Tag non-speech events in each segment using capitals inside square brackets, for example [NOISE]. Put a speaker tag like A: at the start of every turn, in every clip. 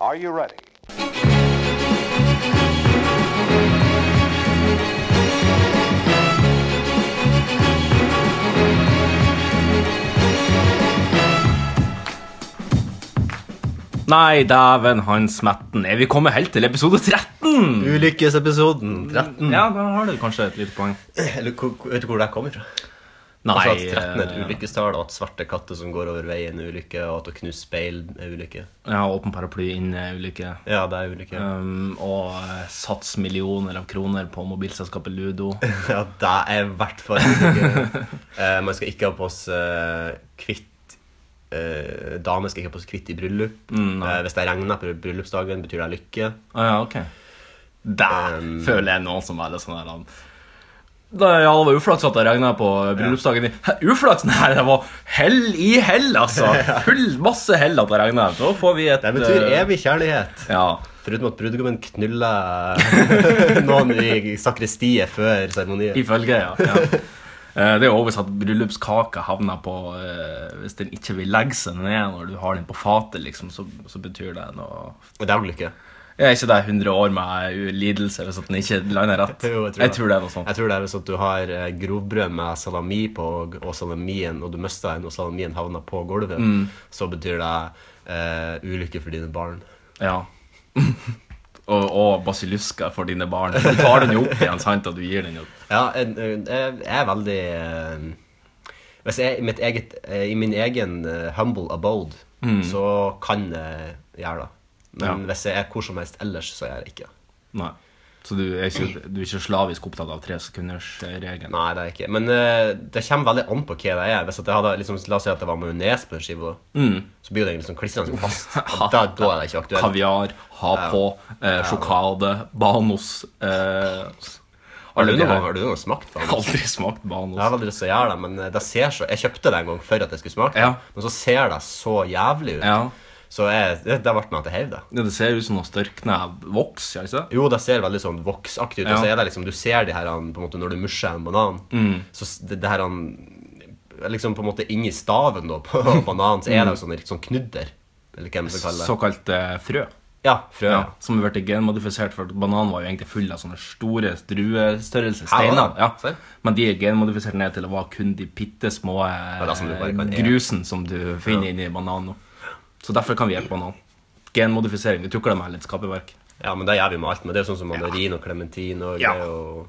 A: Are you ready?
B: Nei, dæven, han smetten. Er vi kommet helt til episode 13?
C: Ulykkesepisoden 13.
B: Mm. Ja, da har du kanskje et lite poeng.
C: [CLEARS THROAT] Eller hvor- hvor- vet du hvor det kommer fra?
B: Nei
C: altså at 13 er et
B: eh,
C: ulykkestall, og at svarte katter som går over veien er ulykke, og at å knuse speil er ulykke.
B: Ja, åpen paraply inn er ulykke.
C: Ja, det er ulykke. [LAUGHS] Ja,
B: Um, og eh, sats millioner av kroner på mobilselskapet Ludo.
C: det er i hvert fall ulykke. Eh, man skal ikke ha på seg kvitt eh, Damer skal ikke ha på seg kvitt i bryllup.
B: Mm,
C: Eh, hvis det regner på bryllupsdagen, betyr det lykke.
B: [LAUGHS] Ah, ja, ok. Der
C: Um,
B: føler jeg noen som er litt sånn der han. Da, ja, det var uflaks at det regna på eh, bryllupsdagen din. Hæ, Uflaks? Nei, det var hell i hell, altså!
C: [LAUGHS]
B: Full masse hell at det regna. Da får vi et
C: Det betyr
B: eh,
C: evig kjærlighet.
B: Ja.
C: Foruten at brudgommen
B: [LAUGHS]
C: knuller [LAUGHS] noen i sakristiet før seremonien.
B: Ifølge, ja. ja. Eh, Det er jo overbevist at bryllupskaka havner på eh, Hvis den ikke vil legge seg ned når du har den på fatet, liksom, så, så betyr det noe
C: Og det er ulykke.
B: Er ikke det 100 år med u- lidelse hvis at den ikke lander rett?
C: Jo, jeg tror det.
B: det er noe sånt.
C: Jeg tror det er hvis at du har eh, grovbrød med salami på, og, og salamien, og du mister en, og salamien havner på gulvet,
B: Mm.
C: så betyr det eh, ulykke for dine barn.
B: Ja. [LAUGHS] og, og basilluska for dine barn. Du tar den jo opp igjen, sant, og du gir den jo
C: Ja, en- en- jeg jeg er veldig eh, Hvis jeg i, mitt eget, eh, i min egen eh, humble abode, så kan jeg gjøre det. Men
B: Mm. Ja.
C: hvis jeg er hvor som helst ellers, så gjør jeg ikke det.
B: Nei. Så du er ikke, du er ikke slavisk opptatt av tresekundersregelen?
C: Nei, det er ikke Men eh, det kommer veldig an på hva det er. Hvis at jeg hadde, liksom, la oss si at det var majones på den skiva,
B: Mm.
C: så blir det liksom
B: [LAUGHS]
C: klistrende fast. Og Da, da er det ikke aktuelt.
B: Kaviar, ha på, eh, sjokade, banos eh,
C: Har
B: alle
C: du
B: de
C: noen
B: her.
C: gang, har du noen gang smakt på
B: Jeg
C: den?
B: har aldri smakt banos.
C: Jeg har veldig lyst til å gjøre det, men eh, det ser så Jeg kjøpte det en gang for at jeg skulle smake,
B: Ja.
C: men så ser det så jævlig ut.
B: Ja.
C: Så jeg, det, det ble meg at jeg heiv det.
B: Ja, det ser ut som noe størknev voks. gjør det ikke det?
C: Jo, det ser veldig sånn voksaktig ut.
B: Ja. Mm.
C: Og så er det liksom, Du ser de her han, på en måte, når du musjer en banan. Så s- det, det her han, liksom på en måte Inni staven da, [LAUGHS] på bananen så er det jo
B: Mm.
C: sånn, sånn knudder. Eller hva man skal kalle det.
B: Såkalt eh, frø.
C: Ja, frø. Ja.
B: Som har blitt genmodifisert, for bananen var jo egentlig full av sånne store druestørrelse
C: var
B: steiner.
C: det?
B: Ja.
C: Ser.
B: Men de er genmodifisert ned til å være kun de bitte små eh,
C: er det som du bare kan-
B: grusen som du finner inni bananen. nå. Så derfor kan vi hjelpe banan. Genmodifisering. Vi tukler med litt skaperverk.
C: Ja, men det gjør vi med alt. Men det er jo sånn som mandarin og klementin og
B: Ja.
C: greier. Og...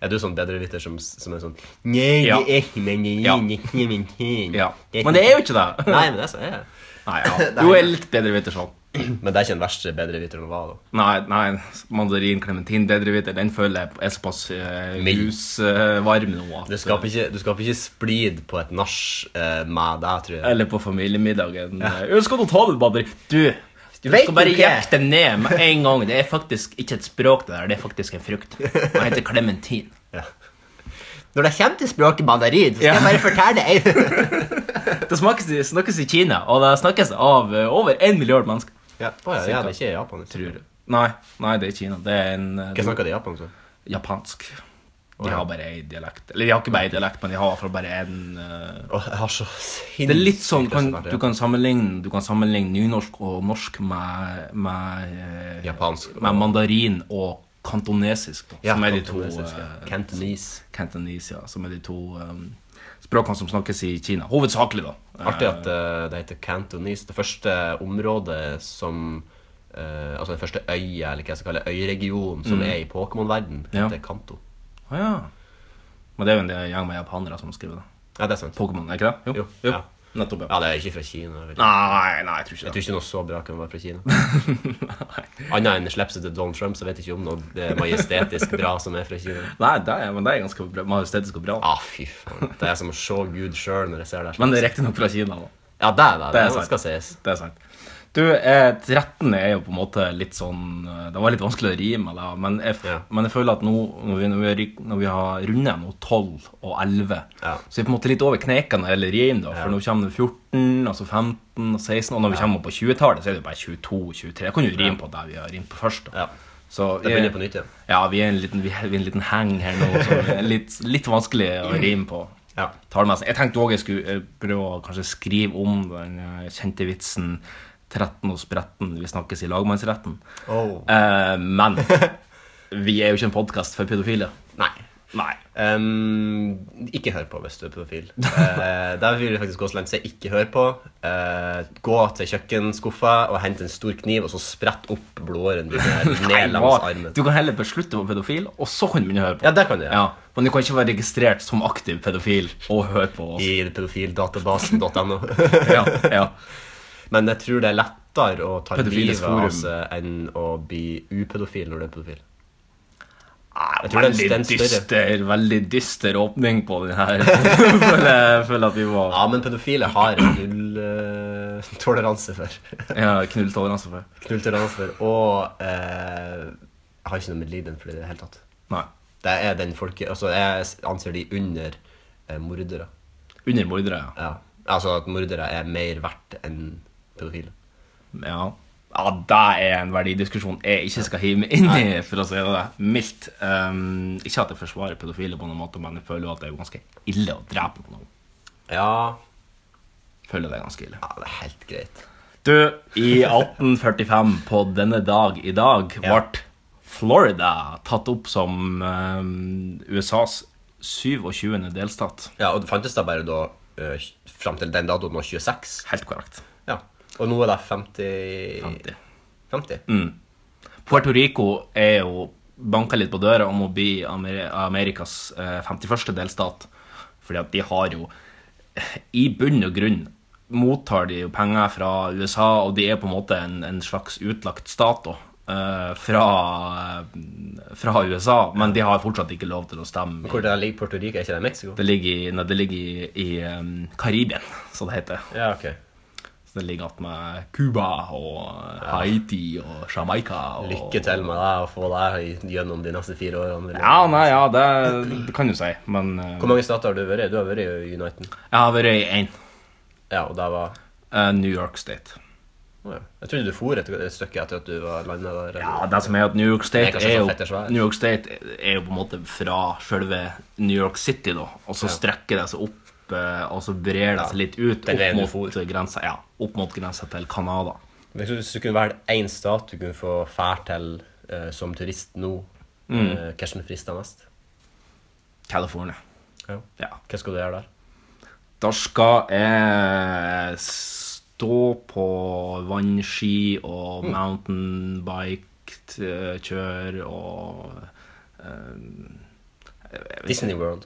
C: Er du sånn bedreviter som, som er sånn Nei,
B: Ja.
C: det er ikke mandarin,
B: Ja.
C: det er ikke klementin.
B: Ja. Men det er jo ikke det!
C: [LAUGHS] Nei, men det er så er [LAUGHS] det.
B: [LAUGHS] Nei, ja. Du er litt bedre viter sånn.
C: Men det er ikke den verste bedreviteren å være, da.
B: Nei, nei, mandarin, klementin, bedreviter, den føler jeg er såpass eh,
C: Mild.
B: rusvarm nå. at-
C: Du skaper ikke, du skaper ikke splid på et nach eh, med deg, tror jeg.
B: Eller på familiemiddagen. Ja. Skal du ta det, Badri? Du, du
C: vet
B: skal bare
C: jo ikke.
B: jekke det ned med en gang. Det er faktisk ikke et språk, det der. Det er faktisk en frukt. Den heter klementin.
C: Ja. Når det kommer til språket mandarin, så
B: skal jeg bare
C: fortelle deg.
B: Det smakes, i- snakkes i Kina, og det snakkes av eh, over en milliard mennesker.
C: [LAUGHS] ja, å, ja, ja, det er ikke i Japan. Liksom.
B: Tror du. Nei, nei, det er ikke Kina. Det er en eh,
C: Hva snakker de i Japan? Så?
B: japansk.
C: Å,
B: De
C: ja.
B: har bare en dialekt. Eller de har ikke bare en dialekt, men de har i hvert fall bare en eh,
C: Å, jeg har så sinnssykt
B: Det er litt sånn, kan,
C: resultat, ja.
B: du, kan sammenligne, du kan sammenligne nynorsk og norsk med, med eh,
C: Japansk.
B: Med mandarin og kantonesisk, da,
C: ja,
B: som er de to
C: kantonesisk, ja.
B: eh,
C: Cantonese.
B: Cantonese, ja, som er de to eh, språkene som snakkes i Kina. Hovedsakelig, da. Eh,
C: Artig at eh, det heter Cantonese. Det første området som eh, Altså den første øya, eller hva jeg skal kalle det, øyregion som er i Pokémon-verden,
B: Mm. Ja.
C: heter Kanto.
B: Å ja. Men det er jo en del gjeng med japanere som skriver det.
C: Ja, det er sant.
B: Pokémon, er ikke det?
C: Jo, ja.
B: Nettopp, ja.
C: Ja, det er ikke fra Kina. Vel.
B: Nei, nei, jeg tror ikke
C: Jeg tror
B: det.
C: ikke noe så bra kan være fra Kina.
B: [LAUGHS]
C: Annet enn slipset til Donald Trump, så vet jeg ikke om noe det er majestetisk bra som er fra Kina.
B: Nei, det er, men det er ganske bra. majestetisk og bra.
C: Ah, fy faen. Det er som å se Gud sjøl når jeg ser det. her.
B: Men det er riktignok fra Kina, da.
C: ja, det er det.
B: Det
C: Det,
B: er sant.
C: skal sies.
B: Det er sant. Du, eh, 13 er jo på en måte litt sånn eh, Det var litt vanskelig å rime, da, men jeg, f-
C: Ja.
B: men jeg føler at nå når vi, når vi, har rik- når vi har rundet nå 12 og 11,
C: Ja.
B: så er vi på en måte litt over knekene når det gjelder rim, da, for nå kommer det 14, og så 15 og 16, og når vi kommer opp på 20-tallet, så er det jo bare 22 23. Jeg kan jo rime på det vi har rimt på først. da.
C: Ja.
B: Så
C: Det begynner på nytt igjen.
B: Ja, vi er en liten, vi er, vi er en liten hang her nå, så det er litt, litt vanskelig
C: [CLEARS THROAT]
B: å rime på.
C: Ja.
B: tallmessig. Jeg tenkte òg jeg skulle eh, prøve å kanskje skrive om den eh, kjente vitsen 13 og spretten, vi snakkes i lagmannsretten.
C: Oh.
B: Eh,
C: [LAUGHS]
B: men vi er jo ikke en podkast for pedofile.
C: Nei.
B: Nei.
C: Ehm, ikke hør på hvis du er
B: [LAUGHS]
C: pedofil. Eh, der vil jeg faktisk gå så langt som jeg ikke hører på. Eh, gå til kjøkkenskuffa og hent en stor kniv, og så sprett opp
B: [LAUGHS]
C: blodårene dine ned langs
B: hva?
C: armen.
B: du kan heller beslutte å være pedofil, og så kan du begynne å høre på.
C: Ja, det kan du gjøre.
B: Ja, Men du kan ikke være registrert som aktiv pedofil og høre på oss.
C: I pedofildatabasen.no.
B: Ja, ja.
C: [LAUGHS] Men jeg tror det er lettere å ta
B: Pedofiles
C: livet
B: forum.
C: av seg enn å bli upedofil når du er pedofil.
B: Jeg
C: tror det er en- det er en
B: veldig
C: større-
B: dyster, veldig dyster åpning på den her. [LAUGHS] Jeg føler, jeg føler at vi var
C: Ja, men pedofile har null eh, [LAUGHS] toleranse for.
B: ja, altså. knulltoleranse for.
C: Nulltoleranse for. Og eh, jeg har ikke noe medlidenhet for det i det hele tatt.
B: Nei.
C: Det er den folke... Altså, jeg anser de under eh, mordere.
B: Under mordere, ja.
C: Ja. Altså at mordere er mer verdt enn pedofile.
B: Ja. ja, det er en verdidiskusjon jeg ikke skal hive meg inn i, for å si det mildt. Um, ikke at jeg forsvarer pedofile på noen måte, men jeg føler jo at det er jo ganske ille å drepe noen.
C: Ja,
B: Føler det er ganske ille.
C: ja det er helt greit.
B: Du, i 1845, på denne dag i dag, ble
C: Ja.
B: Florida tatt opp som um, USAs 27. delstat.
C: Ja, og det fantes da bare da eh, fram til den datoen nå 26.
B: Helt korrekt.
C: Ja. Og nå er det 50
B: 50.
C: 50?
B: Puerto Rico er jo banka litt på døra om å bli Amer Amerikas eh, 51. delstat. Fordi at de har jo I bunn og grunn mottar de jo penger fra USA, og de er på en måte en, en slags utlagt stat da, eh, fra, fra USA. Men de har fortsatt ikke lov til å stemme.
C: Hvor det ligger Puerto Rico? Er ikke det Mexico?
B: Det ligger i, nei, det ligger i, i eh, Karibien, som det heter.
C: Ja, ok.
B: Så det ligger igjen med Cuba og eh, Haiti og Jamaica. Og,
C: Lykke til med deg og få deg gjennom de neste fire årene. eller?
B: Ja, nei, ja, det, det kan du si, men eh,
C: Hvor mange stater har du vært i? Du har vært i Uniten.
B: Jeg har vært i én.
C: Ja, og det var...
B: eh, New York State.
C: Å ja. Jeg trodde du for et, et stykke etter at du var landet der. eller?
B: Ja, det som er at New York
C: Det
B: State
C: er kanskje
B: er,
C: så fett det
B: jo,
C: svært.
B: New York State er jo på en måte fra selve New York City, da. Og så strekker det seg opp, eh, og så brer det seg litt ut
C: Den veien
B: opp
C: du
B: mot grensa, ja, opp mot grensa til Canada.
C: Men jeg tror Hvis du kunne velge én stat du kunne få fære til eh, som turist nå, mm. hva som frister mest?
B: California.
C: Ja.
B: Ja.
C: Hva skal du gjøre der?
B: Da skal jeg stå på vannski og mountainbike, t- kjøre og eh,
C: Disney World.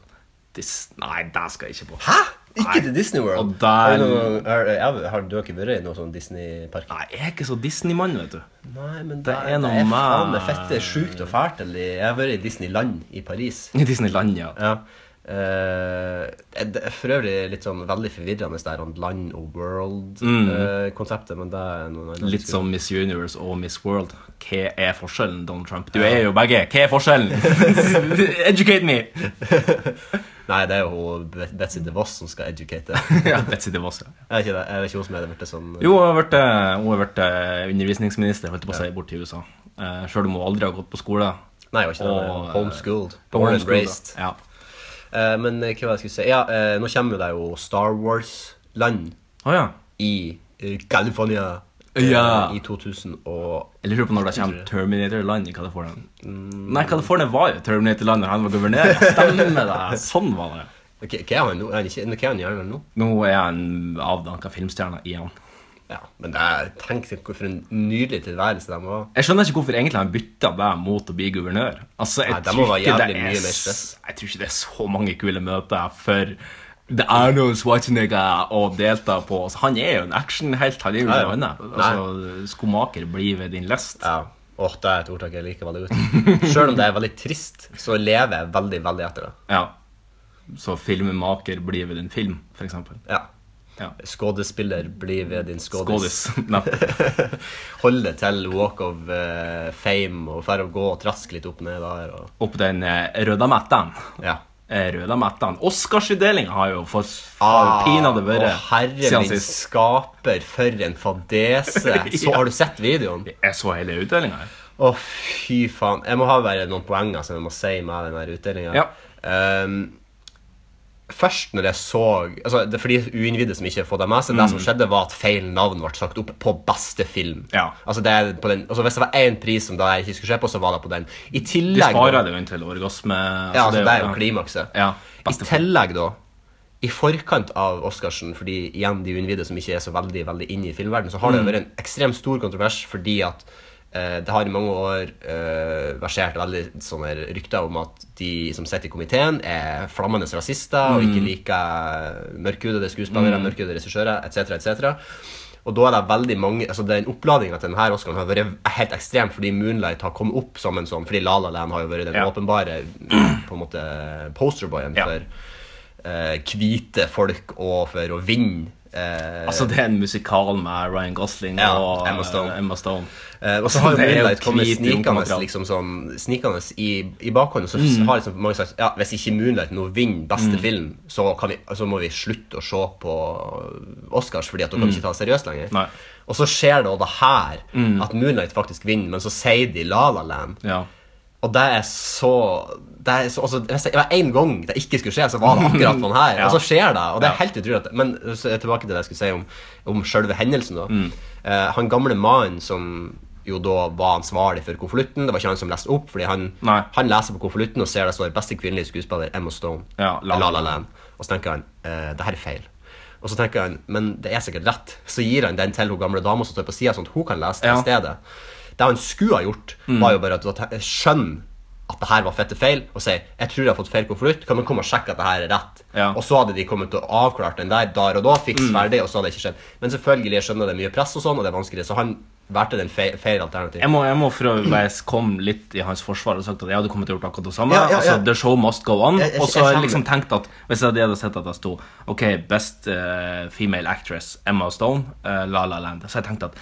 B: dis... Nei, det skal jeg ikke på.
C: Hæ? Ikke til Disney World?
B: Og der-
C: Har, du noen, har, har, har du ikke vært i noen sånn Disney-park?
B: Nei, jeg er ikke så Disney-mann, vet du.
C: Nei, men
B: Det
C: det,
B: er
C: er,
B: noe
C: det er faen
B: med-
C: meg fett. Det er sjukt og fælt. eller? Jeg har vært i Disneyland i Paris.
B: I Disneyland, ja.
C: Ja. Eh, det er for øvrig litt sånn veldig forvirrende det her land og world-konseptet, men det er noe annet.
B: Mm. Litt som Miss Universe og Miss World. Hva er forskjellen, Donald Trump? Du er jo begge. Hva er [LAUGHS] forskjellen? Educate me!
C: Nei, det er jo hun Bet- Betsy DeVos som skal educate.
B: [LAUGHS] ja, Betsy DeVos, ja.
C: Er ikke det er det ikke hun som er det blitt sånn
B: Jo, hun har vært, eh, hun har vært eh, undervisningsminister, holdt jeg på å si, bort til USA. Eh, Selv om hun aldri har gått på skole.
C: Nei, det var ikke det.
B: Og, eh,
C: Homeschooled. Born and raised.
B: Ja.
C: Eh, men eh, hva var det jeg skulle si? Ja, eh, nå kommer jo det jo Star Wars-land
B: Å ja.
C: i eh, California eh,
B: Ja.
C: i 2000 og
B: Jeg Mm. lurer på når det kommer Terminator-land i California. Nei, California var jo Terminator-land da han var [LAUGHS] guvernør. Stemmer det. Sånn var det.
C: Hva hva er han nå? Er han ikke- hva er han gjerne nå?
B: Nå er han avdanka filmstjerne igjen.
C: Ja, men det er, tenk deg for en nydelig tilværelse de var.
B: Jeg skjønner ikke hvorfor egentlig han bytta deg mot å bli guvernør. Altså, jeg,
C: Nei, det må
B: tror
C: være
B: ikke det
C: jævlig
B: er,
C: mye mer
B: s-
C: stress.
B: jeg tror ikke det er så mange kule møter for The Arnold Schwarzenegger å delta på. Altså, han er jo en actionhelt. Han er jo
C: Nei,
B: noe annet. Altså, skomaker blir ved din lest.
C: Ja. Åh, det er et ordtak jeg liker veldig godt.
B: [LAUGHS]
C: Selv om det er veldig trist, så lever jeg veldig, veldig etter det.
B: Ja. Så filmmaker blir ved din film, for eksempel.
C: Ja.
B: Ja.
C: Skådespiller blir ved din skådis.
B: Skådis. [LAUGHS] Nettopp.
C: Holde til walk of eh, fame og færre å gå og traske litt opp ned der. Og,
B: Opp den eh, røde metten.
C: ja.
B: Eh, Røde metten. Oscarsutdelinga har jo for, for
C: Ah,
B: pinadø vært
C: Å herre
B: siden
C: min
B: sist.
C: skaper, for en
B: [LAUGHS]
C: fadese. Så
B: Ja.
C: har du sett videoen?
B: Jeg så hele utdelinga.
C: Å, fy faen. Jeg må ha bare noen poenger som jeg må si med den utdelinga.
B: Ja.
C: Ehm, Først når jeg så altså det er For de uinnvidde som ikke har fått det med seg, det som skjedde, var at feil navn ble sagt opp på beste film.
B: Ja.
C: Altså det er på den, altså Hvis det var én pris som da jeg ikke skulle se på, så var det på den. I tillegg
B: De sparer det jo inn til orgasme.
C: Ja, altså, det er
B: ja.
C: jo klimakset.
B: Ja,
C: I
B: beste
C: tillegg, da, i forkant av Oscarsen, fordi igjen de unnvide som ikke er så veldig veldig inne i filmverdenen, så har
B: Mm.
C: det jo vært en ekstremt stor kontrovers fordi at eh, det har i mange år eh, versert veldig sånne rykter om at de som sitter i komiteen, er flammende rasister og
B: Mm.
C: ikke liker mørkhudede skuespillere, mørkhudede regissører etc. etc. Og da er det veldig mange, altså den oppladninga til denne Oscaren har vært helt ekstrem, fordi Moonlight har kommet opp som en sånn, fordi La La Land har jo vært den
B: Ja.
C: åpenbare på en måte posterboyen
B: Ja.
C: for eh, hvite folk og for å vinne. Eh,
B: Altså, det er en musikal med Ryan Gosling
C: Ja,
B: og
C: Emma Stone.
B: eh, Emma Stone.
C: eh, og så har jo
B: det er jo
C: Moonlight kommet
B: hvit
C: snikende
B: ungkamerat.
C: liksom sånn, snikende i, i bakhånd. Og så
B: Mm.
C: har liksom mange sagt ja, hvis ikke Moonlight nå vinner beste film, så, kan vi, så må vi slutte å se på Oscars, fordi at da kan vi ikke ta det seriøst lenger.
B: Mm. Nei. Mm.
C: Og så skjer det også det her, at Moonlight faktisk vinner, men så sier de La La Land.
B: Ja.
C: Og det er så det er så, altså, hvis det var én gang det ikke skulle skje, så var det akkurat på den her.
B: [LAUGHS] Ja.
C: Og så skjer det. Og det er
B: Ja.
C: helt utrolig. At, men så er jeg tilbake til det jeg skulle si om, om selve hendelsen. da.
B: Mm.
C: Eh, han gamle mannen som jo da var ansvarlig for konvolutten, det var ikke han som leste opp, fordi han,
B: Nei.
C: han leser på konvolutten og ser det står 'beste kvinnelige skuespiller Emma Stone'.
B: Ja, La La
C: La La Land. Og så tenker han eh, det her er feil. Og så tenker han men det er sikkert rett. Så gir han den til hun gamle dama som står på sida, sånn at hun kan lese det
B: Ja. Mm.
C: i stedet. Det han skulle ha gjort, var jo bare at at- skjønne at det her var fette feil, og si jeg tror jeg har fått feil konvolutt, kan du komme og sjekke at det her er rett?
B: Ja. Mm.
C: Og så hadde de kommet og avklart den der der og da, fiks ferdig, og så hadde det ikke skjedd. Men selvfølgelig jeg skjønner det er mye press og sånn, og det er vanskelig, så han valgte den feil, feil alternativ.
B: Jeg må, jeg må for å være kom litt i hans forsvar og sagt at jeg hadde kommet til å gjort akkurat det samme.
C: Ja, ja, ja.
B: Altså, The show must go on.
C: Jeg- jeg-
B: Og så
C: jeg
B: har jeg
C: skjønner.
B: liksom tenkt at hvis jeg hadde sett at det sto OK, best eh, female actress Emma Stone, eh, La La Land, så har jeg tenkt at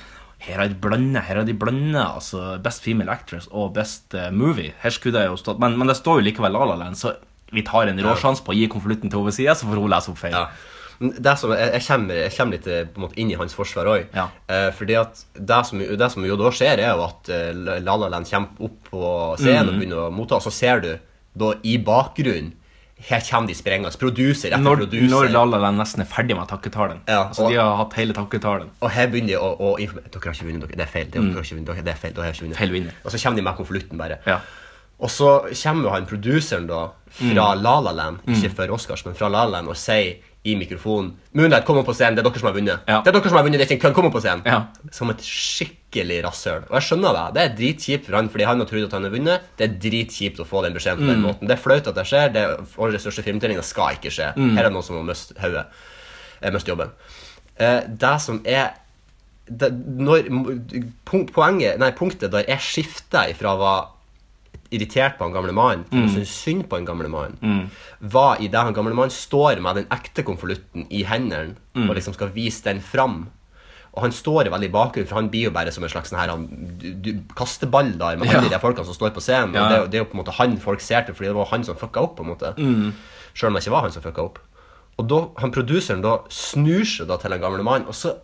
B: her har de blanda, her har de blanda. Altså best female actress og best eh, movie. Her skulle det jo stått men, men det står jo likevel La La Land, så vi tar en rå sjanse på å gi konvolutten til hovedsida, så får hun lese opp feil.
C: Ja. Men Det som, jeg, jeg, kommer, jeg kommer litt eh, på en måte, inn i hans forsvar òg.
B: Ja.
C: Eh, fordi at det som, det som jo da skjer, er jo at eh, La La Land kommer opp på scenen
B: Mm.
C: og begynner å motta, og så ser du da i bakgrunnen Her kommer de sprengende. Produser etter
B: Når,
C: produser.
B: når La La Land nesten er ferdig med takketalen.
C: Ja,
B: altså,
C: og-
B: de har hatt hele takketalen.
C: Og her begynner de å, å informere Dere har ikke vunnet, dere. Det er feil. Dere, har ikke vunnet, dere. Det er feil. Dere har ikke vunnet.
B: Mm. Feil vinner.
C: Og så kommer de med konvolutten, bare.
B: Ja.
C: Og så kommer jo han produseren, da, fra
B: Mm.
C: La La Land, ikke for Oscars, men fra La La Land, og sier i mikrofonen Moonlight, kom opp på scenen. Det er dere som har vunnet.
B: Ja.
C: Det er dere som har vunnet, det er ikke en kødd. Kom opp på scenen.
B: Ja.
C: Som et skikkelig rasshøl. Og jeg skjønner det. Det er dritkjipt for han, fordi han har trodd at han har vunnet. Det er dritkjipt å få den beskjeden
B: Mm.
C: på den måten. Det er flaut at det skjer. Det er årets største filmtrening. Det skal ikke skje.
B: Mm.
C: Her er det noen som må miste hodet. eh, Miste jobben. Eh, det som er det, når, punk- poenget, nei, punktet der jeg skifta ifra å være irritert på han gamle mannen
B: Mm.
C: til å synes synd på han gamle mannen, var i det han gamle mannen står med den ekte konvolutten i hendene
B: Mm.
C: og liksom skal vise den fram. Og han står veldig i bakgrunnen, for han blir jo bare som en slags sånn her, han, du, du, kasteball der med alle
B: Ja.
C: de der folkene som står på scenen.
B: Ja,
C: Og det, er
B: ja.
C: jo- det er jo på en måte han folk ser til, fordi det var han som fucka opp. på en måte
B: Mm.
C: Selv om det ikke var han som fucka opp. Og da, han Produseren da snur seg da til den gamle mannen, og så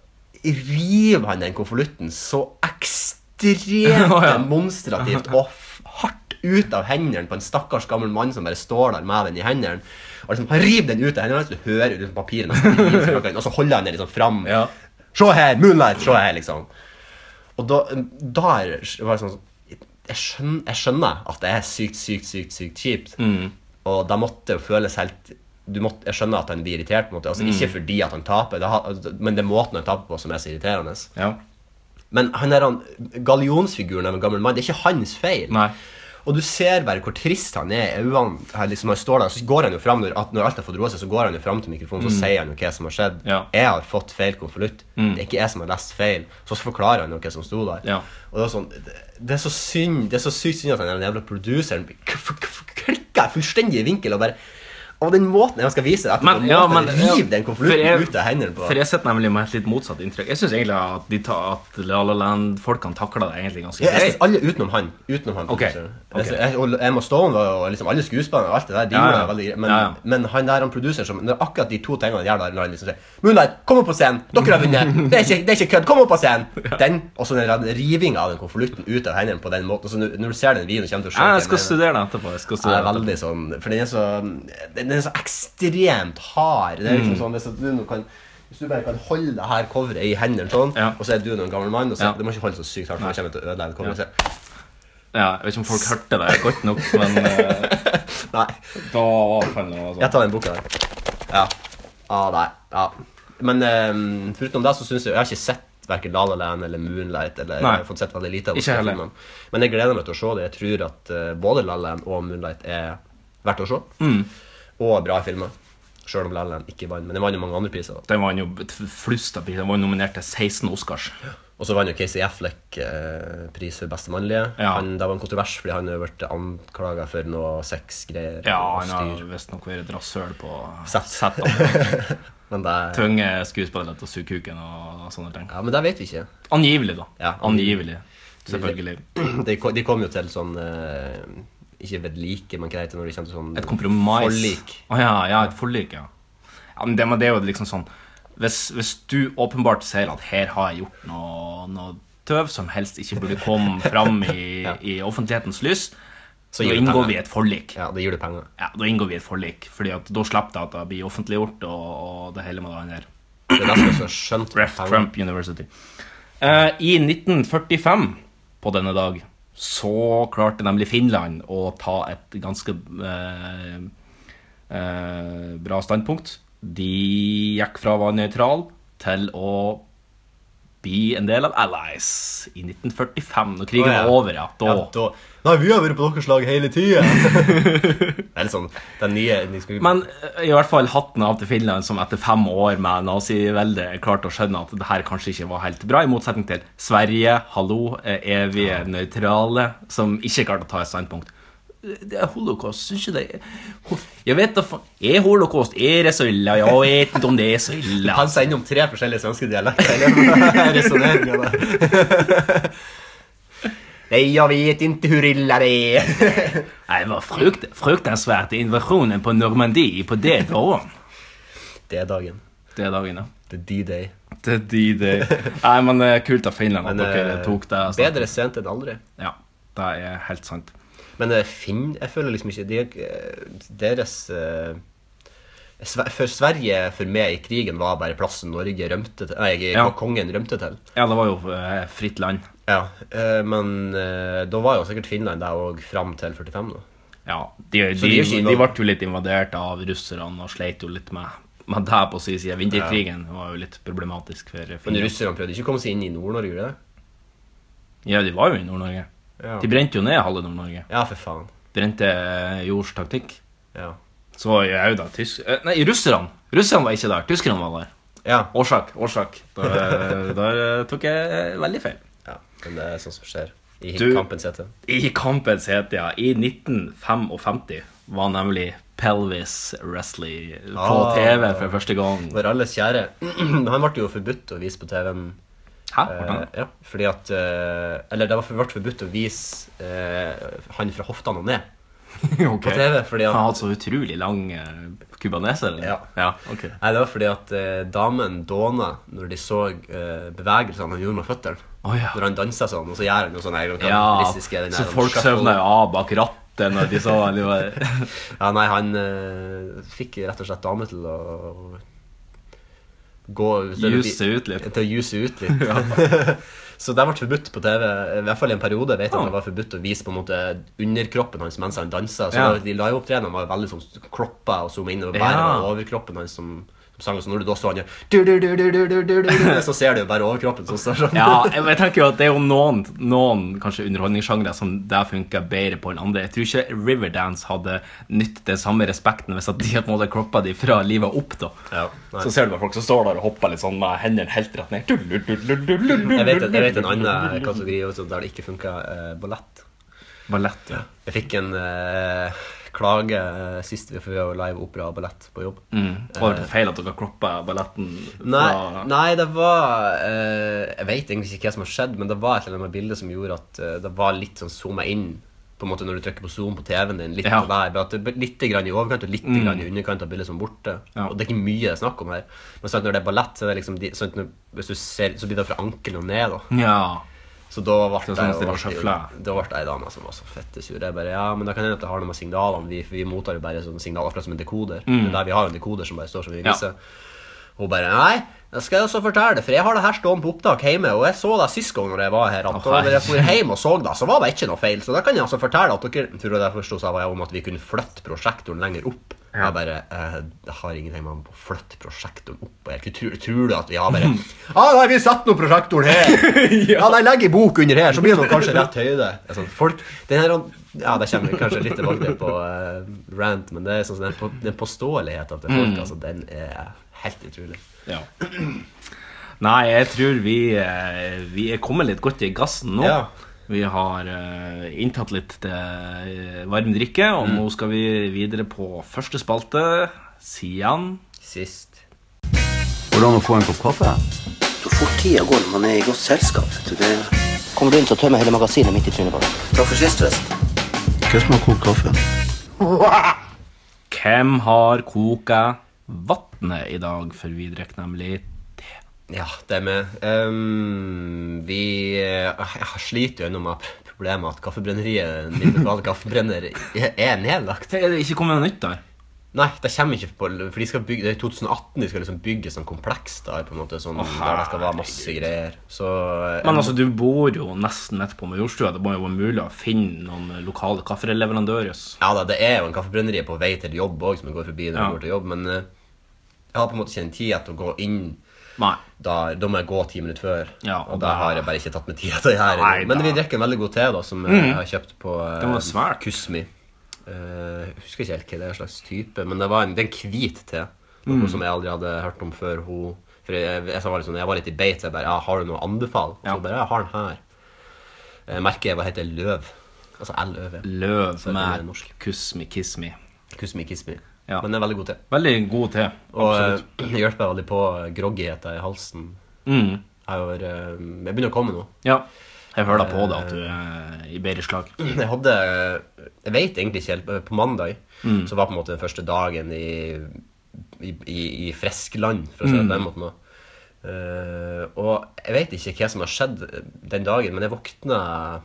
C: river han den konvolutten så ekstremt
B: [LAUGHS] Å, ja.
C: demonstrativt og f- hardt ut av hendene på en stakkars gammel mann som bare står der med den i hendene. Og liksom, Han river den ut av hendene, hans, du hører liksom papiret nesten inn i språket, og så holder han den liksom fram.
B: Ja.
C: Se her! Moonlight! Se her! liksom. Og da, da er det- var det sånn jeg skjønner, jeg skjønner at det er sykt, sykt, sykt sykt kjipt. Og da måtte det føles helt du måtte, Jeg skjønner at han blir irritert. på en måte. Altså, Ikke fordi at han taper, det har, men det er måten han taper på, som er så irriterende.
B: Ja.
C: Men han er han, gallionsfiguren av en gammel mann. Det er ikke hans feil.
B: Nei.
C: Og du ser bare hvor trist han er i øynene. Han liksom, han står der, så går han jo frem, når, at når alt har fått roe seg, så går han jo fram til mikrofonen så sier han jo hva som har skjedd.
B: Mm. Ja. Mm.
C: Jeg har fått feil konvolutt. Det er ikke jeg som har lest feil. Så forklarer han jo hva som sto der.
B: Ja.
C: Og det er, sånn, det, det er så synd Det er så sykt synd at han den jævla produseren klikka fullstendig i vinkel og bare Og den måten han skal vise det etterpå,
B: Men, ja, men,
C: måten han river
B: ja.
C: den
B: For
C: konvolutten
B: jeg-
C: ut av hendene på
B: For jeg sitter nemlig med et litt motsatt inntrykk. Jeg syns egentlig at, de ta, at La La Land-folkene takla det egentlig ganske
C: Ja, jeg
B: greit.
C: synes alle utenom han. Utenom han
B: Ok,
C: produseren.
B: ok.
C: Jeg synes- Jeg, og Emma Stone var jo liksom alle skuespillerne og alt det der. De
B: Ja, ja.
C: gjorde det veldig greit. Men,
B: Ja, ja.
C: men han der han produseren som Når akkurat de to tingene gjør det, når han liksom sier Moonlight, kom opp på scenen! Dere har vunnet! Det er ikke, det er ikke kødd! Kom opp på
B: [LAUGHS]
C: scenen! Den, og så den der rivinga av den konvolutten ut av hendene på den måten. Så når, når du ser den videoen, kommer du til å skjønne
B: Ja,
C: hva
B: jeg skal
C: mener.
B: studere det etterpå. Jeg skal
C: Ja,
B: studere
C: det er
B: det etterpå.
C: veldig sånn For den er så den, den er så ekstremt hard. Det er
B: Mm.
C: liksom sånn, hvis, at du nå kan, hvis du bare kan holde det her coveret i hendene sånn,
B: Ja.
C: og så er du nå en gammel mann og så,
B: Ja.
C: Du må ikke holde så sykt hardt, for det kommer til å ødelegge coveret. så-
B: Ja, jeg vet ikke om folk hørte det godt nok, men
C: [LAUGHS]
B: eh,
C: Nei,
B: da var det noe
C: jeg
B: sånt.
C: tar den boka der. Ja. Ah, nei. Ja. Men um, foruten det så syns jeg Jeg har ikke sett verken La La Land eller Moonlight. Eller,
B: Nei.
C: jeg har fått sett veldig lite av
B: Ikke
C: disse
B: heller.
C: filmene. Men jeg gleder meg til å se det. Jeg tror at eh, både La La Land og Moonlight er verdt å se.
B: Mm.
C: Og bra filmer. Sjøl om La La Land ikke vant. Men den vant jo mange andre priser. da.
B: Den vant jo et flust av priser. Den var jo nominert til 16 Oscars.
C: Og så vant jo Casey Affleck eh, pris for beste mannlige.
B: Ja.
C: Han, det var en kontrovers fordi han har vært anklaga for noe sexgreier.
B: Ja,
C: og
B: han
C: styr.
B: har visstnok vært et rasshøl på
C: Sett. [LAUGHS]
B: settene.
C: Men det,
B: Tvunget skuespillere til å suge kuken og sånne ting.
C: ja, men det vet vi ikke.
B: Angivelig, da.
C: Ja,
B: Angivelig. Selvfølgelig.
C: [CLEARS THROAT] De, ko- de kom jo til sånn eh, Ikke ved like, men hva heter det når det kommer til sånn
B: Et kompromiss.
C: Forlik.
B: Å ja, ja, et forlik, ja. ja men, det, men det er jo liksom sånn Hvis, hvis du åpenbart ser at her har jeg gjort noe, noe tøv som helst ikke burde komme fram i,
C: [LAUGHS]
B: i offentlighetens lys,
C: Så
B: da
C: gir du
B: inngår
C: penger.
B: vi et forlik.
C: Ja, det gir du penger.
B: Ja, da inngår vi et forlik, Fordi at da slipper det at det blir offentliggjort og, og det hele med det andre.
C: Det er nesten så skjønt. med
B: Ref.
C: penger.
B: Trump University. Eh, I 1945, på denne dag, så klarte nemlig Finland å ta et ganske eh, eh, bra standpunkt. De gikk fra å være nøytral til å bli en del av Allies i 1945, når krigen
C: Å, ja.
B: var over. Ja, da,
C: Ja, da Nei, vi har vært på deres lag hele
B: [LAUGHS]
C: tida! det er litt sånn Den nye de skal,
B: Men eh, i hvert fall hatten av til Finland, som etter fem år med naziveldet klarte å skjønne at det her kanskje ikke var helt bra, i motsetning til Sverige, hallo, eh, evige nøytrale, som ikke klarte å ta et standpunkt. Det er holocaust, syns ikke det er- Jeg vet da faen Er holocaust er det så ille? Jeg vet ikke om det er så ille.
C: Han sender om tre forskjellige svenske
B: [LAUGHS]
C: dialekter. [LAUGHS] eller? Resoneringen av det. [LAUGHS] Nei, jeg vet ikke hvor ille det er. [LAUGHS]
B: Nei, Det var frukt, fruktansvært invasjonen på Normandie på det dagen.
C: Det er dagen.
B: Det er dagen, ja.
C: Det er D-day.
B: Det er de, det. Nei, men eh, kult av Finland at
C: Men,
B: dere
C: eh,
B: tok det. altså.
C: Bedre sent enn aldri.
B: Ja, det er helt sant.
C: Men eh, Finn, jeg føler liksom ikke de, eh, Deres eh, Sve- For Sverige, for meg, i krigen var bare plassen Norge rømte til Nei,
B: Ja.
C: kongen rømte til.
B: Ja, det var jo eh, fritt land.
C: Ja, eh, Men eh, da var jo sikkert Finland der òg fram til 45, da.
B: Ja, de, de,
C: de er
B: de,
C: ikke
B: ble jo litt invadert av russerne og sleit jo litt med, med det på sin side. Vinterkrigen var jo litt problematisk for
C: Men
B: Finland.
C: russerne prøvde ikke å komme seg inn i Nord-Norge, gjorde de?
B: Ja, de var jo i Nord-Norge.
C: Ja.
B: De brente jo ned halve Nord-Norge.
C: Ja, for faen.
B: Brente eh, jords taktikk.
C: Ja.
B: Så er jo da tysk... eh, Nei, russerne! Russerne var ikke der. Tyskerne var der.
C: Ja,
B: Årsak, årsak. Der, der eh, [LAUGHS] tok jeg eh, veldig feil.
C: ja. Men det er sånt som skjer i
B: Du-
C: kampens hete.
B: I kampens hete, ja. I 1955 var nemlig Pelvis Wrestley på
C: Ah.
B: TV for første gang.
C: Vår alles kjære [CLEARS THROAT] Han ble jo forbudt å vise på TV-en.
B: Hæ?
C: Eh, [LAUGHS] ja, fordi at eh, Eller det var for- ble forbudt å vise eh, han fra hoftene og ned. på TV. Fordi
B: Han
C: at,
B: hadde så utrolig lang eh, kubaneser. eller?
C: Ja.
B: ja ok.
C: nei, det var fordi at eh, damen dåna når de så eh, bevegelsene han gjorde med føttene.
B: Å, ja.
C: Når han dansa sånn, og så gjør han jo sånn her, den
B: Ja,
C: karakteristiske, den her,
B: så
C: han
B: folk
C: shuffle.
B: søvna jo av bak rattet når de så han. de var- [LAUGHS]
C: Ja, nei, han eh, fikk rett og slett dame til å gå
B: Juse seg ut litt.
C: Til å juse ut
B: [LAUGHS]
C: litt. [LAUGHS] så det ble forbudt på TV, i hvert fall i en periode. Jeg vet jeg at
B: Ah.
C: det var forbudt å vise på en måte underkroppen hans mens han dansa. Så
B: Ja.
C: da- De liveopptredenene var veldig sånn kloppa og zooma inn, og bare
B: Ja.
C: var overkroppen hans som, som sang. Så når du da så han gjør du, du, du, du, du, du, du, du, Så ser du jo bare overkroppen som står sånn.
B: Ja, jeg, jeg tenker jo at det er jo noen, noen kanskje underholdningssjangre som der funker bedre på enn andre. Jeg tror ikke Riverdance hadde nytt den samme respekten hvis at de hadde måttet kroppa de fra livet opp. da.
C: [LAUGHS] Ja, nei.
B: så ser du bare folk som står der og hopper litt sånn med hendene helt rett ned.
C: Jeg vet, jeg vet en annen kategori også, der det ikke funka eh, ballett.
B: Ballett, ja.
C: Jeg fikk en eh, klage eh, sist vi var live opera og ballett på jobb.
B: Mm. Var det feil at dere kroppa balletten
C: Nei,
B: fra
C: nei, det var eh, Jeg vet egentlig ikke hva som har skjedd, men det var et eller annet med bildet som gjorde at eh, det var litt sånn zooma inn. På en måte Når du trykker på zoom på TV-en din. Litt,
B: Ja. Mm.
C: av der, bare at det er litt grann i overkant og litt grann i underkant av bildet som er borte.
B: Ja.
C: Og det er ikke mye det er snakk om her. sånn Men sant, når det er ballett, så, er det liksom de, sant, når, hvis du ser, så blir det fra ankelen og ned. da
B: Ja.
C: Så da ble
B: Så
C: jeg,
B: sånn
C: jo-
B: stille og
C: da
B: sjøfla.
C: ble jeg ei dame som var så fette sur. Jeg bare, ja, men da kan det hende at det har noe med signalene Vi, vi mottar jo bare sånne signaler akkurat som en dekoder. Men der vi har jo en dekoder som bare står som vi
B: Mm. Ja.
C: viser. Hun bare Nei, det skal jeg også fortelle, for jeg har det her stående på opptak hjemme, og jeg så deg sist gang når jeg var her. Anton,
B: Å,
C: og når jeg for hjem og så deg, så var det ikke noe feil. Så da kan jeg altså fortelle at dere Tror jeg det forsto seg var jeg om at vi kunne flytte prosjektoren lenger opp. Jeg bare eh, Jeg har ingenting med å flytte prosjektoren opp Jeg tror, tror du at vi har bare ah, nei, vi setter nå prosjektoren her! ja, nei, legg i bok under her, så blir det nok kanskje rett høyde. Det er Sånn, folk den her, Ja, det kommer vi kanskje litt tilbake til på eh, rant, men det er sånn, den, på, den påståeligheten til folk, altså, den er helt utrolig.
B: Ja. Nei, jeg tror vi, eh, vi er kommet litt godt i gassen nå.
C: Ja.
B: Vi har eh, inntatt litt eh, varm drikke, og nå skal vi videre på første spalte, Sian.
C: Sist
A: Hvordan å få en kopp kaffe?
D: Så fort tida går når man er i godt selskap. vet du, Det... Kommer du inn, så tømmer hele magasinet midt i trynet på deg. Takk for sist, forresten.
A: Hva som har kokt kaffe?
B: Hvem har koka vannet i dag? For vi drikker nemlig te.
C: Ja, det er med. Ehm, vi eh, jeg sliter jo ennå med problemet at kaffebrenneriet, min lokale kaffebrenner, er nedlagt.
B: Det er ikke kommet noe nytt der.
C: Nei, det kommer ikke på For de skal bygge, det er i 2018 de skal liksom bygge sånn kompleks der, på en måte. Sånn, der det skal være masse greier. Så eh,
B: Men altså, du bor jo nesten midt på Majorstua. Det må jo være mulig å finne noen lokale kaffereleverandører.
C: Ja da, det er jo en kaffebrenneri på vei til jobb òg, som jeg går forbi når
B: Ja.
C: jeg går til jobb, men eh, jeg har på en måte ikke en tid til å gå inn
B: Nei.
C: da, da må jeg gå ti minutter før.
B: Ja,
C: og
B: og
C: da
B: da-
C: har jeg bare ikke tatt meg tida til det her.
B: Nei
C: Men
B: da. Mm.
C: vi drikker en veldig god te da, som jeg har kjøpt på eh,
B: Den var svær.
C: Kusmi. Eh, jeg husker ikke helt hva det er slags type, men det, var en, det er en hvit te. Noe
B: Mm.
C: som jeg aldri hadde hørt om før hun For jeg, jeg, jeg, var, litt sånn, jeg var litt i beit. så Jeg bare ja, 'Har du noe å anbefale?' Og så
B: Ja.
C: bare 'Jeg har den her'. Eh, merket hva heter Løv. Altså LØV.
B: Løv
C: Så er det
B: med
C: norsk.
B: kusmi kismi.
C: Kusmi Kismi.
B: Ja.
C: Men det er veldig god te.
B: Veldig god te.
C: Og eh, [CLEARS THROAT] det hjelper veldig på groggigheten i halsen.
B: Mm.
C: Jeg, har, eh, jeg begynner å komme nå.
B: Ja. Jeg hører da på det at
C: Eh.
B: du er i bedre slag.
C: Jeg hadde Jeg vet egentlig ikke helt. På mandag
B: Mm.
C: så var på en måte den første dagen i, i, i, i friskland, for å
B: Mm.
C: si det på den måten. også. Eh, og jeg vet ikke hva som har skjedd den dagen, men jeg våkna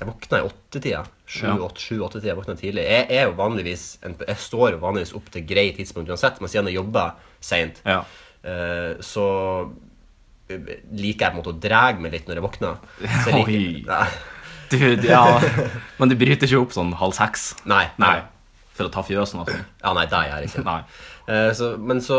C: Jeg våkna i åttetida.
B: Ja.
C: Sju-åtte-tida. Jeg våkna tidlig. Jeg, er jo vanligvis en, Jeg står jo vanligvis opp til grei tidspunkt uansett, men siden jeg jobber seint,
B: Ja.
C: Eh, så eh, liker jeg på en måte å dra meg litt når jeg våkner. Så jeg
B: Oi.
C: liker, Nei.
B: Du,
C: [LAUGHS]
B: ja. Men du bryter ikke opp sånn halv seks?
C: Nei.
B: Nei. For å ta fjøsen og sånn?
C: Ja, nei, det gjør jeg ikke.
B: [LAUGHS] Nei.
C: Eh, så, men så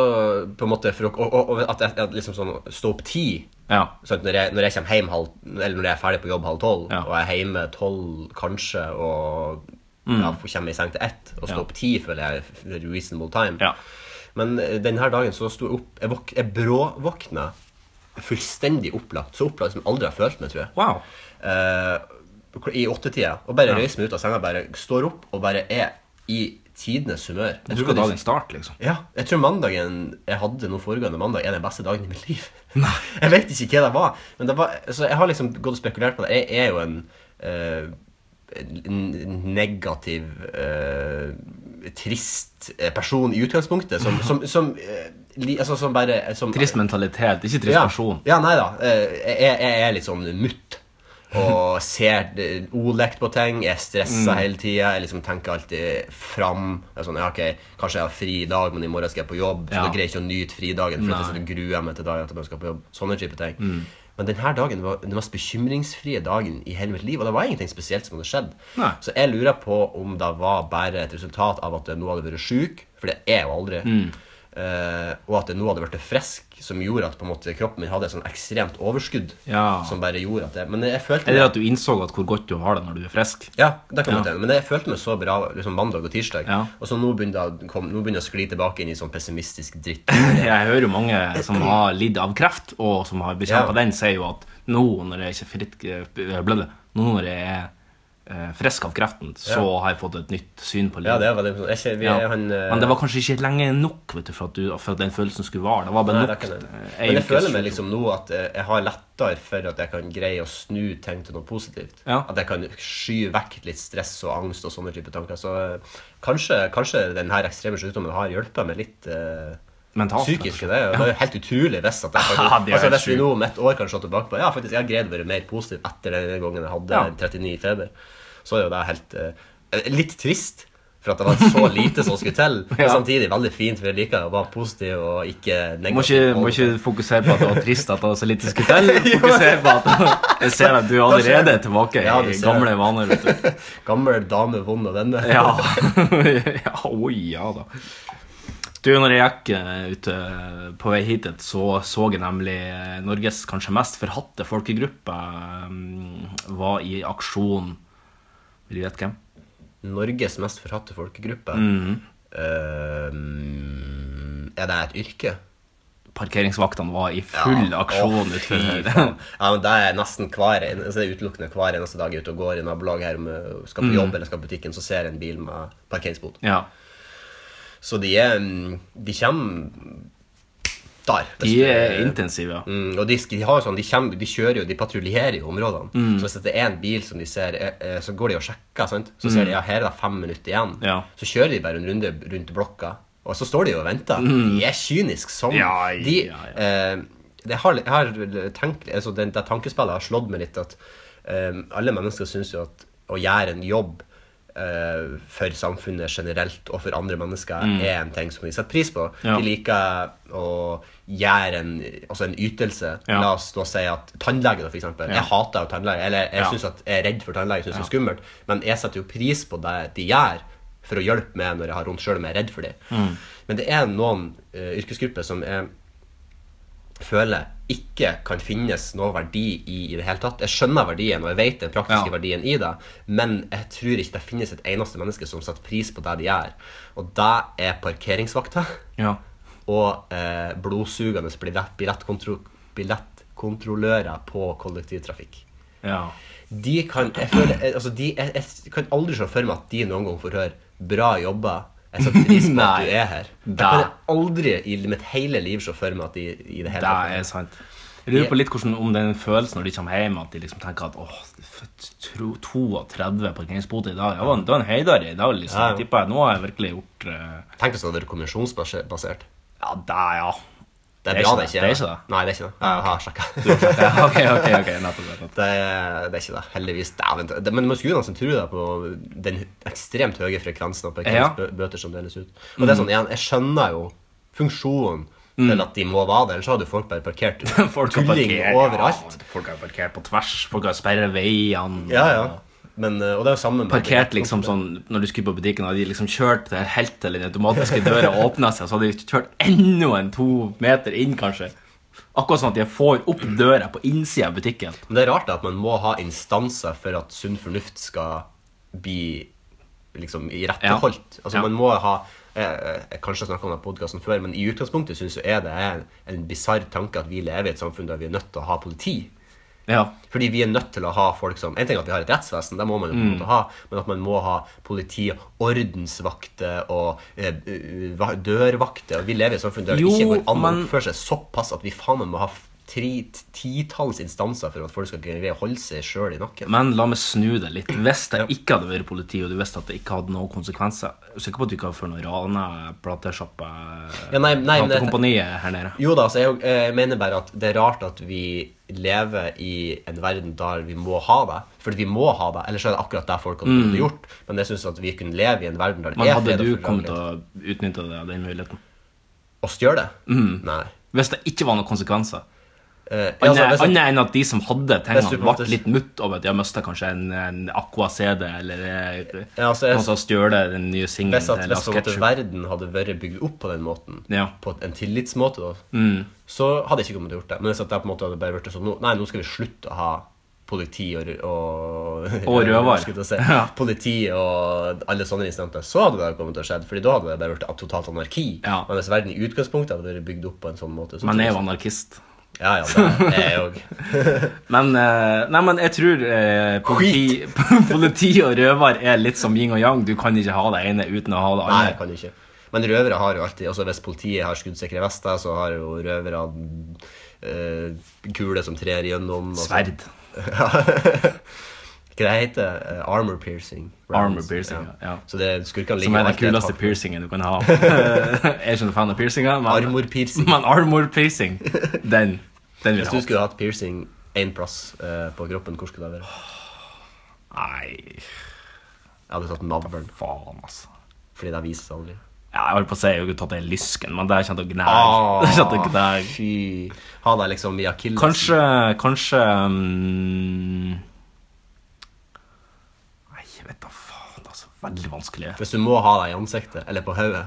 C: på en måte for å, og, og, og at jeg, at liksom sånn, stå opp ti
B: Ja.
C: sånn, at når, jeg, når jeg kommer hjem halv Eller når jeg er ferdig på jobb halv tolv,
B: Ja.
C: og jeg er hjemme tolv kanskje, og ja, kommer i seng til ett, og stå
B: Mm. Ja.
C: opp ti, føler jeg er reasonable time.
B: Ja.
C: Men eh, denne dagen så sto jeg opp Jeg, våk, jeg bråvåkna fullstendig opplagt. Så opplagt som jeg aldri har følt meg, tror jeg.
B: Wow.
C: Eh, I åttetida. Og bare røyser meg ut av senga, bare står opp og bare er i tidenes humør. Jeg
B: Du
C: tror
B: skal
C: de-
B: ta din start, liksom?
C: ja, jeg tror mandagen jeg hadde nå foregående mandag, er den beste dagen i mitt liv. Nei. [LAUGHS] Jeg vet ikke hva det var, men det var så jeg har liksom gått og spekulert på det. Jeg er jo en, eh, en negativ, eh, trist eh, person i utgangspunktet, som, som, som, eh, li, altså, som bare som,
B: Trist mentalitet, ikke trist person.
C: ja, nei da. Eh, Jeg, jeg er litt sånn mutt. Og ser eh, olekt på ting. Jeg er stressa hele tida. Jeg liksom tenker alltid fram. Jeg er sånn, ja, ok, Kanskje jeg har fri i dag, men i morgen skal jeg på jobb. Så
B: Ja.
C: da greier jeg ikke å nyte fridagen. For at jeg så gruer jeg meg til dagen etterpå jeg skal på jobb. Sånne type ting. Men denne dagen var den mest bekymringsfrie dagen i hele mitt liv. Og det var ingenting spesielt som hadde skjedd.
B: Nei.
C: Så jeg lurer på om det var bare et resultat av at jeg nå hadde vært sjuk, for det er jeg jo aldri,
B: Mm.
C: eh, og at jeg nå hadde blitt frisk, som gjorde at på en måte, kroppen min hadde et sånn ekstremt overskudd.
B: Ja.
C: Som bare gjorde at jeg Men jeg følte
B: Eller at du innså at hvor godt du har det når du er frisk?
C: ja, det kan
B: Ja.
C: godt hende. Men jeg følte meg så bra liksom mandag og tirsdag.
B: Ja.
C: Og så nå begynner jeg å komme- nå begynner jeg å skli tilbake inn i sånn pessimistisk dritt.
B: [LAUGHS] Jeg hører jo mange som har lidd av kreft, og som har bekjempa
C: Ja.
B: den, sier jo at nå når jeg ikke er fritt, eh, ble det, nå når jeg er eh, frisk av kreften, så har jeg fått et nytt syn på
C: Ja,
B: livet.
C: det er veldig jeg, ser- vi,
B: Ja.
C: han, eh,
B: Men det var kanskje ikke lenge nok vet du, for, at du, for at den følelsen skulle vare. Det var bare
C: Nei, det
B: nok.
C: er ikke det.
B: eh, en
C: Men jeg
B: ukes-
C: føler meg liksom nå at eh, jeg har lettere for at jeg kan greie å snu ting til noe positivt.
B: Ja.
C: At jeg kan sky vekk litt stress og angst og sånne type tanker. Så eh, kanskje, kanskje den her ekstreme sykdommen har hjulpet meg litt. eh,
B: Mentalt,
C: psykiske. Det er jo, det er jo helt utrolig hvis
B: [LAUGHS]
C: at jeg
B: Ja, det er
C: faktisk, altså,
B: helt
C: Hvis vi
B: sjukt.
C: nå om et år kan se tilbake på Ja, faktisk, jeg har greid å være mer positiv etter den gangen jeg hadde
B: Ja.
C: 39 i feber, så er jo det helt eh, Litt trist. For at det var så lite som skulle til.
B: [LAUGHS]
C: Men
B: Ja.
C: samtidig veldig fint, for jeg liker å være positiv og
B: Må
C: ikke negativ.
B: ikke, må ikke fokusere på at det var trist at det var så lite skutell.
C: [LAUGHS]
B: Fokusere på at [LAUGHS] jeg ser at du er allerede er tilbake
C: Ja, du
B: i
C: ser
B: gamle
C: det.
B: vaner. vet du.
C: [LAUGHS] Gammel dame, vond og vende.
B: Ja. [LAUGHS] ja. Oi, ja da. Du, når jeg gikk eh, ut eh, på vei hit, så så jeg nemlig eh, Norges kanskje mest forhatte folkegruppe eh, var i aksjon. Vil du gjette hvem?
C: Norges mest forhatte folkegruppe.
B: Mm.
C: Ehm, er det et yrke?
B: Parkeringsvaktene var i full aksjon
C: Å,
B: utenfor
C: fy
B: her.
C: faen. Ja, men det er nesten hver en- altså, det er utelukkende hver eneste dag jeg er ute og går i nabolaget her om jeg skal på
B: Mm.
C: jobb eller skal på butikken, så ser jeg en bil med parkeringsbot.
B: [LAUGHS] Ja.
C: Så de er mm, De kommer der. hvis
B: De
C: du-
B: er intensive. ja.
C: Mm, og de, sk- de, har jo sånn, de, kjem- de kjører jo, de patruljerer jo områdene.
B: Mm.
C: Så hvis det er en bil som de ser, eh, eh, så går de og sjekker, sant? så ser de ja, her er det fem minutter igjen.
B: Mm. Ja.
C: Så kjører de bare en runde rundt blokka, og så står de jo og venter. De er kyniske som
B: Mm. Ja, ja,
C: de,
B: ja.
C: Eh, det har, jeg har tenkt, altså det, det tankespillet har slått meg litt at eh, alle mennesker syns jo at å gjøre en jobb eh, for samfunnet generelt og for andre mennesker er en ting som de setter pris på.
B: Mm. Ja.
C: De liker å gjøre en, altså en ytelse.
B: Ja.
C: La oss nå si at tannlege, da, for eksempel. Jeg hater jo tannlege, eller jeg
B: Ja.
C: synes at jeg er redd for tannlege, jeg synes det er skummelt, men jeg setter jo pris på det de gjør for å hjelpe meg når jeg har vondt sjøl om jeg er redd for det.
B: Mm.
C: Men det er noen eh, yrkesgrupper som jeg føler ikke kan finnes noe verdi i i det hele tatt. Jeg skjønner verdien, og jeg vet den praktiske
B: Ja.
C: verdien i det, men jeg tror ikke det finnes et eneste menneske som setter pris på det de gjør. Og det er parkeringsvakter
B: Ja.
C: og eh, blodsugende billett- billettkontro- billettkontrollører på kollektivtrafikk.
B: ja.
C: De kan, jeg, føler, jeg- altså de, jeg, jeg kan aldri se for meg at de noen gang får høre 'bra jobba'. Jeg setter pris på
B: [LAUGHS]
C: at
B: Nei.
C: du er her. Jeg
B: Da.
C: kan jeg aldri i mitt hele liv se for meg at de i det
B: Det
C: hele tatt-
B: er sant. Jeg lurer på litt hvordan, om den følelsen når de kommer hjem, at de liksom tenker at åh, f- tro- 32 parkeringsboter i dag, det var en, det var en høydare i dag, liksom.
C: Ja, ja.
B: Jeg tipper jeg, nå har jeg virkelig gjort eh,
C: Tenk hvis det hadde vært konvensjonsbasert.
B: Ja, det, ja.
C: Det er,
B: Det er
C: bra
B: ikke
C: det
B: det.
C: ikke
B: Det er ikke det.
C: Nei, det er ikke det. Jeg har sjekket.
B: ja [LAUGHS] ok, ok, ok, nettopp, nettopp.
C: Det, er- det er ikke det. Heldigvis. Dæven. det- Men man skulle jo nesten tro det på den ekstremt høye frekvensen av parkeringsbøter som deles ut. Og det er sånn, igjen, Jeg skjønner jo funksjonen til at de må være der, ellers hadde jo folk bare parkert
B: Mm. [LAUGHS] Folk har
C: tulling
B: parkert,
C: overalt.
B: Ja, folk har parkert på tvers, folk har sperret veiene.
C: Ja, ja. Men, eh, og det er jo samme med
B: Parkert liksom sånn, Når du skulle på butikken, hadde de liksom kjørt det helt til den automatiske døra åpna seg, så hadde de kjørt enda en to meter inn, kanskje. Akkurat sånn at de får opp døra på innsida av butikken.
C: Men det er rart da, at man må ha instanser for at sunn fornuft skal bli liksom iretteholdt. Altså
B: Ja.
C: man må ha eh, eh, Kanskje jeg snakket om det i podcasten før, men i utgangspunktet synes jeg det er en, en bisarr tanke at vi lever i et samfunn der vi er nødt til å ha politi.
B: Ja.
C: Fordi vi er nødt til å ha folk som En ting er at vi har et rettsvesen, det må man jo på
B: Mm.
C: en måte ha, men at man må ha politi, ordensvakter og eh, eh, va- dørvakter. Og vi lever i et samfunn der det
B: Jo,
C: ikke går an å
B: men-
C: oppføre seg såpass at vi faen meg må ha f- tri- t- titalls instanser for at folk skal greie å holde seg sjøl i nakken.
B: Men la meg snu det litt. Hvis det ikke hadde vært politi, og du visste at det ikke hadde noen konsekvenser Jeg er sikker på at du ikke hadde ført noe rane platesjappe
C: Ja, nei, nei, men det-
B: platekompaniet her nede.
C: Jo da, så jeg, jeg mener bare at det er rart at vi lever i en verden der vi må ha det. Fordi vi må ha det, ellers er det akkurat det folk hadde gjort. Men jeg syns at vi kunne leve i en verden der det
B: Mm. Men
C: er
B: hadde
C: fred og
B: du
C: fordragelighet.
B: kommet til å utnytte det, den muligheten?
C: Å stjele det?
B: Mm.
C: Nei.
B: Hvis det ikke var noen konsekvenser?
C: Eh,
B: Annet
C: altså, hvis jeg-
B: annet enn at de som hadde
C: Hvis du
B: tingene,
C: på en måte-
B: ble litt mutt over at de har mista kanskje en, en Aqua-CD, eller eh,
C: Ja, altså, jeg-
B: noen som stjålet den nye singelen
C: Hvis, sånn at,
B: til
C: hvis
B: Last
C: på en måte
B: Ketchup.
C: verden hadde vært bygd opp på den måten,
B: Ja. Mm.
C: på en tillitsmåte, da, så hadde jeg ikke kommet til å gjort det. Men hvis at det på en måte hadde bare vært sånn nå- Nei, nå skal vi slutte å ha politi og Og, [LAUGHS]
B: Og røver.
C: skulle jeg Si,
B: Ja.
C: Politi og alle sånne instanser. Så hadde det kommet til å skjedd, Fordi da hadde det bare vært totalt anarki.
B: Ja.
C: Men hvis verden i utgangspunktet hadde vært bygd opp på en sånn måte så
B: Men jeg er
C: tror
B: jo anarkist.
C: jeg- Ja, ja, det er jeg òg.
B: [LAUGHS] Men, eh, nei, men jeg tror eh, politi, [LAUGHS] politi og røver er litt som yin og yang. Du kan ikke ha det ene uten å ha det
C: Nei, jeg
B: andre.
C: kan ikke. Men røvere har jo alltid altså Hvis politiet har skuddsikre vester, så har jo røvere altså, [LAUGHS] eh, kuler som trer gjennom. og så-
B: Sverd.
C: Hva det heter det? eh, armor piercing.
B: Armor piercing, ja, ja.
C: Så det skurkene
B: Som
C: ligger
B: er den
C: alltid et
B: kuleste
C: hakk-
B: piercingen du kan
C: [LAUGHS]
B: ha. Jeg er ikke noen fan av piercinger, men
C: Armor
B: [LAUGHS]
C: piercing.
B: Men armor piercing, den, den vil jeg
C: Hvis du
B: ha.
C: skulle hatt piercing én plass eh, på kroppen, hvor skulle det være?
B: Nei,
C: Jeg hadde tatt navlen,
B: faen, altså.
C: fordi det vises aldri.
B: Ja, jeg holdt på å si jeg kunne tatt den lysken, men det er ikke noe
C: Ah,
B: gnæg. [LAUGHS] Det er ikke noe gnæg.
C: Fy. Ha deg liksom i akillesen.
B: Kanskje Kanskje mm, Nei, jeg vet da faen. Det er så veldig vanskelig.
C: Hvis du må ha deg i ansiktet, eller på hodet.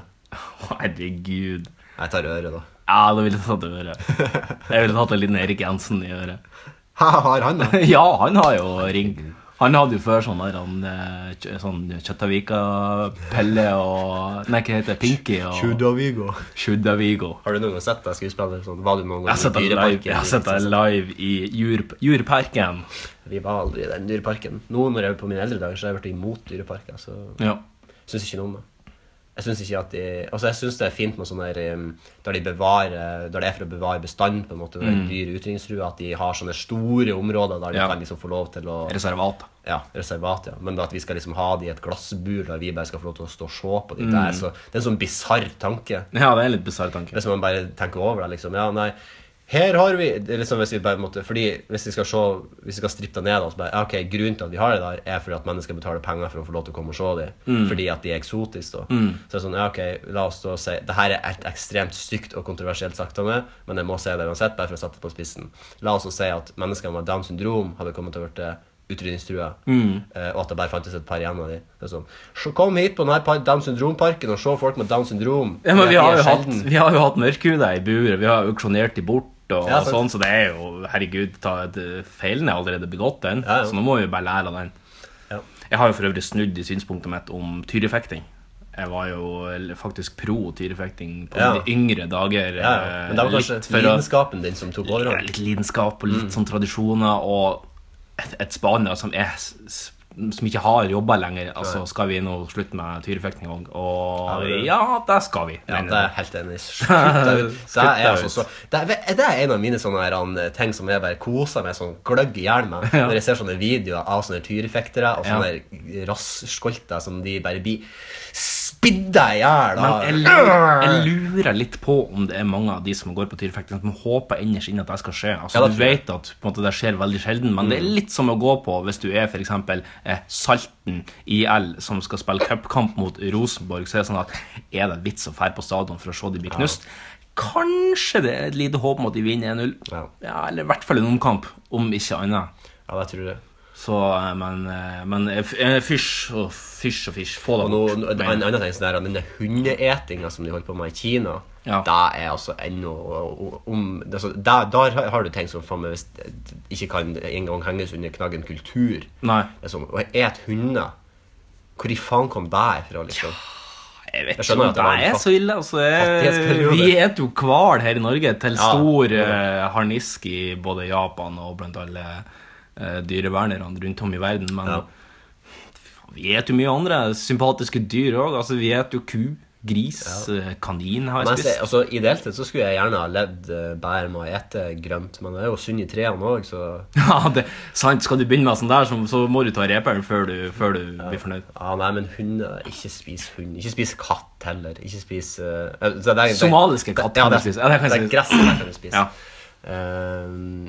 B: Herregud.
C: Jeg tar øret, da. [LAUGHS]
B: Ja, da ville jeg tatt øret. Jeg ville tatt en liten Erik Jensen i øret. [LAUGHS]
C: Ha, har han da?
B: Ja, han har jo ring. Han hadde jo før sånn der han, eh, kjø- sånn Kjøttaviga-Pelle og Nei, hva heter det? Pinky og
C: Tjudavigo.
B: Tjudavigo.
C: Har du noen gang sett deg skuespiller sånn? Var du noen gang
B: Jeg har sett deg live, jeg har sett deg live i Jur- Jurparken.
C: Vi var aldri i den dyreparken. Nå når jeg er på mine eldre dager, så har jeg vært imot dyreparker. Så
B: Ja.
C: syns ikke noe om det. Jeg syns ikke at de Altså, jeg syns det er fint med sånn der um, Der de bevarer Der det er for å bevare bestanden, på en måte, når mm. dyr utrydningstrua, at de har sånne store områder der de
B: Ja.
C: kan liksom få lov til å
B: Reservat.
C: Ja, reservat, ja. Men at vi skal liksom ha de i et glassbur der vi bare skal få lov til å stå og se på de
B: Mm.
C: det er så, det er en sånn bisarr tanke.
B: Ja, det er en litt bisarr tanke.
C: Hvis man bare tenker over det, liksom. Ja, nei, her har vi det er liksom Hvis vi bare måtte Fordi hvis vi skal se Hvis vi skal strippe det ned, da, så bare ja, Ok, grunnen til at vi har det der, er fordi at mennesker betaler penger for å få lov til å komme og se dem.
B: Mm.
C: Fordi at de er eksotiske, da. Så det er sånn, ja, ok, la oss da si Det her er et ekstremt stygt og kontroversielt sagt av meg, men jeg må si det uansett, bare for å sette det på spissen. La oss nå si at mennesker med Downs syndrom hadde kommet til å bli utrydningstrua,
B: Mm.
C: eh, og at det bare fantes et par igjen av dem. Sånn, «Så kom hit på denne par- Downs syndrom-parken og se folk med Downs syndrom.
B: Ja, men
C: De
B: vi
C: er
B: har jo hatt,
C: sjelden.»
B: vi har jo hatt mørkhuder i buret, vi har auksjonert de bort. Og
C: Ja, sant.
B: sånn, Så det er jo Herregud, ta et, eh, feilen er allerede begått, den.
C: Ja, ja.
B: Så nå må vi jo bare lære av den.
C: Ja.
B: Jeg har jo for øvrig snudd i synspunktet mitt om tyrefekting. Jeg var jo faktisk pro tyrefekting på
C: Ja.
B: mine yngre dager.
C: Ja, ja. Men det var
B: eh,
C: kanskje
B: litt for å-
C: lidenskapen din som tok
B: ja,
C: overhånd.
B: litt lidenskap og litt
C: Mm.
B: sånn tradisjoner og et, et Spania som er s- s- som ikke har jobba lenger. Altså, skal vi nå slutte med tyrefekting òg? Og
C: det-
B: ja, det skal vi.
C: Ja,
B: mener
C: det er
B: jeg.
C: jeg helt enig. i. Slutt deg ut. Det
B: Slutt
C: er,
B: deg
C: altså
B: ut.
C: så, det, er, det er en av mine sånne her, an, ting som jeg bare koser meg sånn gløgg i hjel med.
B: Ja.
C: Når jeg ser sånne videoer av sånne tyrefektere og
B: Ja.
C: sånne ja. rasskolter som de bare blir spidda i hjel av.
B: Men jeg, lurer, jeg lurer litt på om det er mange av de som går på tyrefekting, som håper innerst inne at det skal skje. Altså,
C: Ja, det
B: du
C: tror jeg. Mm.
B: vet at på en måte, det skjer veldig sjelden, men det er litt som å gå på hvis du er for eksempel eh, Salten IL, som skal spille cupkamp mot Rosenborg. Så er det sånn at er det vits å fære på stadion for å se de bli knust? Kanskje det er et lite håp om at de vinner 1-0.
C: Ja.
B: Ja, eller i hvert fall en omkamp, om ikke annet.
C: Ja, det tror jeg.
B: Så, eh, men, eh, men eh, f- eh, fysj og fysj og fysj. Få det
C: Og nå,
B: bort.
C: nå- en
B: Men-
C: annen ting sånn her, denne hundeetinga som de holder på med i Kina,
B: Ja.
C: det er altså ennå og- og- om, altså, der, der har- har du ting som faen meg hvis det ikke kan engang henges under knaggen kultur.
B: Nei.
C: Det er sånn, og jeg et hunder. Hvor i faen kom det fra, liksom?
B: Jeg vet
C: Jeg
B: ikke
C: skjønner
B: om
C: at det
B: det
C: var en
B: er
C: fat-
B: så ille. Altså, jeg,
C: fattighetsperiode.
B: vi spiser jo hval her i Norge til
C: Ja,
B: stor
C: det er
B: eh, harnisk i både Japan og blant alle eh, dyrevernerne rundt om i verden. Men
C: Ja.
B: faen, vi spiser jo mye andre sympatiske dyr òg. Altså, vi spiser jo ku, gris, eh, kanin har
C: Men
B: jeg
C: jeg, ser-
B: spist.
C: altså, Ideelt sett så skulle jeg gjerne ha levd eh, bare med å ete grønt, men det er jo synd i trærne òg, så
B: [LAUGHS] Ja, det er sant. Skal du begynne med sånn der, så, så må du ta reperen før du, før du blir fornøyd.
C: ja, Nei, men hunder Ikke spis hund. Ikke spis katt heller. Ikke spis eh, eh, så det er- det-
B: Somaliske katt
C: Ja,
B: kan
C: det,
B: du spise. Ja, det kan jeg
C: det er
B: spise.
C: gresset der kan du spise.
B: Ja.
C: Ehm,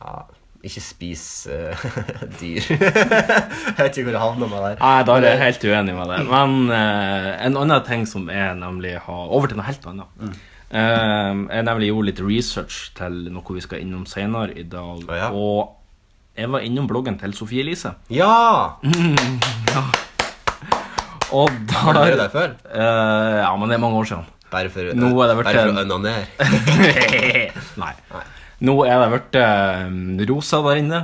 C: ja, ikke spis eh, [LAUGHS] dyr. jeg vet ikke hvor jeg havna med der.
B: Nei, da er jeg helt uenig med det. Men eh, en annen ting som er nemlig ha, Over til noe helt annet.
C: Mm.
B: Eh, jeg nemlig gjorde litt research til noe vi skal innom senere i dag.
C: Å, ja.
B: Og jeg var innom bloggen til Sofie Elise.
C: Ja!
B: Mm. Og
C: Har du vært
B: der
C: der før?
B: Eh, Ja, men det er mange år
C: [LAUGHS]
B: siden.
C: Bare for,
B: Nå har det vært
C: bare for
B: en-
C: å onanere.
B: Nei. Nå er det blitt eh, rosa der inne.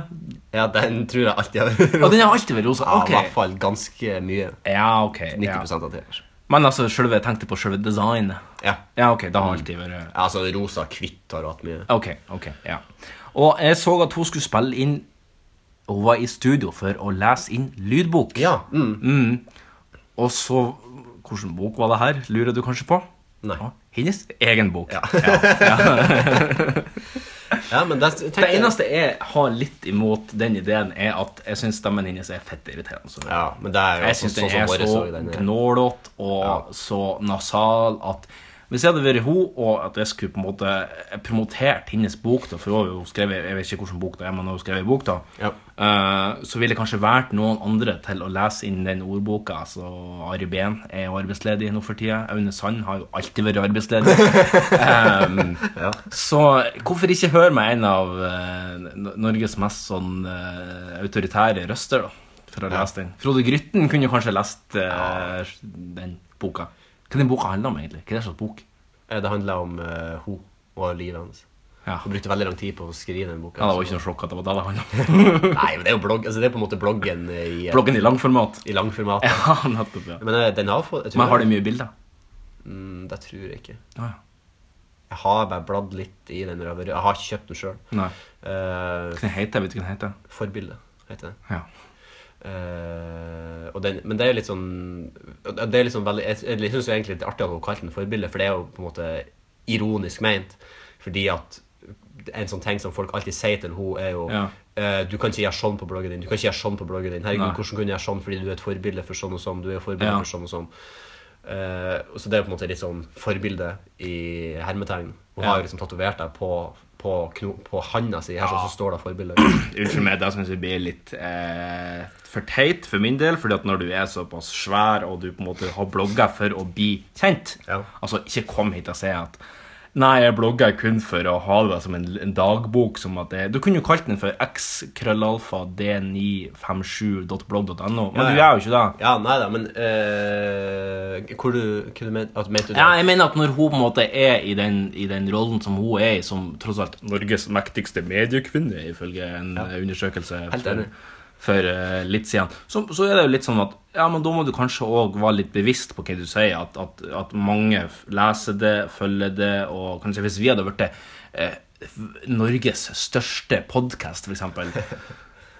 C: Ja, den tror jeg alltid har vært
B: [LAUGHS] Og den har alltid vært rosa.
C: Ja, I hvert
B: Ok.
C: fall ganske mye.
B: Ja, ok.
C: 90
B: Ja.
C: av tiden.
B: Men altså, selve, jeg tenkte på selve designet.
C: Ja.
B: Ja, ok, det har alltid vært
C: Ja, Altså rosa hvitt har du hatt mye.
B: Ok, ok, ja Og jeg så at hun skulle spille inn Hun var i studio for å lese inn lydbok
C: Ja. Mm.
B: Og så, hvordan bok var det her? Lurer du kanskje på?
C: Nei.
B: Ja, Hennes egen bok
C: Ja.
B: ja, ja.
C: Ja, men det,
B: Det eneste jeg har litt imot den ideen, er at jeg syns stemmen hennes er fett irriterende. Så
C: Ja, men det er jo
B: Jeg syns den er
C: våre
B: så
C: så den eh, er.
B: gnålete og så nasal at hvis jeg hadde vært hun, og at jeg skulle på en måte promotert hennes bok da, For hun har jo skrevet jeg vet ikke hvilken bok det er, men hun har jo skrevet bok, da.
C: Ja.
B: eh, så ville jeg kanskje valgt noen andre til å lese inn den ordboka. Altså, Ari Behn er jo arbeidsledig nå for tida. Aune Sand har jo alltid vært arbeidsledig. Em, Så hvorfor ikke høre med en av eh, N- Norges mest sånn eh, autoritære røster, da? For å lese den. Frode Grytten kunne jo kanskje lest eh, den boka. Hva den boka handler om, egentlig? Hva er det slags bok?
C: Eh, Det handler om eh, hun og livet hennes.
B: Ja.
C: Hun brukte veldig lang tid på å skrive den boka.
B: ja, Det var
C: så-
B: ikke noe sjokk at det var det det handla om. [LAUGHS]
C: Nei, men det er jo blogg, altså det er på en måte bloggen i, eh,
B: Bloggen i langformat. [LAUGHS]
C: i langformat.
B: Ja, nettopp, ja.
C: Men eh, den har fått jeg tror
B: Men har
C: den-
B: de mye bilder?
C: Mm, det tror jeg ikke.
B: Å, ja.
C: Jeg har bare bladd litt i den. når Jeg har vært- jeg har ikke kjøpt den sjøl.
B: Nei. Hva den heter Vet du hva den heter?
C: Forbilde heter det.
B: Ja.
C: Eh, og den, men det er jo litt sånn det er liksom veldig, Jeg, jeg syns egentlig det er artig at hun kalte den forbilde, for det er jo på en måte ironisk ment. Fordi at en sånn ting som folk alltid sier til henne, er jo
B: Ja.
C: eh, Du kan ikke gjøre sånn på bloggen din. Du kan ikke gjøre sånn på bloggen din. Herregud,
B: Nei.
C: hvordan kunne jeg gjøre sånn fordi du er et forbilde for sånn og sånn? Du er forbilde
B: Ja.
C: for sånn og sånn. Eh, og så det er jo på en måte litt sånn forbilde i hermetegn. Hun
B: Ja.
C: har jo liksom tatovert deg på, på, kno, på handa si, her sånn, så står det forbilde.
B: Unnskyld meg, det syns jeg blir litt eh, for teit for min del. fordi at når du er såpass svær, og du på en måte har blogga for å bli kjent
C: Ja.
B: Altså, ikke kom hit og si at Nei, jeg blogger kun for å ha det som en, en dagbok. som at det, Du kunne jo kalt den for x-d957.blogg.no, men
C: Ja,
B: du
C: ja.
B: gjør jo ikke det.
C: Ja, nei da, men eh, Hvor du, hva du men, at, mente du det?
B: Ja, jeg mener at når hun på en måte er i den, i den rollen som hun er i, som tross alt Norges mektigste mediekvinne, ifølge en eh, undersøkelse
C: Helt
B: for,
C: enig.
B: for eh, litt siden, så, så er det jo litt sånn at ja, men da må du kanskje òg være litt bevisst på hva du sier, at, at, at mange f- leser det, følger det, og kanskje hvis vi hadde blitt eh, f- Norges største podkast,
C: [LAUGHS]
B: f.eks.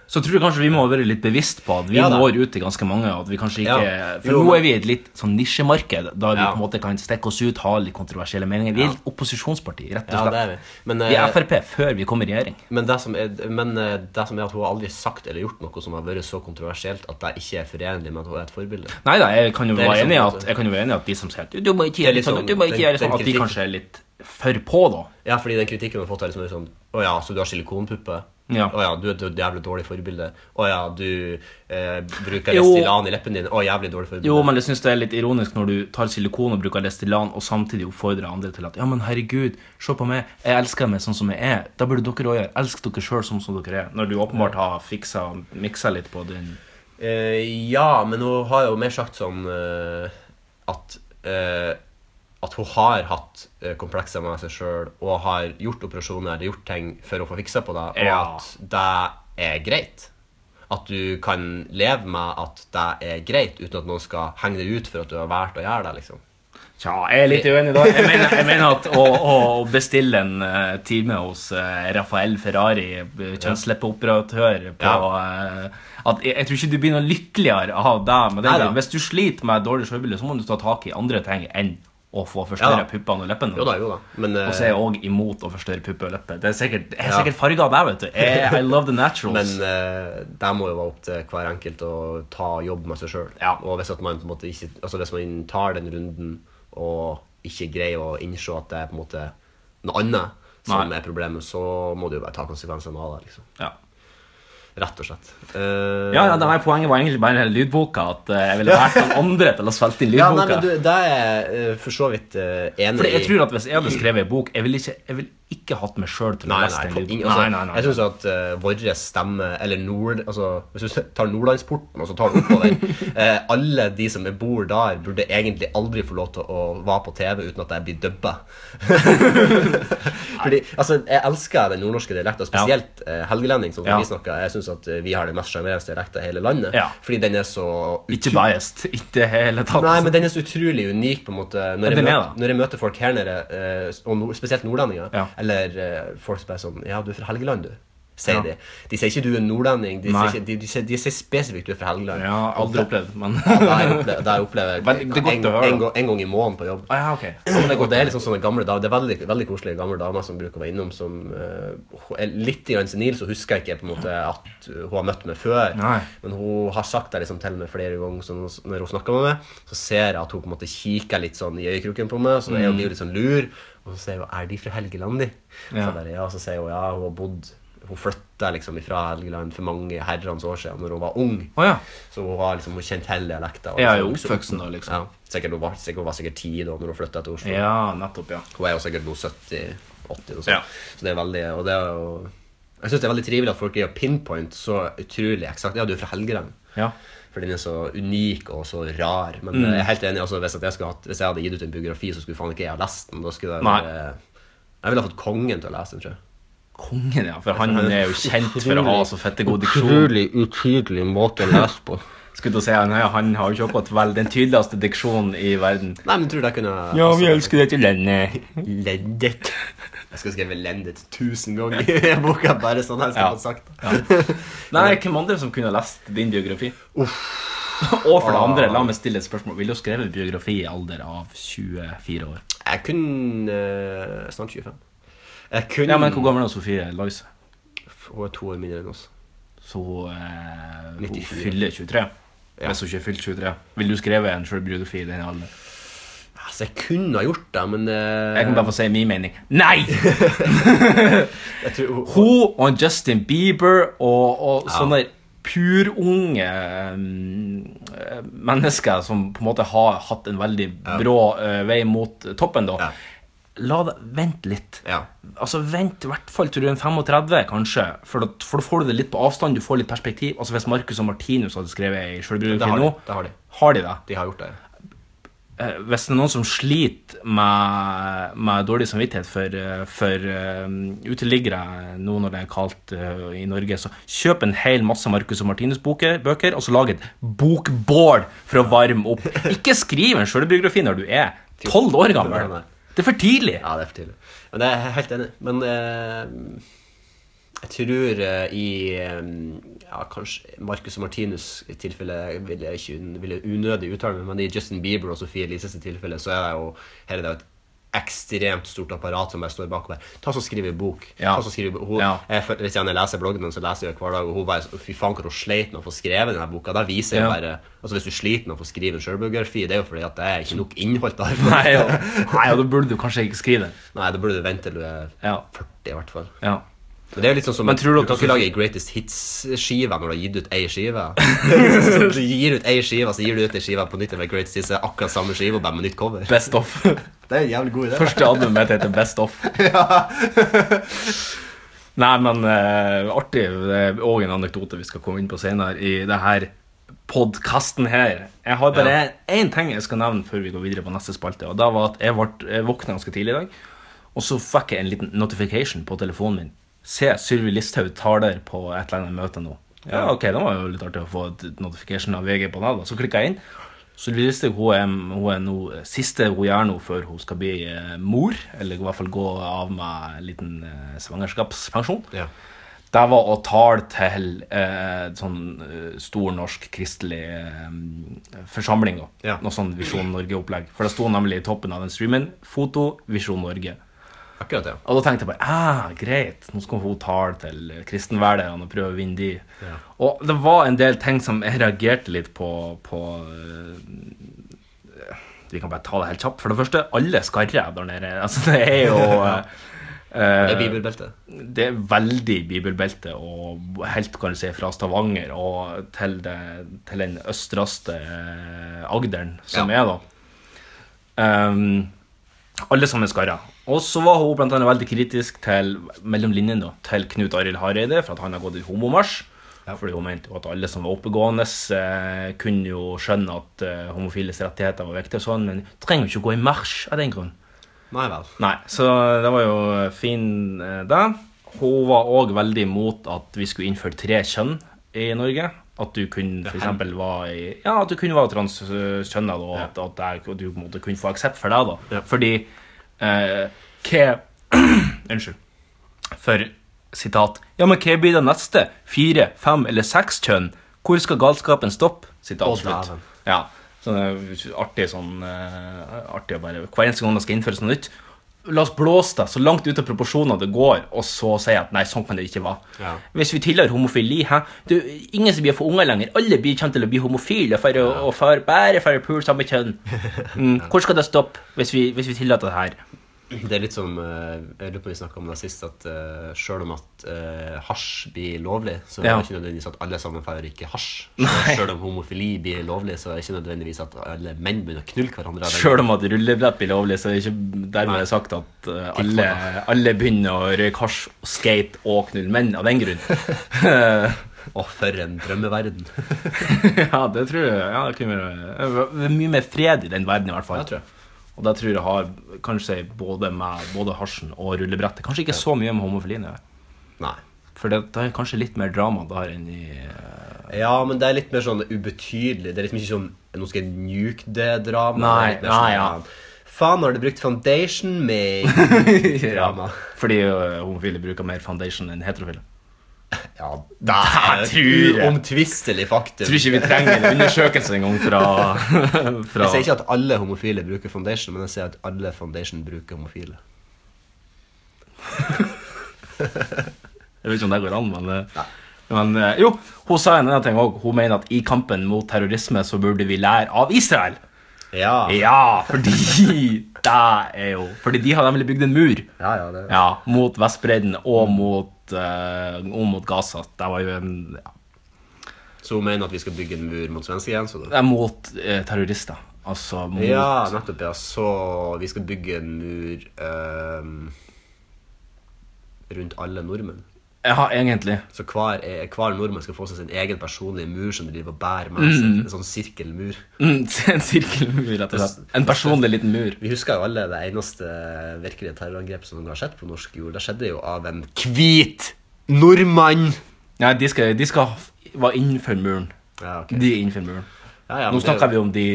B: Så tror jeg kanskje vi må være litt bevisst på at vi
C: Ja da.
B: når ut til ganske mange. og at vi kanskje ikke,
C: Ja.
B: For
C: Jo,
B: nå
C: men-
B: er vi i et litt sånn nisjemarked, da vi
C: Ja.
B: på en måte kan stikke oss ut, ha litt kontroversielle meninger. Vi er
C: Ja.
B: et opposisjonsparti, rett
C: Ja,
B: og
C: det
B: slett.
C: er vi. Men,
B: vi er
C: eh,
B: Frp før vi kommer i regjering.
C: men, det, som er, men eh, det som er at hun har aldri sagt eller gjort noe som har vært så kontroversielt at det ikke er forenlig med at hun er et forbilde.
B: Nei da, jeg kan jo
C: Det er
B: være
C: liksom
B: enig i
C: på en
B: at,
C: måte-
B: jeg kan jo være enig i at de som sier at du må ikke
C: Det er
B: gjøre
C: litt
B: sånn,
C: sånn-
B: du må ikke
C: den-
B: gjøre sånn,
C: den
B: at de
C: kritikken-
B: kanskje er litt for på, da.
C: Ja, fordi den kritikken hun har fått, er liksom mer sånn Å ja, så du har silikonpuppe?
B: Ja.
C: Å ja, du er et jævlig dårlig forbilde. Å ja, du eh, bruker
B: Jo.
C: Restylane i leppene dine. Å, jævlig dårlig forbilde.
B: Jo, men jeg synes det er litt ironisk når du tar silikon og bruker Destillan, og samtidig oppfordrer andre til at Ja, men herregud, se på meg, jeg elsker meg sånn som jeg er. Da burde dere òg gjøre. Elsk dere sjøl sånn som dere er. Når du åpenbart har fiksa og miksa litt på den
C: Eh, ja, men hun har jo mer sagt sånn eh, at eh, At hun har hatt eh, komplekser med seg sjøl og har gjort operasjoner eller gjort ting for å få fiksa på det, og
B: Ja.
C: at det er greit. At du kan leve med at det er greit, uten at noen skal henge deg ut for at du har valgt å gjøre det. liksom
B: Tja, jeg er litt uenig da. Jeg mener, jeg mener at å, å bestille en eh, time hos eh, Rafael Ferrari, eh, kjønnsleppeoperatør på eh, at jeg, jeg tror ikke du blir noe lykkeligere av det. Men det,
C: Neida.
B: hvis du sliter med dårlig sjølbilde, så må du ta tak i andre ting enn å få
C: Ja da.
B: forstørra puppene og leppene.
C: Jo da, jo da. Men, eh,
B: Og så er jeg òg imot å forstørre pupper og lepper. Det er sikkert, jeg er
C: Ja.
B: sikkert farga av deg, vet du. Jeg, I love the
C: men
B: naturals.
C: eh, det må jo være opp til hver enkelt å ta jobb med seg sjøl.
B: Ja.
C: Og hvis, at man på en måte ikke, altså hvis man tar den runden og ikke greier å innse at det er på en måte noe annet som
B: Nei.
C: er problemet, så må du jo bare ta konsekvensene av det. liksom.
B: ja.
C: Rett og slett. Eh,
B: Ja, ja, det var Poenget var egentlig bare lydboka. At eh,
C: [LAUGHS]
B: jeg ville vært noen andre til å spilte inn
C: Ja, nei, men
B: lydboka.
C: du, det er jeg, eh, for så vidt eh, enig
B: Fordi jeg
C: i.
B: tror at Hvis jeg hadde skrevet en bok Jeg ville ikke, jeg ville ikke hatt meg sjøl til å
C: Nei,
B: lese
C: nei,
B: den
C: på
B: lydboka.
C: ingen- altså,
B: nei, nei, nei.
C: Jeg syns at uh, vår stemme, eller nord... Altså, hvis du tar Nordlandsporten og så tar du oppover
B: [LAUGHS]
C: eh, Alle de som bor der, burde egentlig aldri få lov til å være på TV uten at jeg blir
B: [LAUGHS]
C: dubba. Fordi, altså, jeg elsker den nordnorske dialekten, spesielt eh, helgelending, sånn som
B: Ja.
C: vi snakker. Jeg syns at eh, vi har den mest sjarmerende dialekten i hele landet,
B: Ja.
C: fordi den er så
B: Ikke biased. Ikke i hele tatt.
C: Nei, men den er så utrolig unik, på en måte. Når, jeg
B: den er
C: møter,
B: det.
C: når jeg møter folk her nede, eh, og nord, spesielt nordlendinger,
B: Ja.
C: eller eh, folk som bare sånn Ja, du er fra Helgeland, du? sier
B: Ja.
C: de. De sier ikke du er nordlending, de
B: Nei.
C: sier, ikke, de, de, sier, de sier spesifikt du er fra Helgeland.
B: Ja, aldri opplevd, men
C: Ja, det har jeg opplevd, det har jeg
B: [LAUGHS]
C: opplevd
B: Men det er godt
C: en,
B: å høre, da.
C: en, gang- en gang i måneden på jobb.
B: ah, ja, ok. Ja, men
C: Og
B: det
C: det,
B: er godt.
C: er liksom sånne gamle damer, det er veldig, veldig koselige gamle damer som bruker å være innom, som eh, er litt grann senil, så husker jeg ikke på en måte at hun har møtt meg før.
B: Nei.
C: Men hun har sagt det liksom til meg flere ganger sånn, når hun snakker med meg. Så ser jeg at hun på en måte kikker litt sånn i øyekroken på meg, så er
B: Mm.
C: hun blir jo litt sånn lur. Og så sier hun 'Er de fra Helgeland, de?'
B: Ja.
C: Så, bare, ja, så sier hun ja, hun har bodd Hun flytta liksom fra Helgeland for mange herrens år siden, når hun var ung.
B: Å ja.
C: Så hun har liksom hun kjent hele dialekten. og
B: Jeg er jo
C: liksom vokst opp-
B: oppvoksen da, liksom.
C: Ja, sikkert, hun, var, sikkert, hun var sikkert ti da når hun flytta til Oslo.
B: Ja, nettopp, ja.
C: Hun er jo sikkert nå 70-80, og sånn.
B: Ja.
C: så det er veldig Og det er jo Jeg syns det er veldig trivelig at folk greier å pinpoint så utrolig eksakt. Ja, du er fra Helgeland.
B: Ja. Mm.
C: For den er så unik og så rar. Men jeg er helt enig, altså, hvis, at jeg skulle hatt, hvis jeg hadde gitt ut en biografi, så skulle faen ikke jeg ha lest den. Da skulle jeg
B: Nei.
C: bare Jeg ville ha fått kongen til å lese den, tror jeg.
B: Kongen, ja. For han er jo kjent for å ha så fette god diksjon.
C: Utrolig utydelig måte å lese på.
B: Skulle til å si, han, han har jo ikke akkurat vel den tydeligste diksjonen i verden.
C: [LAUGHS] Nei, men tror du det kunne altså,
B: dette landet.
C: Lendet. Jeg skal skrive 'Lendet' tusen ganger i boka, bare sånn jeg skal
B: Ja.
C: få sagt.
B: Nei, hvem andre som kunne ha lest din biografi? [LAUGHS] Og for det
C: Ah.
B: andre, la meg stille et spørsmål. Ville du skrevet biografi i alder av 24 år?
C: Jeg kunne eh, Snart 25. Jeg kunne
B: Ja, men hvor gammel er Sofie Lise?
C: Hun er to år mindre enn oss.
B: Så eh, hun
C: 94.
B: fyller 23.
C: Ja.
B: Hvis hun ikke er fylt 23. Ville du skrevet en selvbiografi i den alderen?
C: Altså, jeg kunne ha gjort det, men eh,
B: Jeg kan bare få si min mening. Nei!
C: jeg tror hun,
B: Hun og Justin Bieber og, og sånne purunge um, mennesker som på en måte har hatt en veldig brå eh, vei mot toppen, da.
C: Ja.
B: La det, Vent litt.
C: Ja.
B: Altså Vent i hvert fall til du er en 35, kanskje. For da, for da får du det litt på avstand. Du får litt perspektiv Altså Hvis Marcus og Martinus hadde skrevet ei
C: Det har
B: sjølbiografi
C: de,
B: nå
C: det har de.
B: Har de det?
C: De har gjort det.
B: Eh, hvis det er noen som sliter med, med dårlig samvittighet for, eh, for eh, uteliggere nå når det er kaldt eh, i Norge, så kjøp en hel masse Marcus og Martinus-bøker, bøker, og så lag et bokbål for å varme [LAUGHS] opp. Ikke skriv en sjølbiografi når du er tolv år gammel.
C: Nei.
B: Det er for tidlig.
C: Ja, det er for tidlig. Men det er jeg helt enig. Men eh, jeg tror eh, i eh, Ja, kanskje Marcus og Martinus i tilfelle vil jeg ikke vil jeg unødig uttale meg, men i Justin Bieber og Sophie Elises tilfelle så er det jo her er det jo et ekstremt stort apparat som bare står bak meg. Ta så skriv en bok.
B: Ja.
C: Ta så skriv hun,
B: Ja.
C: jeg, føler- Hvis jeg leser bloggen hennes, så leser jeg hver dag, og hun bare så- Fy faen, hvor hun sleit med å få skrevet denne boka. Da viser jeg
B: Ja.
C: bare Altså, hvis du sliter med å få skrive en sjølbiografi, det er jo fordi at det er ikke nok innhold der.
B: [LAUGHS] Nei, ja.
C: [LAUGHS]
B: Nei, og da burde du kanskje ikke skrive den.
C: Nei, da burde du vente til du er
B: Ja.
C: 40 i hvert fall.
B: Ja.
C: Men det er jo litt sånn som
B: Men tror du
C: du,
B: at du
C: kan ikke
B: får-
C: lage ei Greatest Hits-skive når du har gitt ut ei skive.
B: [LAUGHS]
C: Så du gir ut ei skive, så gir du ut ei skive på nytt med Greatest Hits, det er akkurat samme skive, bare med nytt cover.
B: Best of.
C: Det er en jævlig god idé.
B: Første albumet mitt heter Best of. Nei, men eh, artig. Det er òg en anekdote vi skal komme inn på senere i det her podkasten her. Jeg har bare én ting jeg skal nevne før vi går videre på neste spalte. Og det var at jeg, vart- jeg våkna ganske tidlig i dag, og så fikk jeg en liten notification på telefonen min. Se, Sylvi Listhaug taler på et eller annet møte nå. Ja, ok, det var jo litt artig å få et notification av VG på det. da. Så klikka jeg inn. Sylvi Listhaug hun er, hun er nå eh, siste hun gjør nå før hun skal bli eh, mor, eller i hvert fall gå av med en liten eh, svangerskapspensjon.
C: Ja.
B: Det var å tale til eh, sånn eh, stor norsk kristelig eh, forsamling. Da.
C: Ja.
B: Noe sånn Visjon Norge-opplegg. For det sto nemlig i toppen av den streamen 'Foto Visjon Norge'.
C: Akkurat, ja.
B: Og da tenkte jeg bare ah, greit, nå skal hun tale til kristenverderne og prøve å vinne de. Og det var en del ting som jeg reagerte litt på, på eh, Vi kan bare ta det helt kjapt. For det første, alle skarrer der nede. Altså, det er
C: [LAUGHS]
B: jo eh,
C: Det er bibelbeltet.
B: det er veldig bibelbelte, og helt kan du si fra Stavanger og til, det, til den østraste eh, Agderen som
C: Ja.
B: er, da. Ehm, alle sammen skarrer. Og så var hun blant annet veldig kritisk til mellom linjene da, til Knut Arild Hareide for at han har gått i homomarsj. Fordi hun mente jo at alle som var oppegående, eh, kunne jo skjønne at eh, homofiles rettigheter var viktige, og sånn, men trenger jo ikke gå i marsj av den grunn.
C: Nei vel.
B: Nei, så det var jo fin eh, det. Hun var òg veldig imot at vi skulle innføre tre kjønn i Norge. At du kunne for eksempel være i, ja, at du kunne være transkjønna, og at, at det er- at du på en måte kunne få aksept for det. da.
C: Ja.
B: [CLEARS THROAT] Fordi eh, hva Unnskyld. For sitat, ja, men hva blir det neste? Fire, fem eller seks kjønn? Hvor skal galskapen stoppe? Sitat
C: Å,
B: slutt.
C: dæven.
B: Ja, sånn eh, artig sånn eh, Artig å bare Hver eneste gang det skal innføres noe nytt, la oss blåse det så langt ut av proporsjoner det går, og så si at nei, sånn kan det ikke være.
C: Ja.
B: Hvis vi tilhører homofili, hæ? Du, ingen som blir for unger lenger. Alle blir kjent til å bli homofile for å, og for, bare for å pule samme kjønn.
C: [LAUGHS]
B: Mm, hvor skal det stoppe hvis vi, hvis vi tillater det her?
C: Det er litt som eh, Jeg lurer på om vi snakka om det sist, at eh, sjøl om at eh, hasj blir lovlig, så er
B: Ja.
C: det ikke nødvendigvis at alle sammen får røyke hasj. Så Sjøl om homofili blir lovlig, så er det ikke nødvendigvis at alle menn begynner å
B: [LAUGHS]
C: knulle hverandre.
B: Selv om at rullebrett blir lovlig, så er det ikke dermed
C: Nei.
B: sagt at eh, alle, alle begynner å røyke hasj, skate og knulle menn av den grunn.
C: [LAUGHS] Å, for en drømmeverden.
B: [LAUGHS] ja, det tror jeg. Ja, det kunne være det er mye mer fred i den verden, i hvert fall.
C: Ja, tror jeg.
B: Og det tror jeg har kanskje både med både hasjen og rullebrettet. Kanskje ikke så mye med homofilien. å gjøre.
C: Nei.
B: For det, det er kanskje litt mer drama der enn i eh,
C: Ja, men det er litt mer sånn ubetydelig. Det er liksom ikke sånn Nå skal jeg nuke det drama.
B: Nei,
C: Det er litt mer sånn,
B: nei, ja.
C: Faen, har du brukt foundation,
B: [LAUGHS]
C: mate? drama.
B: Fordi eh, homofile bruker mer foundation enn heterofile.
C: Ja,
B: Det
C: et uomtvistelig faktum.
B: Tror ikke vi trenger en undersøkelse engang fra, [LAUGHS] fra
C: Jeg sier ikke at alle homofile bruker foundation, men jeg sier at alle foundation bruker homofile.
B: Jeg vet ikke om det går an, men, eh, men eh, Jo, hun sa en annen ting òg. Hun mener at i kampen mot terrorisme så burde vi lære av Israel.
C: Ja.
B: Ja, fordi [LAUGHS] det er jo Fordi de har nemlig bygd en mur
C: Ja, ja, det-
B: Ja, mot Vestbredden og mot, eh, og mot Gaza. Det var jo en ja,
C: Så hun mener at vi skal bygge en mur mot svenskegrensa? da?
B: det er mot eh, terrorister. Altså
C: Mm.
B: mot
C: Ja, nettopp. ja Så vi skal bygge en mur ehm, rundt alle nordmenn?
B: Ja, egentlig.
C: Så hver, eh, hver nordmann skal få seg sin egen personlige mur som de driver og bærer med seg. En sånn sirkelmur.
B: Mm, [LAUGHS] en sirkelmur, rett og slett. En personlig liten mur.
C: Vi husker jo alle det eneste virkelige terrorangrepet som noen gang har skjedd på norsk jord. Det skjedde jo av en hvit nordmann!
B: Nei, de skal, de skal være innenfor muren.
C: Ja, ok.
B: De er innenfor muren.
C: Ja, ja,
B: Nå snakker vi om de,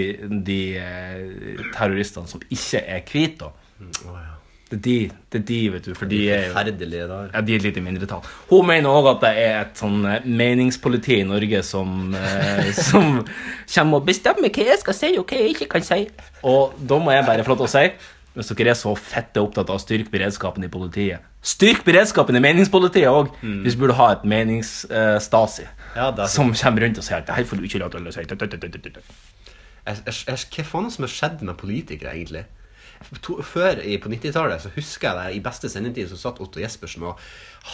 B: de eh, terroristene som ikke er hvite. da.
C: Å, ja.
B: Det er de, det er de vet du, for de er jo
C: Forferdelige dager.
B: ja, de er et lite mindretall. Hun mener òg at det er et sånn eh, meningspoliti i Norge som, eh, [LAUGHS] som kommer og bestemmer hva jeg skal si, og hva jeg ikke kan si. Og da må jeg bare få lov til å si, hvis dere er så fette opptatt av å styrke beredskapen i politiet Styrk beredskapen i meningspolitiet òg! Hvis du burde ha et meningsstasi
C: Mm. Ja, det er
B: som kommer rundt og sier at det her får du ikke lov til å si. tut, tut, tut, tut, tut».
C: Jeg- jeg- jeg- Hva faen er det som har skjedd med politikere, egentlig? To, før i, på 90-tallet så husker jeg det, i beste sendetid så satt Otto Jespersen og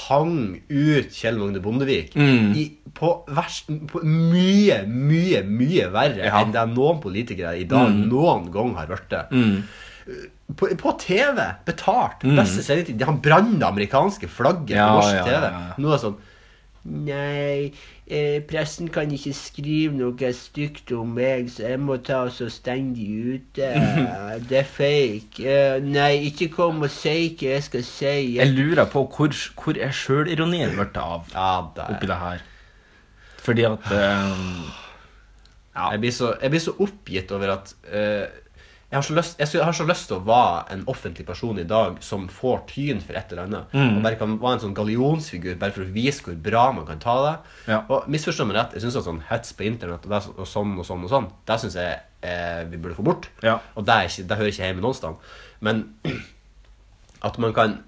C: hang ut Kjell Magne Bondevik
B: Mm.
C: i, på, vers, på mye, mye, mye verre
B: Ja. Mm.
C: enn det noen politikere i dag noen gang har vært det. På, på TV, betalt, beste sendetid. Han brant det amerikanske
B: Mm.
C: flagget
B: Ja,
C: på norsk
B: ja,
C: TV.
B: ja, ja.
C: Nå er det sånn Nei, eh, pressen kan ikke skrive noe stygt om meg, så jeg må ta og så stenge de ute. Det er fake. Eh, nei, ikke kom og si hva jeg skal si.
B: Jeg lurer på hvor, hvor er sjølironien blitt av
C: Ja, der.
B: oppi det her. Fordi at eh, Ja.
C: Jeg, blir så, jeg blir så oppgitt over at eh, jeg, har så lyst, jeg, skulle- jeg har så lyst til å være en offentlig person i dag som får tyn for et eller annet.
B: Mm.
C: Og bare kan være en sånn gallionsfigur bare for å vise hvor bra man kan ta det.
B: Ja.
C: Og misforstå meg rett, jeg syns sånn hets på internett og, det, er så- og sånn og sånn og sånn, det syns jeg eh, vi burde få bort.
B: Ja.
C: Og det, er ikke, det hører ikke hjemme noen sted. Men [CLEARS THROAT] at man kan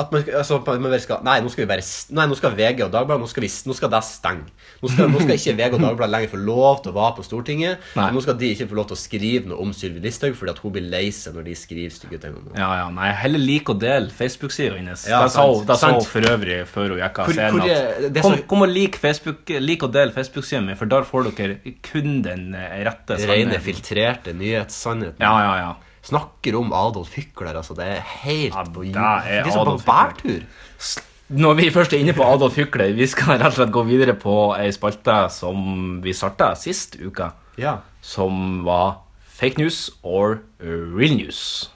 C: at man, altså, på- man bare skal, nei, nå skal vi være, s- nei, nå skal VG og Dagbladet Nå skal, vi, s- nå skal det stenge. Nå skal, nå skal ikke VG og Dagbladet lenger få lov til å være på Stortinget.
B: Nei.
C: og Nå skal de ikke få lov til å skrive noe om Sylvi Listhaug fordi at hun blir lei seg når de skriver stygge ting om henne.
B: Ja, ja, nei, heller lik å dele Facebook-sida hennes.
C: Ja,
B: det sa
C: sant,
B: hun, det sa hun
C: sant.
B: for øvrig før hun gikk av
C: Hvor-
B: scenen.
C: hvor
B: at,
C: er- det er
B: kom,
C: så-
B: kom og lik, Facebook, lik å dele Facebook-sida mi, for der får dere kun den eh, rette
C: Rene,
B: sannheten.
C: filtrerte nyhetssannheten.
B: Ja, ja, ja.
C: Snakker om Adolf Hykler, altså. Det er helt
B: Ja,
C: på
B: det
C: jord.
B: er
C: De er så på
B: Adolf
C: bærtur.
B: S- Når vi først er inne på Adolf Hykler, vi skal rett og slett gå videre på ei spalte som vi starta sist uke,
C: Ja.
B: som var fake news or real news.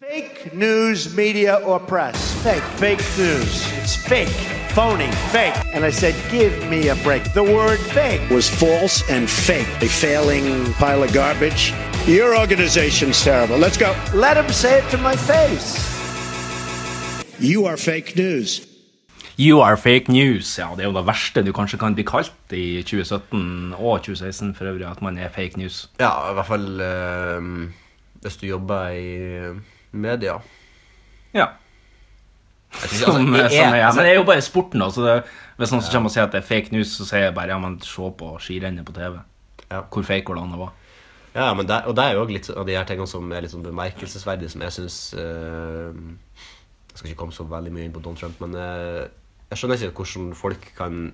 E: Fake news, media, or press. Fake. Fake news. It's fake. Phony. Fake. And I said, give me a break. The word fake was false and fake. A failing pile of garbage. Your organization's terrible. Let's go. Let him say it to my face. You are fake news.
B: You are fake news. Ja, det er jo det verste du kanskje kan bli kalt i 2017 og 2016 for øvrig, at man er fake news.
C: Ja, i hvert fall eh, hvis du jobber i media.
B: Ja.
C: Jeg synes-
B: Som,
C: altså, jeg-
B: som er,
C: altså,
B: men det er jo bare sporten, da. Så det, hvis noen som kommer og sier at det er fake news, så sier jeg bare ja, men se på skirennet på TV.
C: Ja.
B: Hvor fake var det andre var.
C: Ja, men det, og det er jo også litt så- av de her tingene som er litt sånn bemerkelsesverdige, som jeg syns Jeg skal ikke komme så veldig mye inn på Donald Trump, men eh, jeg skjønner ikke hvordan folk kan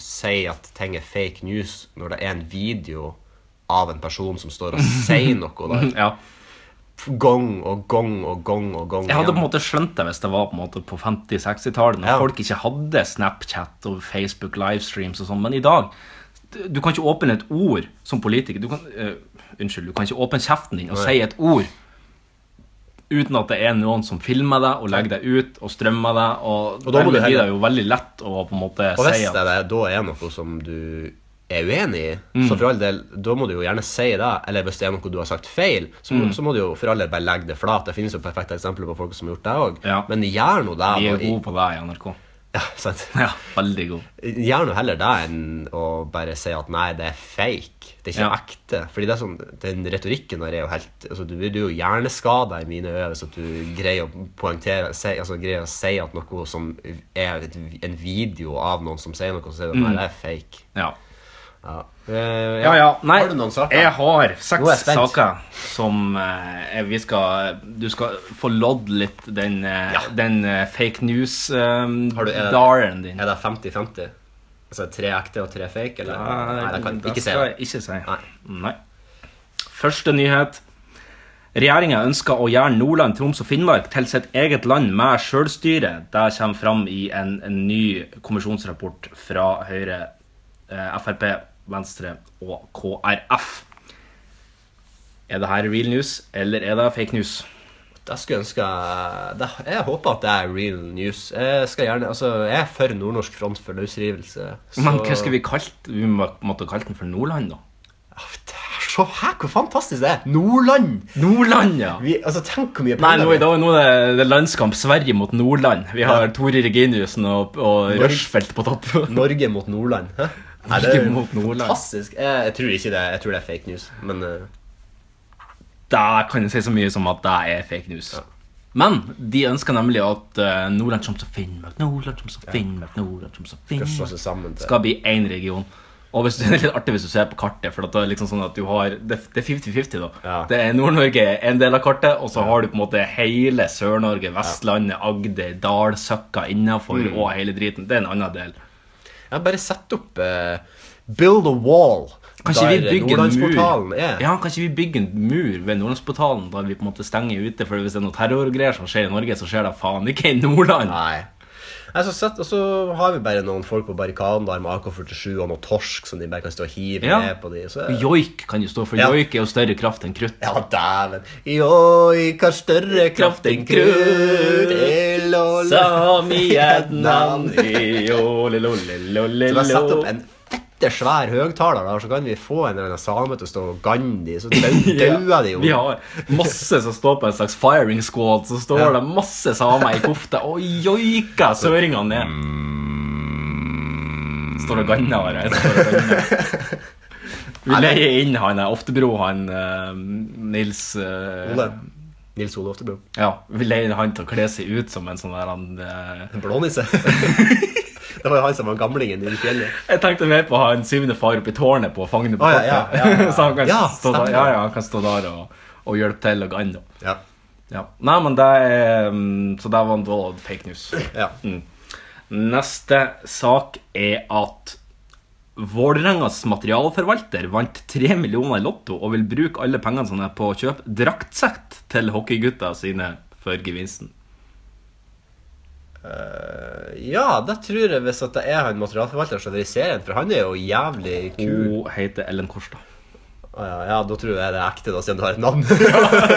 C: si at ting er fake news når det er en video av en person som står og sier noe der.
B: Ja.
C: Gang og gang og gang og gang.
B: Jeg hadde
C: igjen.
B: på en måte skjønt det hvis det var på, en måte på 50-60-tallet, når
C: Ja.
B: folk ikke hadde Snapchat og Facebook livestreams og sånn, men i dag du- du kan ikke åpne et ord som politiker. Du kan, eh, unnskyld, du kan ikke åpne kjeften din og
C: Nei.
B: si et ord uten at det er noen som filmer deg og legger deg ut og strømmer deg. Og,
C: Og da må
B: dermed
C: du
B: blir
C: heller-
B: det jo veldig lett å på en måte
C: Og hvis
B: si
C: det
B: at
C: er, da er noe som du er uenig i,
B: Mm.
C: så for all del, da må du jo gjerne si det. Eller hvis det er noe du har sagt feil, så,
B: Mm.
C: må- så må du jo for all del bare legge det flat. Det finnes jo perfekte eksempler på folk som har gjort det òg.
B: Ja.
C: Men gjør nå det.
B: vi er
C: og i-
B: gode på deg i NRK.
C: [LAUGHS] Ja, sant.
B: Ja, veldig god.
C: Gjør nå heller det enn å bare si at nei, det er fake. Det er ikke
B: Ja.
C: ekte. Fordi det er sånn, den retorikken der er jo helt altså, Du blir jo hjerneskada i mine øyne hvis at du greier å poengtere si, altså, greier å si at noe som er et, en video av noen som sier noe, så sier du at
B: Mm.
C: nei, det er fake.
B: Ja.
C: Ja.
B: Ja, ja. Nei,
C: Har du noen saker?
B: jeg har
C: Nå er jeg
B: seks
C: spent.
B: saker som eh, jeg- vi skal Du skal få lodd litt den, eh, den eh, fake
C: Har du- er det-
B: news-daren din.
C: Er det 50-50? Altså tre ekte og tre fake? Eller? nei, det kan
B: Ah, det
C: ikke si
B: skal jeg
C: det.
B: Ikke si.
C: Nei.
B: Nei. Første nyhet. Regjeringa ønsker å gjøre Nordland, Troms og Finnmark til sitt eget land med sjølstyre. Det kommer fram i en, en ny kommisjonsrapport fra Høyre, eh, Frp, Venstre og KrF. Er det her real news, eller er det fake news?
C: Det skulle jeg ønske det, Jeg håper at det er real news. Jeg skal gjerne Altså, jeg er for nordnorsk front for løsrivelse. så-
B: Men hva skal vi kalle Vi må- måtte kalle den for Nordland, da.
C: Ja, det er- Se her, hvor fantastisk det er! Nordland!
B: Nordland, ja!
C: Vi, altså, tenk hvor mye
B: Nei, nå, i
C: vi-
B: dag, nå er det, det er landskamp Sverige mot Nordland. Vi har Tore Reginiussen og, og
C: Norge-
B: Rushfeldt på topp.
C: Norge mot Nordland. Hæ? Nei,
B: Norge
C: det er jo
B: mot Nordland. Mm.
C: Fantastisk. Jeg, jeg tror ikke det. Jeg tror det er fake news. Men eh,
B: [LAUGHS] Da kan jeg si så mye som at det er fake news. Men de ønsker nemlig at eh, Nordland, Troms og Finnmark Nordland, Troms og Finnmark, Nordland, Troms og
C: skal slå seg
B: Finnmark
C: sammen til
B: skal bli én region. Og hvis, Det er litt artig hvis du [LAUGHS] ser på kartet, for at det er liksom sånn at du har Det det er 50-50, da.
C: Ja.
B: Det er Nord-Norge er en del av kartet, og så har du på en måte hele Sør-Norge, Vestlandet, Agder, Dalsøkka innafor
C: Mm.
B: og hele driten. Det er en annen del.
C: Ja, bare sett opp eh, Build a wall.
B: Kanskje
C: der
B: vi bygger en
C: Nordlandsportalen
B: mur
C: er.
B: Ja, kanskje vi bygger en mur ved Nordlandsportalen Da vi på en måte stenger ute For hvis det er noe terrorgreier som skjer i Norge Så skjer det faen ikke i Nordland
C: Nei. Nei, så sett, og så har vi bare noen folk på barrikaden der med AK-47 og noe torsk som de bare kan stå og hive
B: Ja.
C: ned på de. Så,
B: Og Joik kan jo stå for
C: Ja.
B: Joik er jo større kraft enn krutt
C: ja, dæven. Joik har større kraft enn krutt. Ild og
B: [LAUGHS]
C: Så bare sett opp en fette svær høgtaler, der, så kan vi få en eller annen same til å stå og ganne de, så dau-
B: [LAUGHS]
C: dauer de jo.
B: Vi har masse som står på en slags firing squad Så står
C: Ja.
B: det masse samer i kofte Og joika søringene ned
C: Mm.
B: Står og ganner her jeg står og ganner. Vi leier inn han er Oftebro Han eh, Nils eh,
C: Ole. Nils Ole Oftebro.
B: Ja, vi leier han til å kle seg ut Som en sånn der han eh, [LAUGHS]
C: Blånisse. [LAUGHS] det var jo han som var gamlingen i fjellet.
B: Jeg tenkte mer på å ha en syvende far oppe i tårnet på Fagne på
C: Å, ja, ja,
B: kortet.
C: ja, ja, ja.
B: [LAUGHS] Så han kan,
C: Ja,
B: stå der,
C: stemmer.
B: ja, ja, han kan stå der og, og hjelpe til og ganne.
C: Ja.
B: Ja. Nei, men det er mm, Så det var en dårlig fake news.
C: ja.
B: Neste sak er at Vålerengas materialforvalter vant 3 millioner i Lotto og vil bruke alle pengene sine på å kjøpe draktsett til hockeygutta sine for gevinsten.
C: Ja, det tror jeg hvis at det er han materialforvalteren som er i serien, for han er jo jævlig kul.
B: Hun heter Ellen Kårstad. Oh.
C: Å ja, ja, da tror jeg det er ekte, da, siden du har et navn.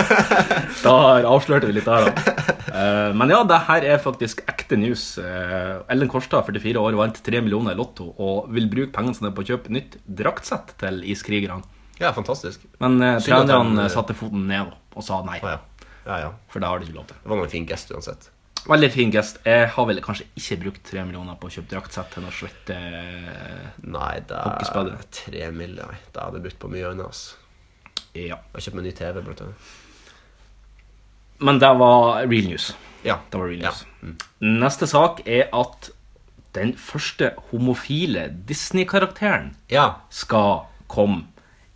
C: [LAUGHS]
B: Da avslørte vi litt der, da. Eh, men ja, det her er faktisk ekte news. Eh, Ellen Kårstad, 44 år, vant 3 millioner i Lotto og vil bruke pengene sine på å kjøpe nytt draktsett til iskrigerne.
C: ja, fantastisk.
B: Men eh,
C: Synd at han,
B: trenerne
C: eh,
B: satte foten ned og sa nei,
C: Å ja. Ja, ja.
B: for det har de ikke lov til.
C: Det var noen fin gest uansett.
B: Veldig fin gest. Jeg har vel kanskje ikke brukt tre millioner på å kjøpe draktsett til noe eh, svette
C: Nei, da
B: Hockeyspade.
C: Tre mil, nei. Da hadde jeg brukt på mye annet. ass.
B: Ja.
C: Jeg har kjøpt meg ny TV, blant annet.
B: Men det var real news.
C: Ja.
B: Det var real
C: Ja.
B: news. Neste sak er at den første homofile Disney-karakteren
C: ja.
B: skal komme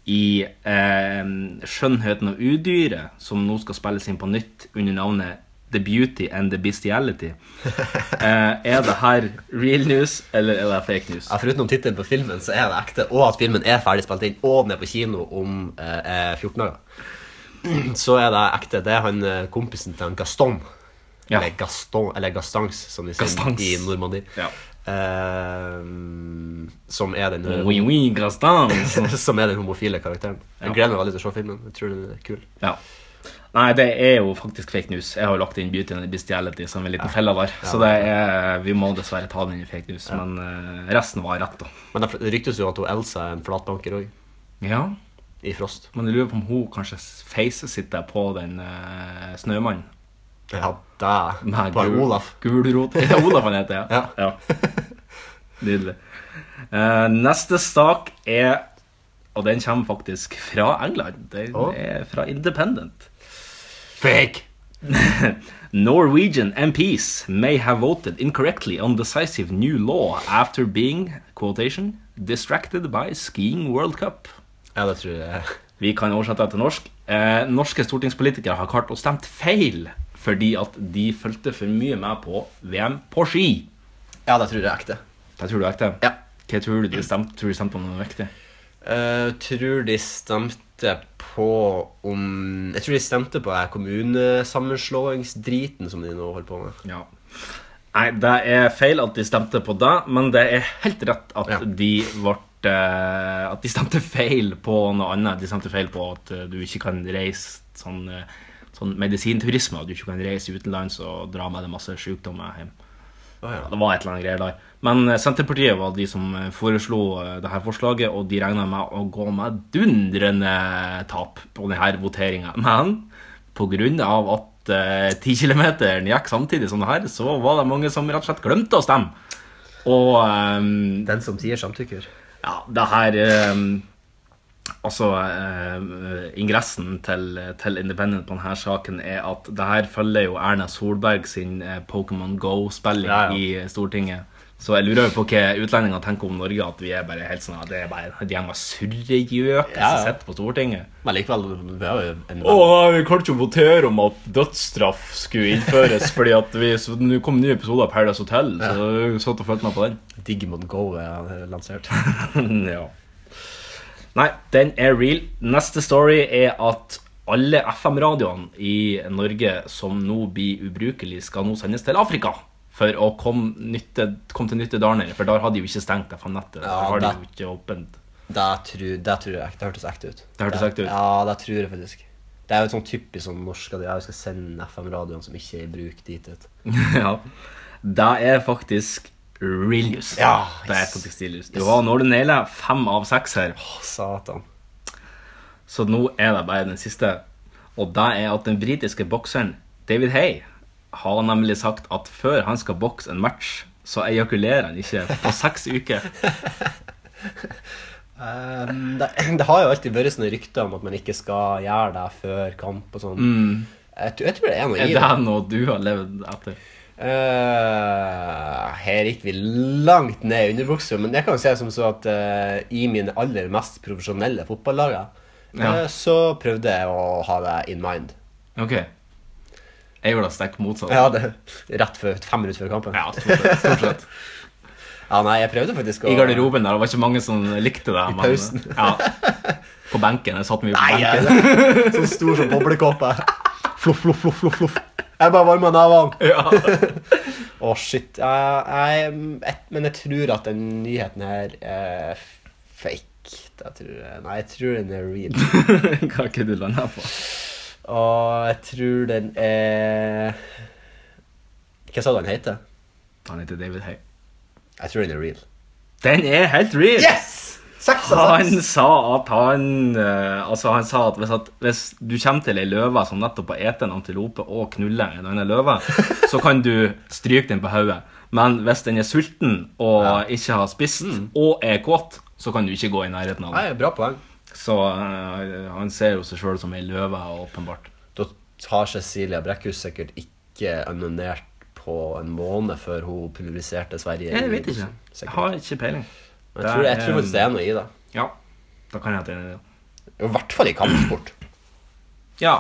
B: i eh, 'Skjønnheten og udyret', som nå skal spilles inn på nytt under navnet 'The Beauty and the Bestiality'. Eh, er det her real news, eller er det fake news?
C: Ja, Foruten om tittelen på filmen, så er det ekte, og at filmen er ferdig spilt inn, og den er på kino om eh, eh, 14 dager, [CLEARS THROAT] så er det ekte. Det er han eh, kompisen til han Gaston.
B: Ja.
C: Eller Gaston, eller Gastans, som de sier
B: Gastans.
C: i Normandie.
B: Ja.
C: Eh, som, er den,
B: Oui, oui, Grastans.
C: [LAUGHS] som er den homofile karakteren. Jeg
B: Ja.
C: gleder meg veldig til å se filmen. Jeg tror den er kul.
B: Ja. Nei, det er jo faktisk fake news. Jeg har jo lagt inn Beauty and the Bestiality som en liten felle der. Så det er, vi må dessverre ta den i fake news. Men eh, resten var rett, da.
C: Men det ryktes jo at hun Elsa er en flatbanker òg,
B: Ja,
C: i Frost.
B: men jeg lurer på om hun kanskje facer sitter på den eh, snømannen.
C: Ja, det
B: Nei,
C: På
B: gul-
C: Olaf. [LAUGHS]
B: Gulrot. Er det Olaf han heter, ja.
C: Ja.
B: Nydelig. Eh, neste sak er Og den kommer faktisk fra England. Den
C: Å.
B: er fra Independent.
C: Fake!
B: Norwegian MPs may have voted incorrectly on decisive new law after being, quotation, distracted by skiing World Cup.
C: Ja, det tror jeg.
B: Vi kan oversette det til norsk. Eh, norske stortingspolitikere har klart å stemt feil fordi at de fulgte for mye med på VM på ski.
C: Ja, det tror jeg er ekte.
B: Det tror du er ekte?
C: Ja.
B: Hva tror du de stemte, tror du de stemte på noe viktig?
C: Eh, tror de stemte på om Jeg tror de stemte på eh, kommunesammenslåingsdriten som de nå holder på med.
B: Ja. Nei, det er feil at de stemte på det, men det er helt rett at
C: Ja.
B: de ble eh, At de stemte feil på noe annet. De stemte feil på at eh, du ikke kan reise sånn, eh, sånn medisinturisme. At du ikke kan reise utenlands og dra med deg masse sykdommer hjem.
C: Å ja.
B: Ja, det var et eller annet greier der. Men eh, Senterpartiet var de som eh, foreslo eh, det her forslaget, og de regna med å gå med dundrende tap på denne voteringa. [LAUGHS] Men pga. at eh, 10 km gikk samtidig som det her, så var det mange som rett og slett glemte å stemme. Og eh,
C: Den som sier samtykker.
B: ja, det her ehm, Altså, ehm, ingressen til, til Independent på denne saken er at det her følger jo Erna Solberg sin eh, Pokémon Go-spilling
C: Ja, ja.
B: i eh, Stortinget. Så jeg lurer jo på hva utlendingene tenker om Norge, at vi er bare helt sånn at det er bare en gjeng av surregjøker
C: Ja, ja.
B: som sitter på Stortinget.
C: Men likevel, vi har jo en
B: Å, nei, vi klarte ikke å votere om at dødsstraff skulle innføres, fordi at vi, så nå kom en ny episode av Paradise Hotel, så jeg satt og følte meg på den.
C: Digimon Go er eh, [LAUGHS] lansert.
B: [LAUGHS] ja. Nei, den er real. Neste story er at alle FM-radioene i Norge som nå blir ubrukelige, skal nå sendes til Afrika. For å komme, nytte, komme til nytte der nede, for der har de jo ikke stengt FM-nettet.
C: Ja,
B: der har de
C: det-
B: jo ikke åpent. [LAUGHS]
C: Det tror, det tror jeg er ekte. Det hørtes ekte ut.
B: Det hørtes ekte ut.
C: Ja, det tror jeg faktisk. Det er jo et sånn typisk sånn norsk at jeg skal sende FM-radioen som ikke er i bruk, dit ut.
B: ja. Det er faktisk real news.
C: Ja,
B: Det er
C: yes.
B: faktisk real news. Du har når du nailer fem av seks her.
C: Å, satan.
B: Så nå er det bare den siste. Og det er at den britiske bokseren David Hay har nemlig sagt at før han skal bokse en match, så ejakulerer han ikke på seks uker.
C: Um, det, det har jo alltid vært sånne rykter om at man ikke skal gjøre det før kamp og sånn. Jeg, tror- jeg tror det er noe i
B: Er
C: Eh, det.
B: det noe du har levd etter?
C: Eh, her gikk vi langt ned i underbuksa, men jeg kan jo se som så at eh, i mine aller mest profesjonelle fotballager eh,
B: Ja.
C: så prøvde jeg å ha det in mind.
B: Ok. Jeg gjorde det stikk motsatt.
C: Jeg hadde rett før, fem minutter før kampen.
B: Ja, stort sett. Stort sett.
C: Ja, nei, jeg prøvde faktisk å
B: I garderoben der, det var ikke mange som likte det. men-
C: pausen.
B: Ja. På benken. Jeg satt mye på
C: Nei,
B: benken.
C: [LAUGHS] jeg- sånn stor som boblekåpe. Fluff, fluff, fluff, fluff, fluff. Jeg bare varma nevene.
B: Ja. [LAUGHS]
C: Å, shit. Eh, nei, mm, et, men jeg tror at den nyheten her er fake. Det tror jeg. Nei, jeg tror den er real.
B: Hva er det du lander på?
C: Og jeg tror den er Hva sa du den heter?
B: Han heter David Hay.
C: Jeg tror den er real.
B: Den er helt real!
C: Yes! Seks av
B: Han
C: seks!
B: sa at han eh, Altså han sa at hvis, at hvis du kommer til ei løve som nettopp har spist en antilope og knuller en annen
C: [LAUGHS]
B: løve, så kan du stryke den på hodet. Men hvis den er sulten og ikke har spist og er kåt, så kan du ikke gå i nærheten av den.
C: Mm. Nei, bra poeng.
B: Så eh, han ser jo seg sjøl som ei løve, åpenbart.
C: Da har Cecilia Brekkhus sikkert ikke annonert på en måned før hun publiserte Sverige.
B: Jeg vet ikke. Jeg
C: Sikkert.
B: har ikke peiling.
C: Men Jeg tror, jeg tror faktisk det er noe i det.
B: Ja. Da kan jeg at det er det.
C: I hvert fall i kampsport.
B: Ja.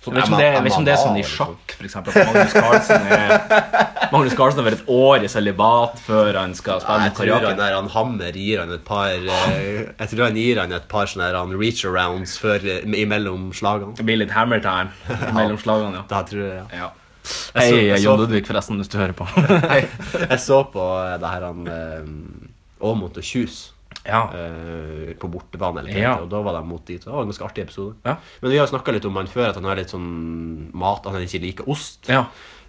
B: Jeg vet ikke om det, jeg vet ikke om det er sånn i
C: liksom.
B: sjakk, for eksempel. at Magnus Carlsen, er, [LAUGHS] Magnus Carlsen har vært et år i sølibat før han skal
C: Nei,
B: spille
C: jeg
B: mot
C: tror han,
B: Karjakin.
C: der, han Hammer gir han et par eh, Jeg tror han gir han et par sånne der, han reach arounds før, eh, imellom slagene.
B: Det blir litt hammer
C: [LAUGHS]
B: time mellom slagene, ja.
C: Da tror jeg, ja.
B: ja.
C: Jeg så-
B: Hei,
C: jeg så-
B: Jon Ludvig, forresten, hvis du hører på.
C: [LAUGHS] Hei, [LAUGHS] jeg så på eh, det her han eh, Aamodt og Kjus
B: [LAUGHS] Ja.
C: eh, på bortebane, eller hva
B: Ja.
C: heter det, og da var de mot dit. Det var en ganske artig episode.
B: Ja.
C: Men vi har snakka litt om han før, at han har litt sånn mat at han ikke liker ost.
B: Ja.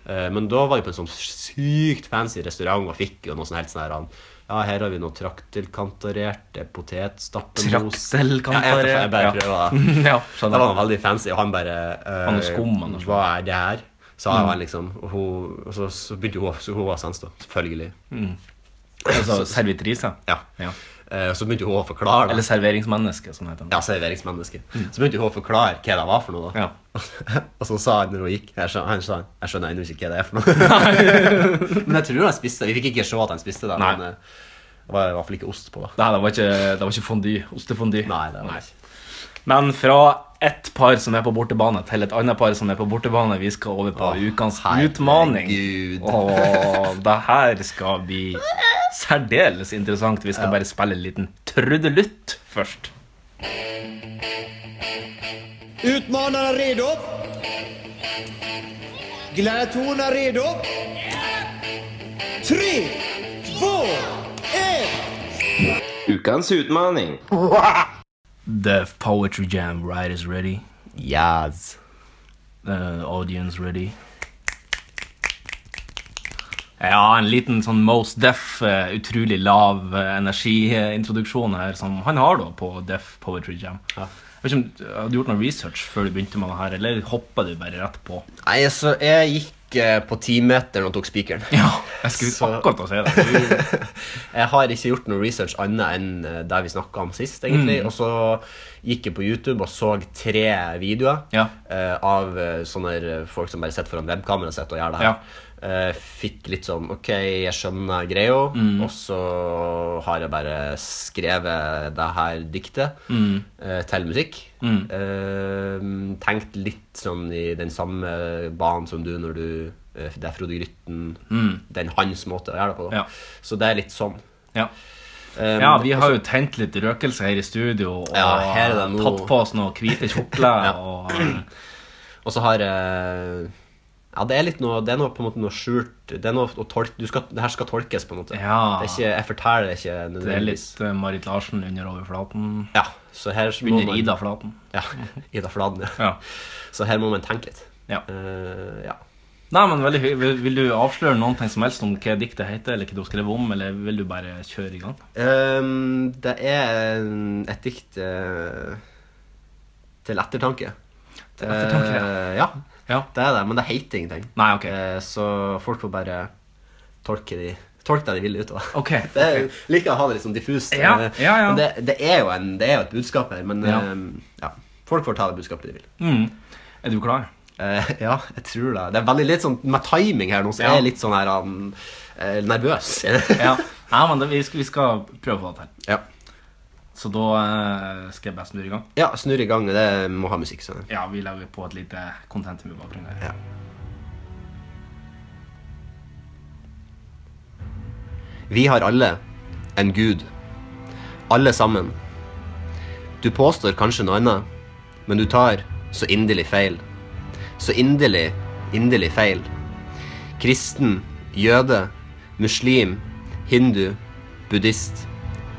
C: Eh, Men da var vi på en sånn sykt fancy restaurant og fikk jo noe sånn helt sånn her han, Ja, her har vi noe traktelkantarerte potetstappemos
B: Traktelkantarerte,
C: Ja, jeg, vet ikke, jeg bare
B: ja.
C: prøver det.
B: [LAUGHS] ja,
C: Det var
B: skjønner.
C: noe veldig fancy, og han bare eh,
B: Han er skum, han er skum. Mm.
C: Hva er det her? Sa han liksom. Og, hun, og så, så begynte hun Så hun var sens, da. Selvfølgelig.
B: Altså servitrise.
C: Ja.
B: Ja.
C: Eh, og så begynte hun å forklare det.
B: Eller Mm. serveringsmenneske, som det heter.
C: Ja, serveringsmenneske. Så begynte hun å forklare hva det var for noe. da. [LAUGHS] og så sa han når hun gikk jeg skjønner, Han sa jeg skjønner ennå ikke hva det er for noe. [LAUGHS] men jeg tror han spiste det. Vi fikk ikke se at han spiste det.
B: Nei.
C: Men eh, det var i hvert fall ikke ost på det.
B: Nei, det var ikke, det var ikke fondy. Ostefondy.
C: Nei, det var det ikke.
B: Men fra ett par som er på bortebane, til et annet par som er på bortebane. Vi skal over på
C: Åh,
B: ukens
C: herregud.
B: utmaning. Og det her skal bli særdeles interessant. Vi skal bare spille en liten trudelutt først.
F: Utmanarna redo? Gladiatorerna redo? Tre, två, ett!
G: Ukens utmaning.
B: The poetry jam right is ready.
C: Yes.
B: The uh, audience ready. Ja, en liten sånn Most Deaf, eh, utrolig lav eh, energiintroduksjon her, som han har da på Deaf Poetry Jam. Jeg vet ikke om du- Hadde du gjort noe research før du begynte med det her, eller hoppa du bare rett på?
C: Nei, altså, jeg gikk eh, på timeteren og tok spikeren.
B: Ja, jeg skulle
C: Så-
B: akkurat å si det.
C: Jeg har ikke gjort noe research annet enn eh, det vi snakka om sist, egentlig.
B: Mm.
C: Og så gikk jeg på YouTube og så tre videoer
B: Ja.
C: eh, av eh, sånne eh, folk som bare sitter foran webkameraet sitt og gjør det her.
B: Ja.
C: Eh, fikk litt sånn OK, jeg skjønner greia,
B: Mm.
C: og så har jeg bare skrevet det her diktet
B: Mm.
C: eh, til musikk. Eh, tenkt litt sånn i den samme banen som du når du eh, Det er Frode Grytten.
B: Mm.
C: Den hans måte å gjøre det på. da.
B: Ja.
C: Så det er litt sånn.
B: [LAUGHS] Ja.
C: Um,
B: ja, vi har jo tent litt røkelse her i studio og
C: Ja, her er det noe-
B: tatt på oss noen hvite kjortler. og, eh,
C: Og så har eh, Ja, det er litt noe Det er noe på en måte noe skjult Det er noe å tolke du skal, Det her skal tolkes, på en måte.
B: Ja.
C: Det er ikke, jeg forteller det ikke
B: det er
C: nødvendigvis.
B: litt eh, Marit Larsen under overflaten.
C: Ja, så her må
B: Under
C: man-
B: Ida-flaten.
C: Ja, [LAUGHS] Ida Fladen, ja.
B: Ja.
C: Så her må man tenke litt.
B: Ja.
C: Eh, ja.
B: Nei, men veldig hy- vil, vil du avsløre noen ting som helst om hva diktet heter, eller hva du har skrevet om, eller vil du bare kjøre i gang?
C: Ehm, det er en- et dikt eh, til ettertanke.
B: Til ettertanke,
C: Eh, ja.
B: Ja.
C: Det er det, men det heter ingenting.
B: Nei, ok.
C: Eh, så folk får bare tolke de Tolke det de vil ut av det.
B: Ok,
C: [LAUGHS] Det er, liker å ha det litt sånn diffust.
B: Ja,
C: eh,
B: ja, ja.
C: Men det, det, er jo en, det er jo et budskap her, men
B: Ja.
C: ehm, ja. folk får ta det budskapet de vil.
B: Mm. Er du klar?
C: Eh, [LAUGHS] ja, jeg tror det. Det er veldig litt sånn med timing her nå, så
B: Ja.
C: jeg er litt sånn her um, eh, nervøs. [LAUGHS]
B: Ja. Nei, men det, vi, skal, vi skal prøve å få det til.
C: ja.
B: Så da eh, skal jeg bare snurre i gang.
C: Ja, snurr i gang. Det må ha musikk. Sånn.
B: Ja, vi lager på et lite content med bakgrunn her.
C: Ja. Vi har alle en gud. Alle sammen. Du påstår kanskje noe annet, men du tar så inderlig feil. Så inderlig, inderlig feil. Kristen, jøde, muslim, hindu, buddhist,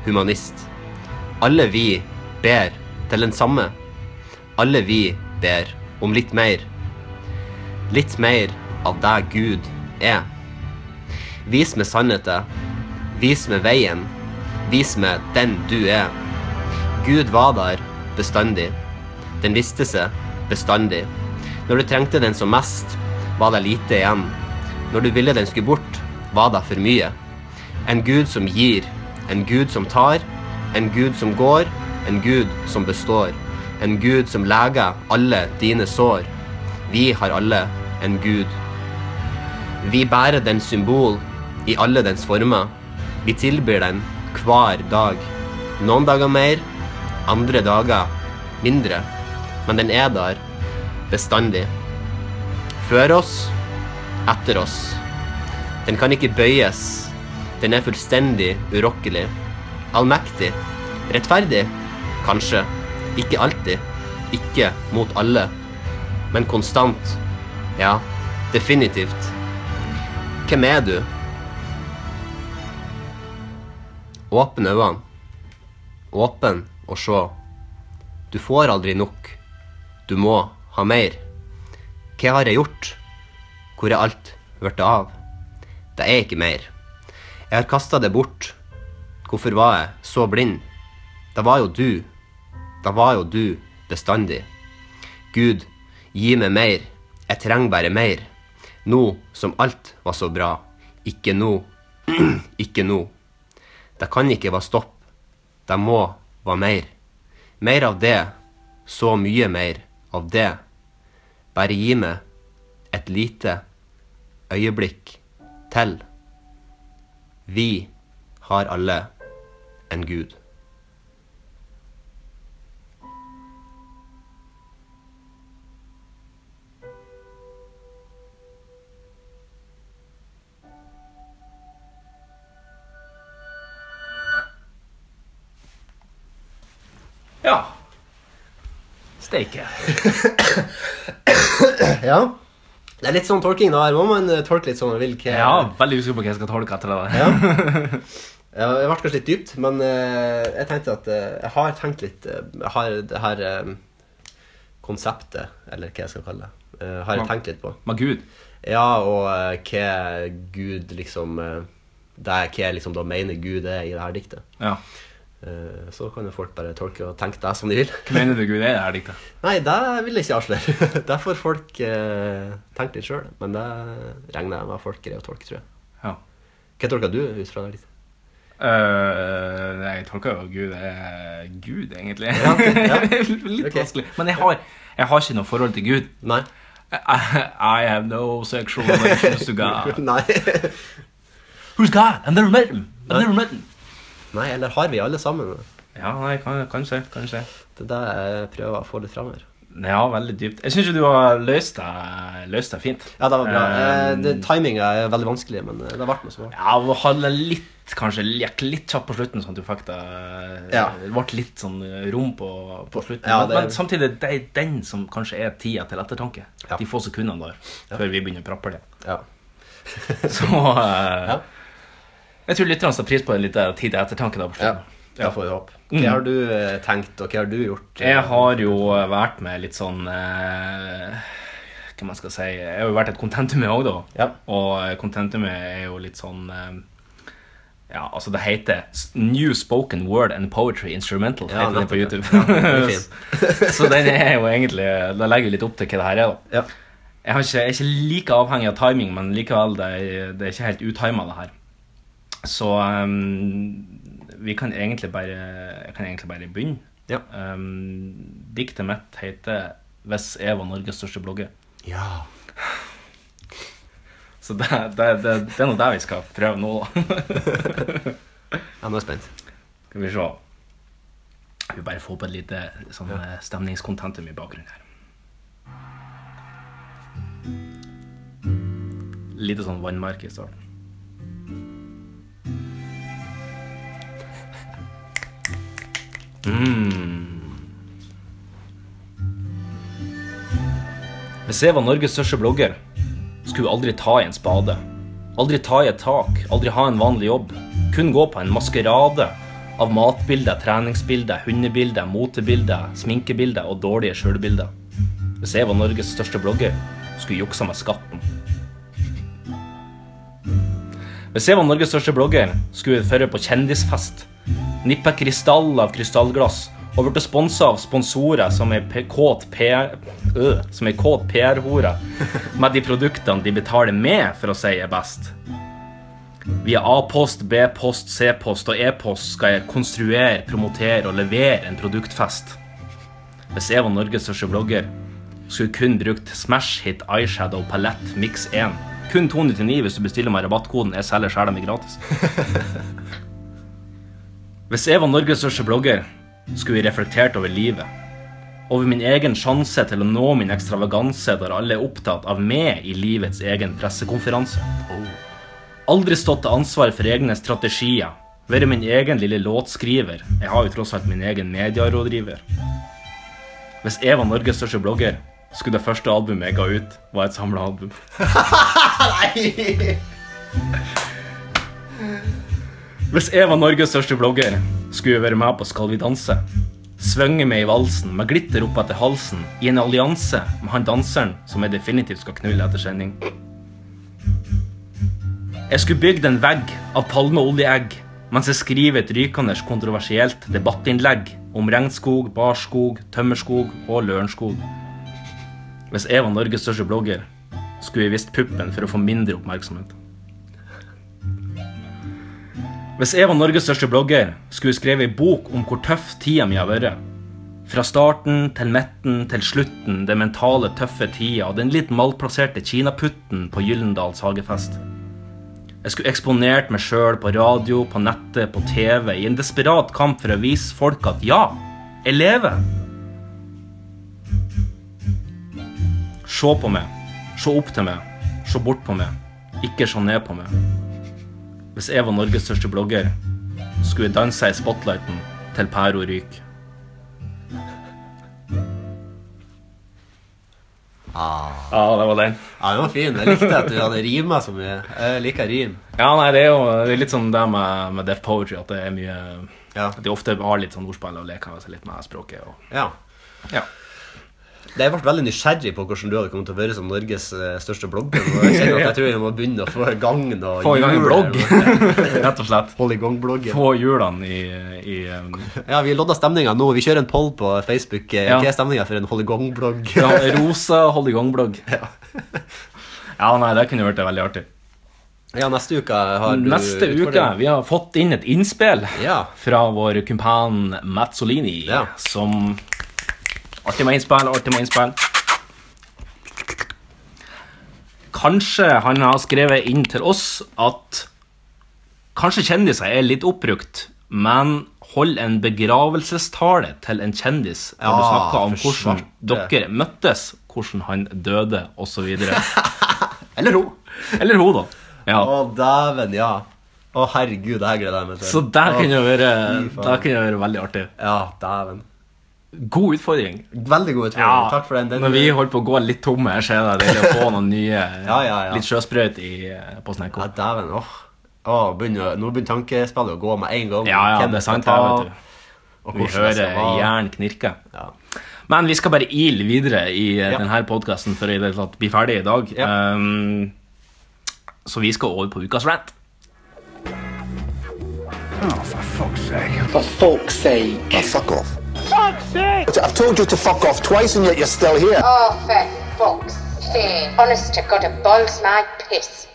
C: humanist. Alle vi ber til den samme. Alle vi ber om litt mer. Litt mer av det Gud er. Vis meg sannheten. Vis meg veien. Vis meg den du er. Gud var der bestandig. Den viste seg bestandig. Når du trengte den som mest, var det lite igjen. Når du ville den skulle bort, var det for mye. En Gud som gir, en Gud som tar, en Gud som går, en Gud som består. En Gud som leger alle dine sår. Vi har alle en Gud. Vi bærer dens symbol i alle dens former. Vi tilbyr den hver dag. Noen dager mer, andre dager mindre. Men den er der bestandig. Før oss, etter oss. Den kan ikke bøyes. Den er fullstendig urokkelig. Allmektig. Rettferdig. Kanskje. Ikke alltid. Ikke mot alle. Men konstant. Ja, definitivt. Hvem er du? Åpne øynene. Åpen og se. Du får aldri nok. Du må ha mer. Hva har jeg gjort? Hvor er alt blitt av? Det er ikke mer. Jeg har kasta det bort. Hvorfor var jeg så blind? Det var jo du. Det var jo du bestandig. Gud, gi meg mer. Jeg trenger bare mer. Nå som alt var så bra. Ikke nå. [CLEARS THROAT] ikke nå. Det kan ikke være stopp. Det må være mer. Mer av det. Så mye mer av det. Bare gi meg et lite øyeblikk til. Vi har alle en gud.
B: Ja. Steike.
C: Ja. Det er litt sånn tolking, da. Her må man eh, tolke litt som man vil. Hva...
B: Ja, veldig usikker på hva jeg skal tolke etter det.
C: Ja. Ja, Det ble kanskje litt dypt, men eh, jeg tenkte at eh, jeg har tenkt litt eh, Jeg har det her eh, konseptet, eller hva jeg skal kalle det, eh, har jeg tenkt litt på.
B: Men gud,
C: Ja, og eh, hva Gud liksom eh, det er Hva liksom da mener Gud er i det her diktet.
B: ja.
C: Eh, Så kan jo folk bare tolke og tenke det som de vil. [LAUGHS]
B: hva mener du gud er i det her diktet?
C: Nei, det vil jeg ikke avsløre. [LAUGHS] Det får folk eh, tenke litt sjøl. Men det regner jeg med at folk greier å tolke, tror jeg.
B: Ja.
C: Hva tolka du ut fra det? diktet?
B: Øh, nei, jeg tolker jo Gud er Gud, egentlig.
C: Ja,
B: [LAUGHS]
C: ja.
B: Litt
C: Ok.
B: vanskelig. Men jeg har, jeg har ikke noe forhold til Gud.
C: Nei.
B: I, I have no sexual relations to God.
C: [LAUGHS] Nei.
B: [LAUGHS] Who's God? I've never met him. I've never met him.
C: Nei, eller har vi alle sammen?
B: Ja, nei, kan, kanskje, kanskje.
C: Det er det jeg prøver å få litt fram her.
B: Ja, veldig dypt. Jeg syns jo du har løst deg, løst deg fint.
C: Ja, det var bra.
B: Eh,
C: Eh, det- Timinga er veldig vanskelig, men eh, det ble noe som ble.
B: Ja, og holde litt, kanskje lek litt kjapt på slutten, sånn at du fikk det eh,
C: Ja.
B: Det ble litt sånn rom på, på slutten.
C: Ja, det-
B: men, men samtidig, det er den som kanskje er tida til ettertanke.
C: Ja.
B: De få sekundene der før vi begynner å
C: [LAUGHS]
B: prappe det.
C: Ja.
B: Så eh,
C: Ja.
B: jeg tror lytterne setter pris på en liten tid til ettertanke. da på
C: ja.
B: slutten.
C: Det får vi håpe. Hva har du eh, tenkt, og hva har du gjort?
B: Jeg har jo vært med litt sånn eh, Hva man skal si Jeg har jo vært et contentum, jeg òg, da.
C: Ja.
B: Og contentumet er jo litt sånn eh, Ja, altså, det heter S- New Spoken Word and Poetry Instrumental.
C: Ja,
B: heter det på YouTube.
C: nettopp, ja. Det
B: [LAUGHS] Så den er jo egentlig Det legger jo litt opp til hva det her er, da.
C: Ja.
B: Jeg, har ikke, jeg er ikke like avhengig av timing, men likevel, det er, det er ikke helt utima, det her. Så eh, vi kan egentlig bare Jeg kan egentlig bare begynne.
C: Ja.
B: Um, diktet mitt heter 'Hvis jeg var Norges største blogger'.
C: ja.
B: Så det, det, det, det er nå det vi skal prøve nå, [LAUGHS] da.
C: Ja, nå er jeg spent.
B: Skal vi se. Vi bare får på et lite sånn, eh, stemningskontentum i bakgrunnen her. Lite sånn vannmerke i starten. Mm. Hvis jeg var Norges største blogger, skulle jeg aldri ta i en spade. Aldri ta i et tak, aldri ha en vanlig jobb. Kun gå på en maskerade av matbilder, treningsbilder, hundebilder, motebilder, sminkebilder og dårlige sjølbilder. Hvis jeg var Norges største blogger, skulle jeg juksa med skatten. Hvis jeg var Norges største blogger, skulle jeg føre på kjendisfest. nippa krystall av krystallglass og ble sponsa av sponsorer som ei p- kåt PR... Øh, som ei kåt PR-hore med de produktene de betaler med for å si er best. Via A-post, B-post, C-post og E-post skal jeg konstruere, promotere og levere en produktfest. Hvis jeg var Norges største blogger, skulle jeg kun brukt Smash Hit Eyeshadow Palette Mix 1. Kun 299 hvis du bestiller meg rabattkoden. Jeg selger sjela mi gratis. Hvis jeg var Norges største blogger, skulle jeg reflektert over livet. Over min egen sjanse til å nå min ekstravaganse der alle er opptatt av meg i livets egen pressekonferanse. Aldri stått til ansvar for egne strategier. Være min egen lille låtskriver. Jeg har jo tross alt min egen medierådgiver. Hvis jeg var Norges største blogger, skulle det første albumet jeg ga ut, være et samla album. Hvis jeg var Norges største blogger, skulle jeg være med på Skal vi danse. Svinge meg i valsen med glitter opp etter halsen i en allianse med han danseren som jeg definitivt skal knulle etter sending. Jeg skulle bygd en vegg av palmeoljeegg mens jeg skriver et rykende kontroversielt debattinnlegg om regnskog, barskog, tømmerskog og lørenskog. Hvis jeg var Norges største blogger, skulle jeg vist puppen for å få mindre oppmerksomhet. Hvis jeg var Norges største blogger, skulle jeg skrevet ei bok om hvor tøff tida mi har vært. Fra starten til midten til slutten, den mentale, tøffe tida og den litt malplasserte kinaputten på Gyllendals hagefest. Jeg skulle eksponert meg sjøl på radio, på nettet, på TV, i en desperat kamp for å vise folk at ja, jeg lever. Se på meg. Se opp til meg. Se bort på meg. Ikke se ned på meg. Hvis jeg var Norges største blogger, skulle jeg danse i spotlighten til Pæro ryker. Ja, det var den.
C: Ja, den var fin. Jeg likte at du hadde rima så mye. Jeg liker rim.
B: Ja, nei, det er jo det er litt sånn det med, med deaf poetry, at det er mye
C: Ja.
B: At de ofte har litt sånn ordspill og leker seg litt med språket. Og,
C: Ja.
B: ja.
C: Jeg ble veldig nysgjerrig på hvordan du hadde kommet til å være som Norges eh, største blogger. Og jeg kjenner at jeg tror jeg må begynne å få i gang noe.
B: Få i gang en
C: hjul
B: blogg,
C: her.
B: [LAUGHS] rett og slett.
C: Holde i gang bloggen.
B: Få hjulene i, i um,
C: Ja, vi lodder stemninga nå. Vi kjører en poll på Facebook. Eh,
B: Ja.
C: Hva er stemninga for en hold i
B: [LAUGHS]
C: gang-blogg?
B: ja, rosa hold i gang-blogg. Ja. nei, det kunne vært veldig artig.
C: Ja, neste uke har du
B: Neste uke
C: utfordring.
B: vi har fått inn et innspill
C: Ja.
B: fra vår kumpan Mazzolini,
C: Ja.
B: som Artig med innspill, artig med innspill. Kanskje han har skrevet inn til oss at Kanskje kjendiser er litt oppbrukt, men hold en begravelsestale til en kjendis når du
C: Ja,
B: snakker om
C: Ah, for
B: hvordan
C: svarte.
B: dere møttes, hvordan han døde, osv.
C: Eller hun.
B: Eller hun,
C: [LAUGHS]
B: da. Ja.
C: Å, dæven, ja. Å, herregud, det her gleder jeg meg til.
B: Så det
C: Å,
B: kunne jo være,
C: fy faen.
B: det kunne jo være veldig artig.
C: Ja, dæven.
B: God utfordring.
C: Veldig god utfordring. Takk for den. den
B: Når vi holdt på å gå litt tomme, her, så er det deilig å få noen nye
C: [LAUGHS] Ja, ja, ja.
B: Litt sjøsprøyt i, eh, på
C: Ja,
B: Snekko.
C: dæven, åh. Åh, begynner, nå begynner tankespillet å gå med en gang.
B: Ja, ja,
C: Hvem
B: det er sant, det,
C: skal ta,
B: vet du.
C: og
B: Vi
C: hvordan det
B: hører
C: skal være.
B: jern knirke.
C: Ja.
B: Men vi skal bare ile videre i eh,
C: Ja.
B: denne podkasten for å i det hele tatt bli ferdig i dag.
C: Ja.
B: Um, så vi skal over på ukas rant.
H: For folk's sake.
I: Now Ah, fuck off. Fuck's sake! I've told you to fuck off twice and yet you're still here.
J: Oh, for fuck's sake. Honest to God, it boils my piss.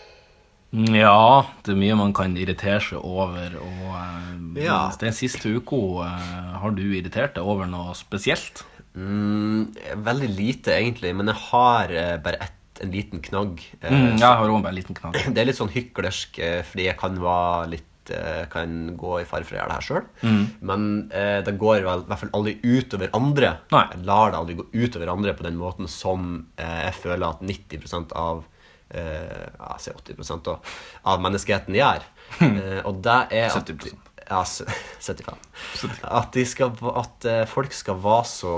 B: Ja, det er mye man kan irritere seg over. Og eh,
C: Ja.
B: den siste uka, eh, har du irritert deg over noe spesielt?
C: Mm, Veldig lite, egentlig, men jeg har eh, bare ett, en liten knagg. eh,
B: Jeg har også bare en liten knagg.
C: [CLEARS THROAT] Det er litt sånn hyklersk, eh, fordi jeg kan være litt eh, kan gå i fare for å gjøre det her sjøl. Men eh, det går vel i hvert fall aldri utover andre.
B: Nei.
C: Jeg lar det aldri gå utover andre på den måten som eh, jeg føler at 90 av eh, ja, Jeg sier 80 da, av menneskeheten gjør. Eh, og det er at-
B: 70%.
C: Ja, [LAUGHS] s- 75. At, de skal, va- at eh, folk skal være så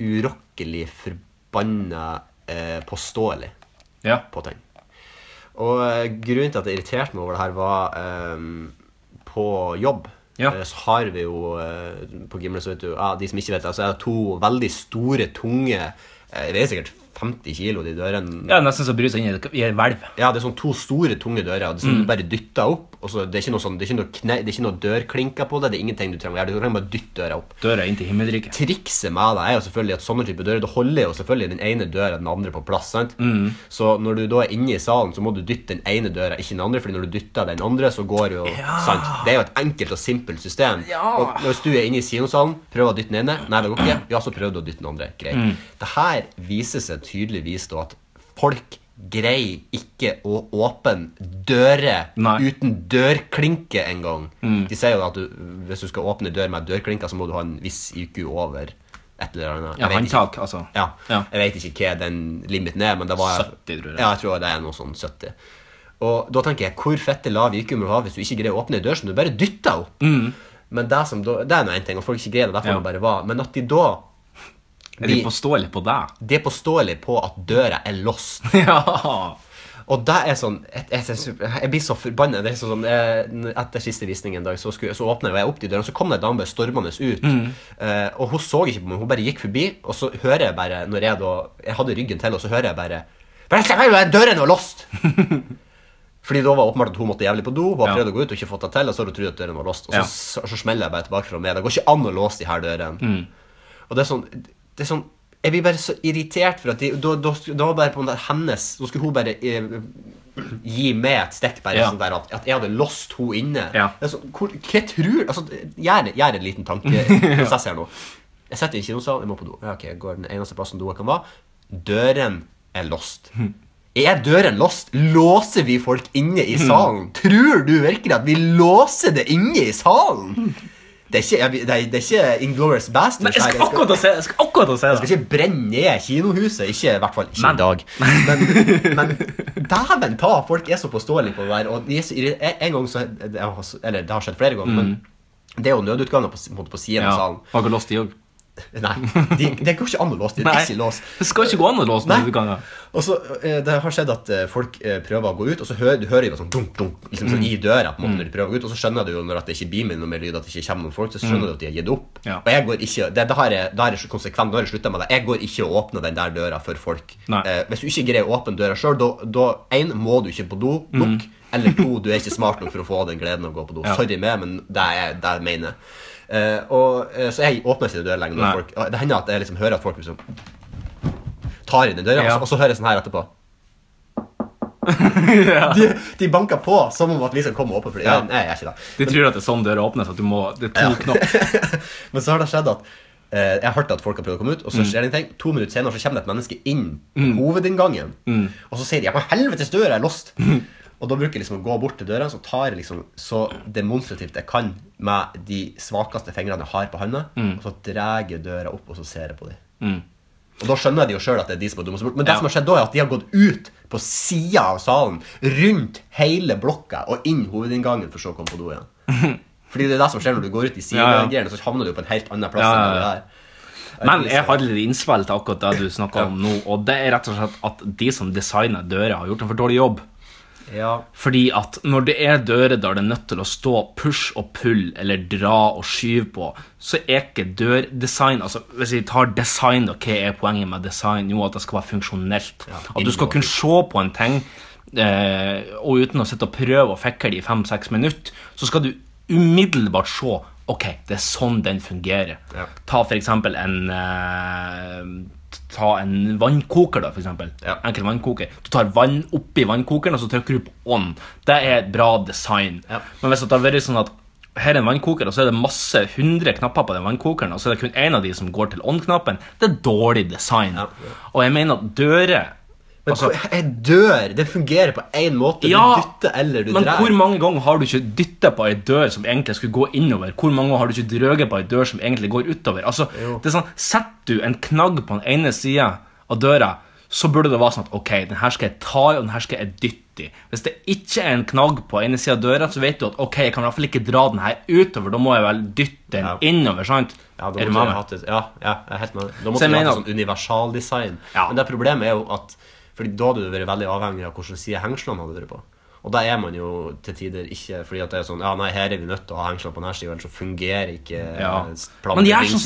C: urokkelig forbanna eh, påståelig
B: Ja.
C: på ting. Og eh, grunnen til at jeg irriterte meg over det her, var ehm, på jobb.
B: Ja.
C: Eh, Så har vi jo eh, på Gimle, så vet du, ja, de som ikke vet det, så er det to veldig store, tunge eh, Jeg vet sikkert 50 kilo, de dørene.
B: Ja, nesten så bruser inn i et- i et hvelv.
C: Ja, det er sånn to store, tunge dører. Det er sånn
B: Mm.
C: Du bare dytter opp. Og så, det, er ikke noe sånn, det, er ikke noe kne, det er ikke noe dørklinker på det. Det er ingenting du trenger å gjøre. Du trenger bare dytte døra opp.
B: Døra inn til himmelriket.
C: Trikset med det er jo selvfølgelig at sånne type dører Du holder jo selvfølgelig den ene døra den andre på plass. sant?
B: Mm.
C: Så når du da er inne i salen, så må du dytte den ene døra, ikke den andre. fordi når du dytter den andre, så går jo
B: Ja.
C: sant? Det er jo et enkelt og simpelt system.
B: Ja.
C: Og hvis du er inne i kinosalen, prøver å dytte den ene. Nei, det går ikke. Ja, så prøver du å dytte den andre. Greit.
B: Mm.
C: Det her viser seg tydeligvis da at folk greier ikke å åpne dører uten dørklinke engang.
B: Mm.
C: De sier jo at du, hvis du skal åpne dør med dørklinker, så må du ha en viss IQ over et eller annet.
B: Ja,
C: Jeg vet
B: håndtak,
C: ikke-
B: altså.
C: Ja. Jeg vet ikke hva den limiten er, men det var
B: 70, tror jeg.
C: Ja, jeg tror det er noe sånn 70. Og da tenker jeg, hvor fette lav IQ må du ha hvis du ikke greier å åpne en dør som du bare dytter opp? Men det, som da, det er nå en ting, og folk ikke greier det, derfor
B: Mm. Ja.
C: må det bare være. Men at de da
B: Er de påståelige på deg?
C: [LAUGHS] De er påståelige på at døra er låst. Og det er sånn Jeg, jeg, synes- jeg blir så forbanna. Det er sånn, eh, etter siste visning en dag så, skulle, så åpna jeg opp de dørene, og så kom det ei dame bare stormende ut.
B: Mm.
C: Eh, og hun så ikke på meg, hun bare gikk forbi, og så hører jeg bare når jeg da, jeg hadde ryggen til, og så hører jeg bare Bare slipp meg, ut, døren var
B: [LAUGHS]
C: låst! Fordi da var det åpenbart at hun måtte jævlig på do, hun
B: Ja.
C: har prøvd å gå ut og ikke fått det til, og så har hun trodd at døren var låst, og så,
B: Ja.
C: så, så smeller jeg bare tilbake fra meg. Det går ikke an å låse de her dørene.
B: Mm.
C: Og det er sånn, det er sånn jeg blir bare så irritert, for at de, da, da, da var bare på den der hennes Da skulle hun bare eh, gi meg et stikk, bare
B: Ja.
C: sånn der at, at jeg hadde låst hun inne.
B: Ja.
C: Det er sånn, hvor, hva tror altså, Gjør gjør en liten tankeprosess
B: [LAUGHS]
C: her nå. Jeg sitter i kinosalen, jeg må på do. Ja, ok, jeg går den eneste plassen do jeg kan være. Døren er låst. Er døren låst? Låser vi folk inne i
B: [LAUGHS]
C: salen? Tror du virkelig at vi låser det inne i salen? Det er ikke, jeg, det er, det er ikke Inglourious Bastards.
B: jeg skal akkurat
C: se, jeg skal Jeg skal ikke brenne ned kinohuset. Ikke, I hvert fall
B: [LAUGHS]
C: ikke i dag. Men, men dæven ta, folk er så påståelige på det der. Og de er så, irri- en gang så, Eller det har skjedd flere ganger,
B: Mm.
C: men det er jo nødutganger på, på siden
B: Ja.
C: av salen.
B: Har dere låst de òg?
C: Nei, de- det går ikke an å låse de. Det er
B: Nei.
C: ikke låst.
B: Det skal ikke gå an å låse
C: Nei.
B: nødutganger.
C: Og så, eh, Det har skjedd at eh, folk eh, prøver å gå ut, og så hører du hører jo sånn dunk, dunk, liksom
B: Mm.
C: sånn i døra. på en måte når de prøver å gå ut, Og så skjønner du jo når at det ikke blir med noe mer lyd, at det ikke kommer noen folk. så skjønner du at de har gitt opp.
B: Mm. Ja.
C: Og jeg går ikke, det, det har jeg, det har jeg konsekvent, nå har jeg sluttet med det. Jeg går ikke og åpner den der døra for folk.
B: Nei.
C: Eh, hvis du ikke greier å åpne døra sjøl, da, da en, må du ikke på do nok. Eller to, du er ikke smart nok for å få den gleden av å gå på do.
B: Mm. Ja.
C: Sorry med, men det er det jeg mener. Eh, og, eh, så jeg åpner ikke døra lenger. når
B: Nei.
C: folk- og Det hender at jeg liksom hører at folk liksom tar i den døra,
B: Ja.
C: og, så, og så hører jeg sånn her etterpå. [LAUGHS] de, de banker på som om at vi skal komme og åpne for dem.
B: Ja.
C: Nei, jeg er ikke det.
B: De tror at det er sånn døra åpnes, at du må Det er to knopper.
C: Men så har det skjedd at eh, jeg har hørt at folk har prøvd å komme ut, og så skjer det en ting. To minutter senere så kommer det et menneske inn
B: Mm.
C: hovedinngangen,
B: Mm.
C: og så sier de 'ja, men helvetes, døra er låst'. Og da bruker jeg liksom å gå bort til døra, så tar jeg liksom så demonstrativt jeg kan med de svakeste fingrene jeg har på hånda,
B: Mm.
C: og så drar jeg døra opp, og så ser jeg på dem.
B: Mm.
C: Og da skjønner de jo sjøl at det er de som er dumme som er borte. Men det
B: Ja.
C: som har skjedd da, er at de har gått ut på sida av salen, rundt hele blokka og inn hovedinngangen for så å komme på do igjen. Fordi det er det som skjer når du går ut i
B: Ja, ja.
C: sidegreiene, så havner du på en helt annen plass
B: Ja, ja,
C: enn
B: ja.
C: der.
B: Men jeg har litt innspill til akkurat det du snakker om nå, og det er rett og slett at de som designer dører, har gjort en for dårlig jobb.
C: Ja.
B: Fordi at når det er dører der det er nødt til å stå push og pull, eller dra og skyve på, så er ikke dørdesign Altså, hvis vi tar design, da, hva er poenget med design? Jo, at det skal være funksjonelt. At du skal kunne se på en ting, eh, og uten å sitte og prøve å fikle det i fem-seks minutter, så skal du umiddelbart se Ok, det er sånn den fungerer.
C: Ja.
B: Ta for eksempel en eh, Ta en vannkoker, da, for eksempel. Enkel vannkoker. Du tar vann oppi vannkokeren, og så trykker du på on. Det er et bra design. Men hvis det hadde vært sånn at her er en vannkoker, og så er det masse 100 knapper på den vannkokeren, og så er det kun én av de som går til on-knappen, det er dårlig design. Og jeg mener at dører
C: Men
B: altså-
C: hvor- jeg dør! Det fungerer på én måte. Du
B: Ja,
C: dytter eller du
B: men
C: drar.
B: hvor mange ganger har du ikke dytta på ei dør som egentlig skulle gå innover? Hvor mange ganger har du ikke drøget på ei dør som egentlig går utover? Altså, det er sånn, Setter du en knagg på den ene sida av døra, så burde det være sånn at ok, den her skal jeg ta i, og den her skal jeg dytte i. Hvis det ikke er en knagg på ene sida av døra, så vet du at ok, jeg kan i hvert fall ikke dra den her utover, da må jeg vel dytte den innover, sant?
C: Ja, da
B: Er du
C: måtte
B: med
C: vi
B: meg?
C: hatt et, ja, ja, jeg er helt med. Da
B: Så jeg
C: måtte vi hatt
B: mener
C: et
B: at-
C: sånn universaldesign. Men det problemet er jo at Fordi da hadde du vært veldig avhengig av hvordan side hengslene hadde vært på. Og da er man jo til tider ikke fordi at det er sånn Ja, nei, her er vi nødt til å ha hengsler på nærsida, ellers så fungerer ikke
B: Ja.
C: eh,
B: Men gjør sånn som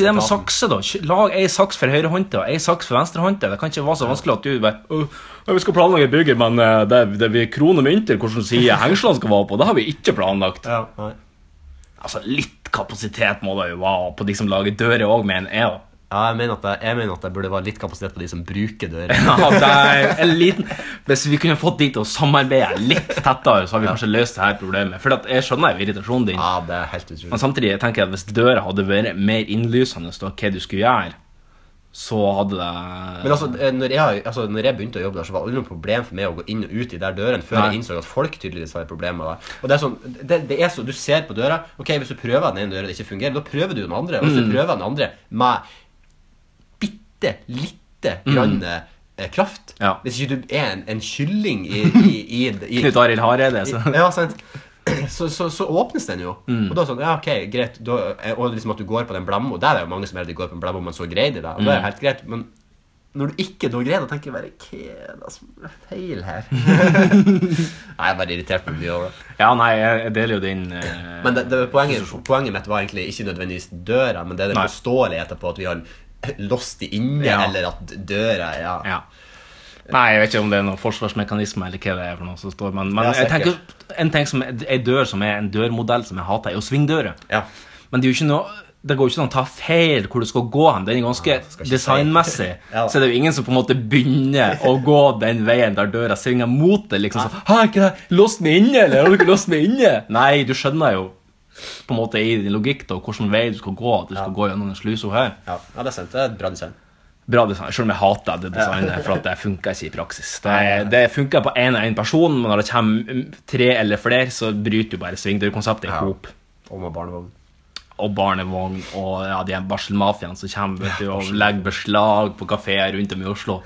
B: det med
C: plantevingstentaten.
B: sakser, da. Kjø- Lag ei saks for høyrehånda og ei saks for venstrehånda. Det kan ikke være så vanskelig at du bare «Åh, Vi skal planlegge bygget, men eh, det, det blir kroner mynter hvordan side hengslene skal være på. Det har vi ikke planlagt. altså, litt kapasitet må det jo være på de som lager dører òg, mener jeg. da. [CLEARS THROAT]
C: Ja, jeg mener, at det, jeg mener at det burde være litt kapasitet på de som bruker dører.
B: [LAUGHS] Ja, det er en liten Hvis vi kunne fått de til å samarbeide litt tettere, så har vi kanskje løst det her problemet. For at jeg skjønner jo irritasjonen din.
C: Ja, det er helt utrolig.
B: Men samtidig tenker jeg at hvis døra hadde vært mer innlysende da, hva du skulle gjøre, så hadde det
C: Men altså, eh, når jeg, altså, når jeg begynte å jobbe der, så var det aldri noe problem for meg å gå inn og ut i der døren før
B: Nei.
C: jeg innså at folk tydeligvis har problemer med det. Og det er sånn, det, det er så, du ser på døra, ok, hvis du prøver den ene døra det ikke fungerer, da prøver du den andre, og hvis du
B: Mm.
C: prøver den andre med bitte, lite
B: Mm.
C: grann eh, kraft, hvis ikke du er en, en kylling i, i,
B: [LAUGHS]
C: i, i
B: Knut Arild Hareide, så
C: ja, sant. [CLEARS THROAT] Så, så, så åpnes den jo.
B: Mm.
C: Og da er det sånn, ja, ok, greit. Da, og liksom at du går på den blemma. Der er jo mange som heldig går på en blemma, men så greier de det. Og det er
B: Mm.
C: jo helt greit. Men når du ikke da greier det, tenker jeg bare Hva er det som er feil
B: [LAUGHS]
C: her? Nei, jeg er bare irritert meg mye over det.
B: Ja, nei, jeg deler jo din eh,
C: Men det, det, poenget, poenget mitt var egentlig ikke nødvendigvis døra, men det er den
B: Nei.
C: påståeligheten på at vi har låst de inne,
B: Ja.
C: eller at døra ja.
B: Ja. Nei, jeg vet ikke om det er noen forsvarsmekanisme eller hva det er for noe som står, men, men
C: Ja,
B: jeg tenker
C: sikkert.
B: en ting som er, en dør som er en dørmodell som jeg hater, er jo svingdører. Men det er jo ikke noe det går jo ikke an å ta feil hvor du skal gå hen. Den er ganske designmessig.
C: [LAUGHS] Ja da.
B: Så det er jo ingen som på en måte begynner å gå den veien der døra svinger mot det. liksom sånn, Har ikke det låst meg inne, eller har du ikke låst meg inne?
C: [LAUGHS]
B: Nei, du skjønner jo på en måte i din logikk da, hvilken vei du skal gå. At du skal gå gjennom den slusa her.
C: Ja. ja, det er sant. Det er et bra design.
B: Bra design, Selv om jeg hater det
C: Ja.
B: designet, for at det funker ikke i praksis. Det, det funker på én og én person, men når det kommer tre eller flere, så bryter jo bare svingdørkonseptet i hop.
C: Og med barnevogn.
B: Og barnevogn og ja, de her barselmafiaen som kommer vet du, og legger beslag på kafeer rundt om i Oslo.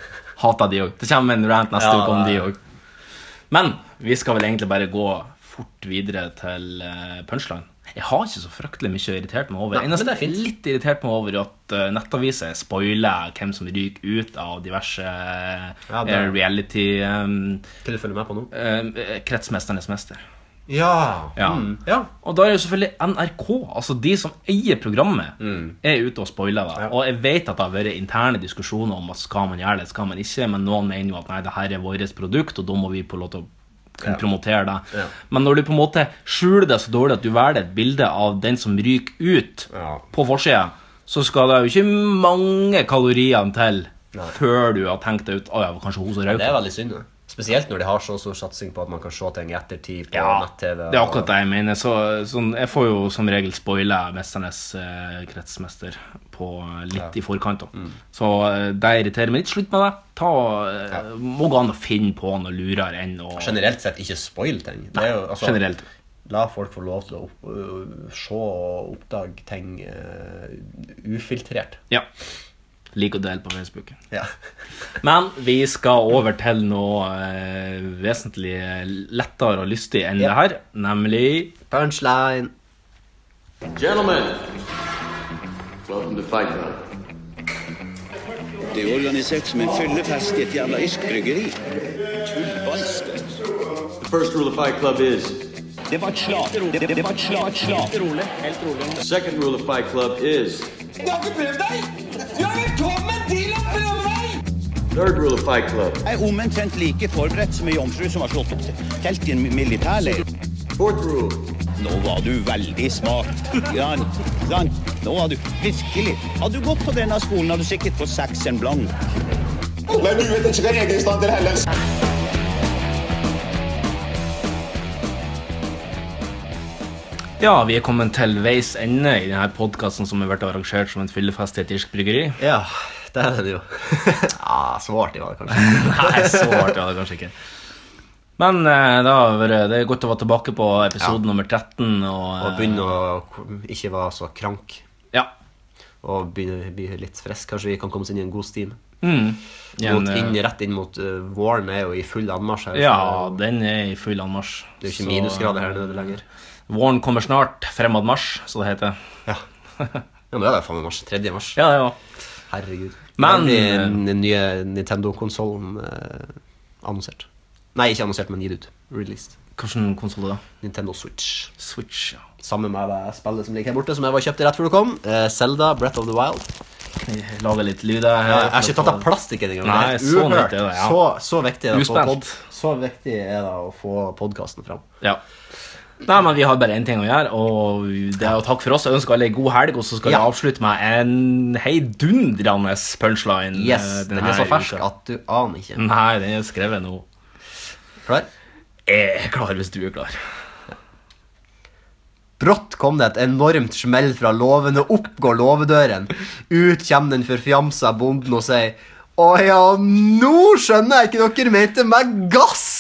B: Hater de òg. Det kommer en rant neste
C: Ja,
B: uke om de
C: det er-
B: òg. Men vi skal vel egentlig bare gå fort videre til eh, punchline. Jeg har ikke så fryktelig mye irritert meg over.
C: Nei,
B: Jeg er
C: men
B: nesten
C: det er fint.
B: litt irritert meg over at eh, nettaviser spoiler hvem som ryker ut av diverse eh,
C: det-
B: eh, reality um,
C: Hva du følger med på nå?
B: Kretsmesternes mester.
C: Ja.
B: Ja.
C: Mm. ja.
B: Og da er jo selvfølgelig NRK, altså de som eier programmet,
C: Mm.
B: er ute og spoiler det. Og jeg vet at det har vært interne diskusjoner om at skal man gjøre det, skal man ikke, men noen mener jo at nei, det her er vårt produkt, og da må vi på lov til å kunne
C: Ja.
B: promotere det.
C: Ja.
B: Men når du på en måte skjuler det så dårlig at du velger et bilde av den som ryker ut på forsida, så skal det jo ikke mange kaloriene til før du har tenkt deg ut Å ja, det var kanskje hun som røyk.
C: Det er veldig synd. da. Spesielt når de har så stor satsing på at man kan se ting i ettertid på
B: Ja,
C: nett-TV.
B: Det er akkurat det jeg mener. Så, sånn, jeg får jo som regel spoila 'Mesternes eh, kretsmester' på eh, litt i forkant. da.
C: Mm.
B: Så eh, det irriterer meg litt. Slutt med det. Ta, eh, Må gå an å finne på noe lurere enn å
C: Generelt sett ikke spoil ting. Det er jo, altså,
B: generelt.
C: La folk få lov til å opp, øh, se og oppdage ting øh, ufiltrert.
B: Ja. Lik og del på Facebook.
C: Ja.
B: Men vi skal over til noe eh, vesentlig lettere og lystig enn det her, nemlig
C: Punchline.
K: Gentlemen, welcome to Fight Club.
L: Det er jo organisert som en fyllefest i et jævla irsk bryggeri.
K: The first rule of Fight Club is
L: Det var et slag. Det, det, det var et slag. Et slag.
K: rolig. Helt rolig. The second rule of Fight Club is
F: Du har ikke prøvd deg! Du er velkommen til å prøve deg!
K: third rule of Fight Club.
L: Jeg er omtrent like forberedt som ei jomfru som har slått opp telt i en militærleir. Nå var du veldig smart. Gran, gran. Nå var du virkelig Hadde du gått på denne skolen, hadde du sikkert fått seks en blank.
I: Men du vet ikke hva regelstand til Hellas
B: Ja, vi er kommet til veis ende i denne podkasten som har vært arrangert som en fyllefest i et irsk bryggeri.
C: Ja, det er [LAUGHS] det jo. ah, så artig var det kanskje.
B: Nei, så artig var det kanskje ikke. Men eh, det, har vært, det er godt å være tilbake på episode nummer 13. Og, eh,
C: Og begynne å k- ikke være så krank.
B: Ja.
C: Og begynne å bli litt frisk. Kanskje vi kan komme oss inn i en god steam.
B: Mm. I en,
C: Mot, inn,
B: eh,
C: rett inn mot eh, våren er jo i full anmarsj her. så-
B: Ja, den er i full anmarsj.
C: Det er jo ikke minusgrader her nede lenger.
B: Våren kommer snart. Fremad marsj, så det heter.
C: Ja. Ja, nå er det faen meg mars. 3. mars.
B: Ja, det var.
C: Herregud.
B: Men-
C: Men Den nye Nintendo-konsollen eh, annonsert. Nei, ikke annonsert, men gitt ut. Released.
B: Hvilken konsoll da?
C: Nintendo Switch.
B: Switch, ja.
C: Sammen med eh, spillet som ligger her borte, som jeg var kjøpte rett før du kom. Eh, Zelda, Breath of the Wild.
B: Lage litt lyd her.
C: Ja, jeg har ikke tatt av plastikk engang.
B: Nei,
C: Det er
B: så
C: uhørt.
B: nytt er det, ja.
C: så, så viktig er det å få
B: Uspent.
C: pod- Så viktig er det å få podkasten fram.
B: Ja. Nei, men vi har bare én ting å gjøre, og det er jo takk for oss. Jeg ønsker alle ei god helg, og så skal
C: Ja.
B: vi avslutte med en heidundrende punchline.
C: Yes,
B: eh,
C: den
B: denne
C: er så fersk
B: uka.
C: at du aner ikke.
B: Nei, den er skrevet nå.
C: Klar?
B: Jeg er klar hvis du er klar.
C: Brått kom det et enormt smell fra låven, og opp går låvedøren. Ut kommer den forfjamsa bonden og sier Å ja, nå skjønner jeg ikke dere mente med gass!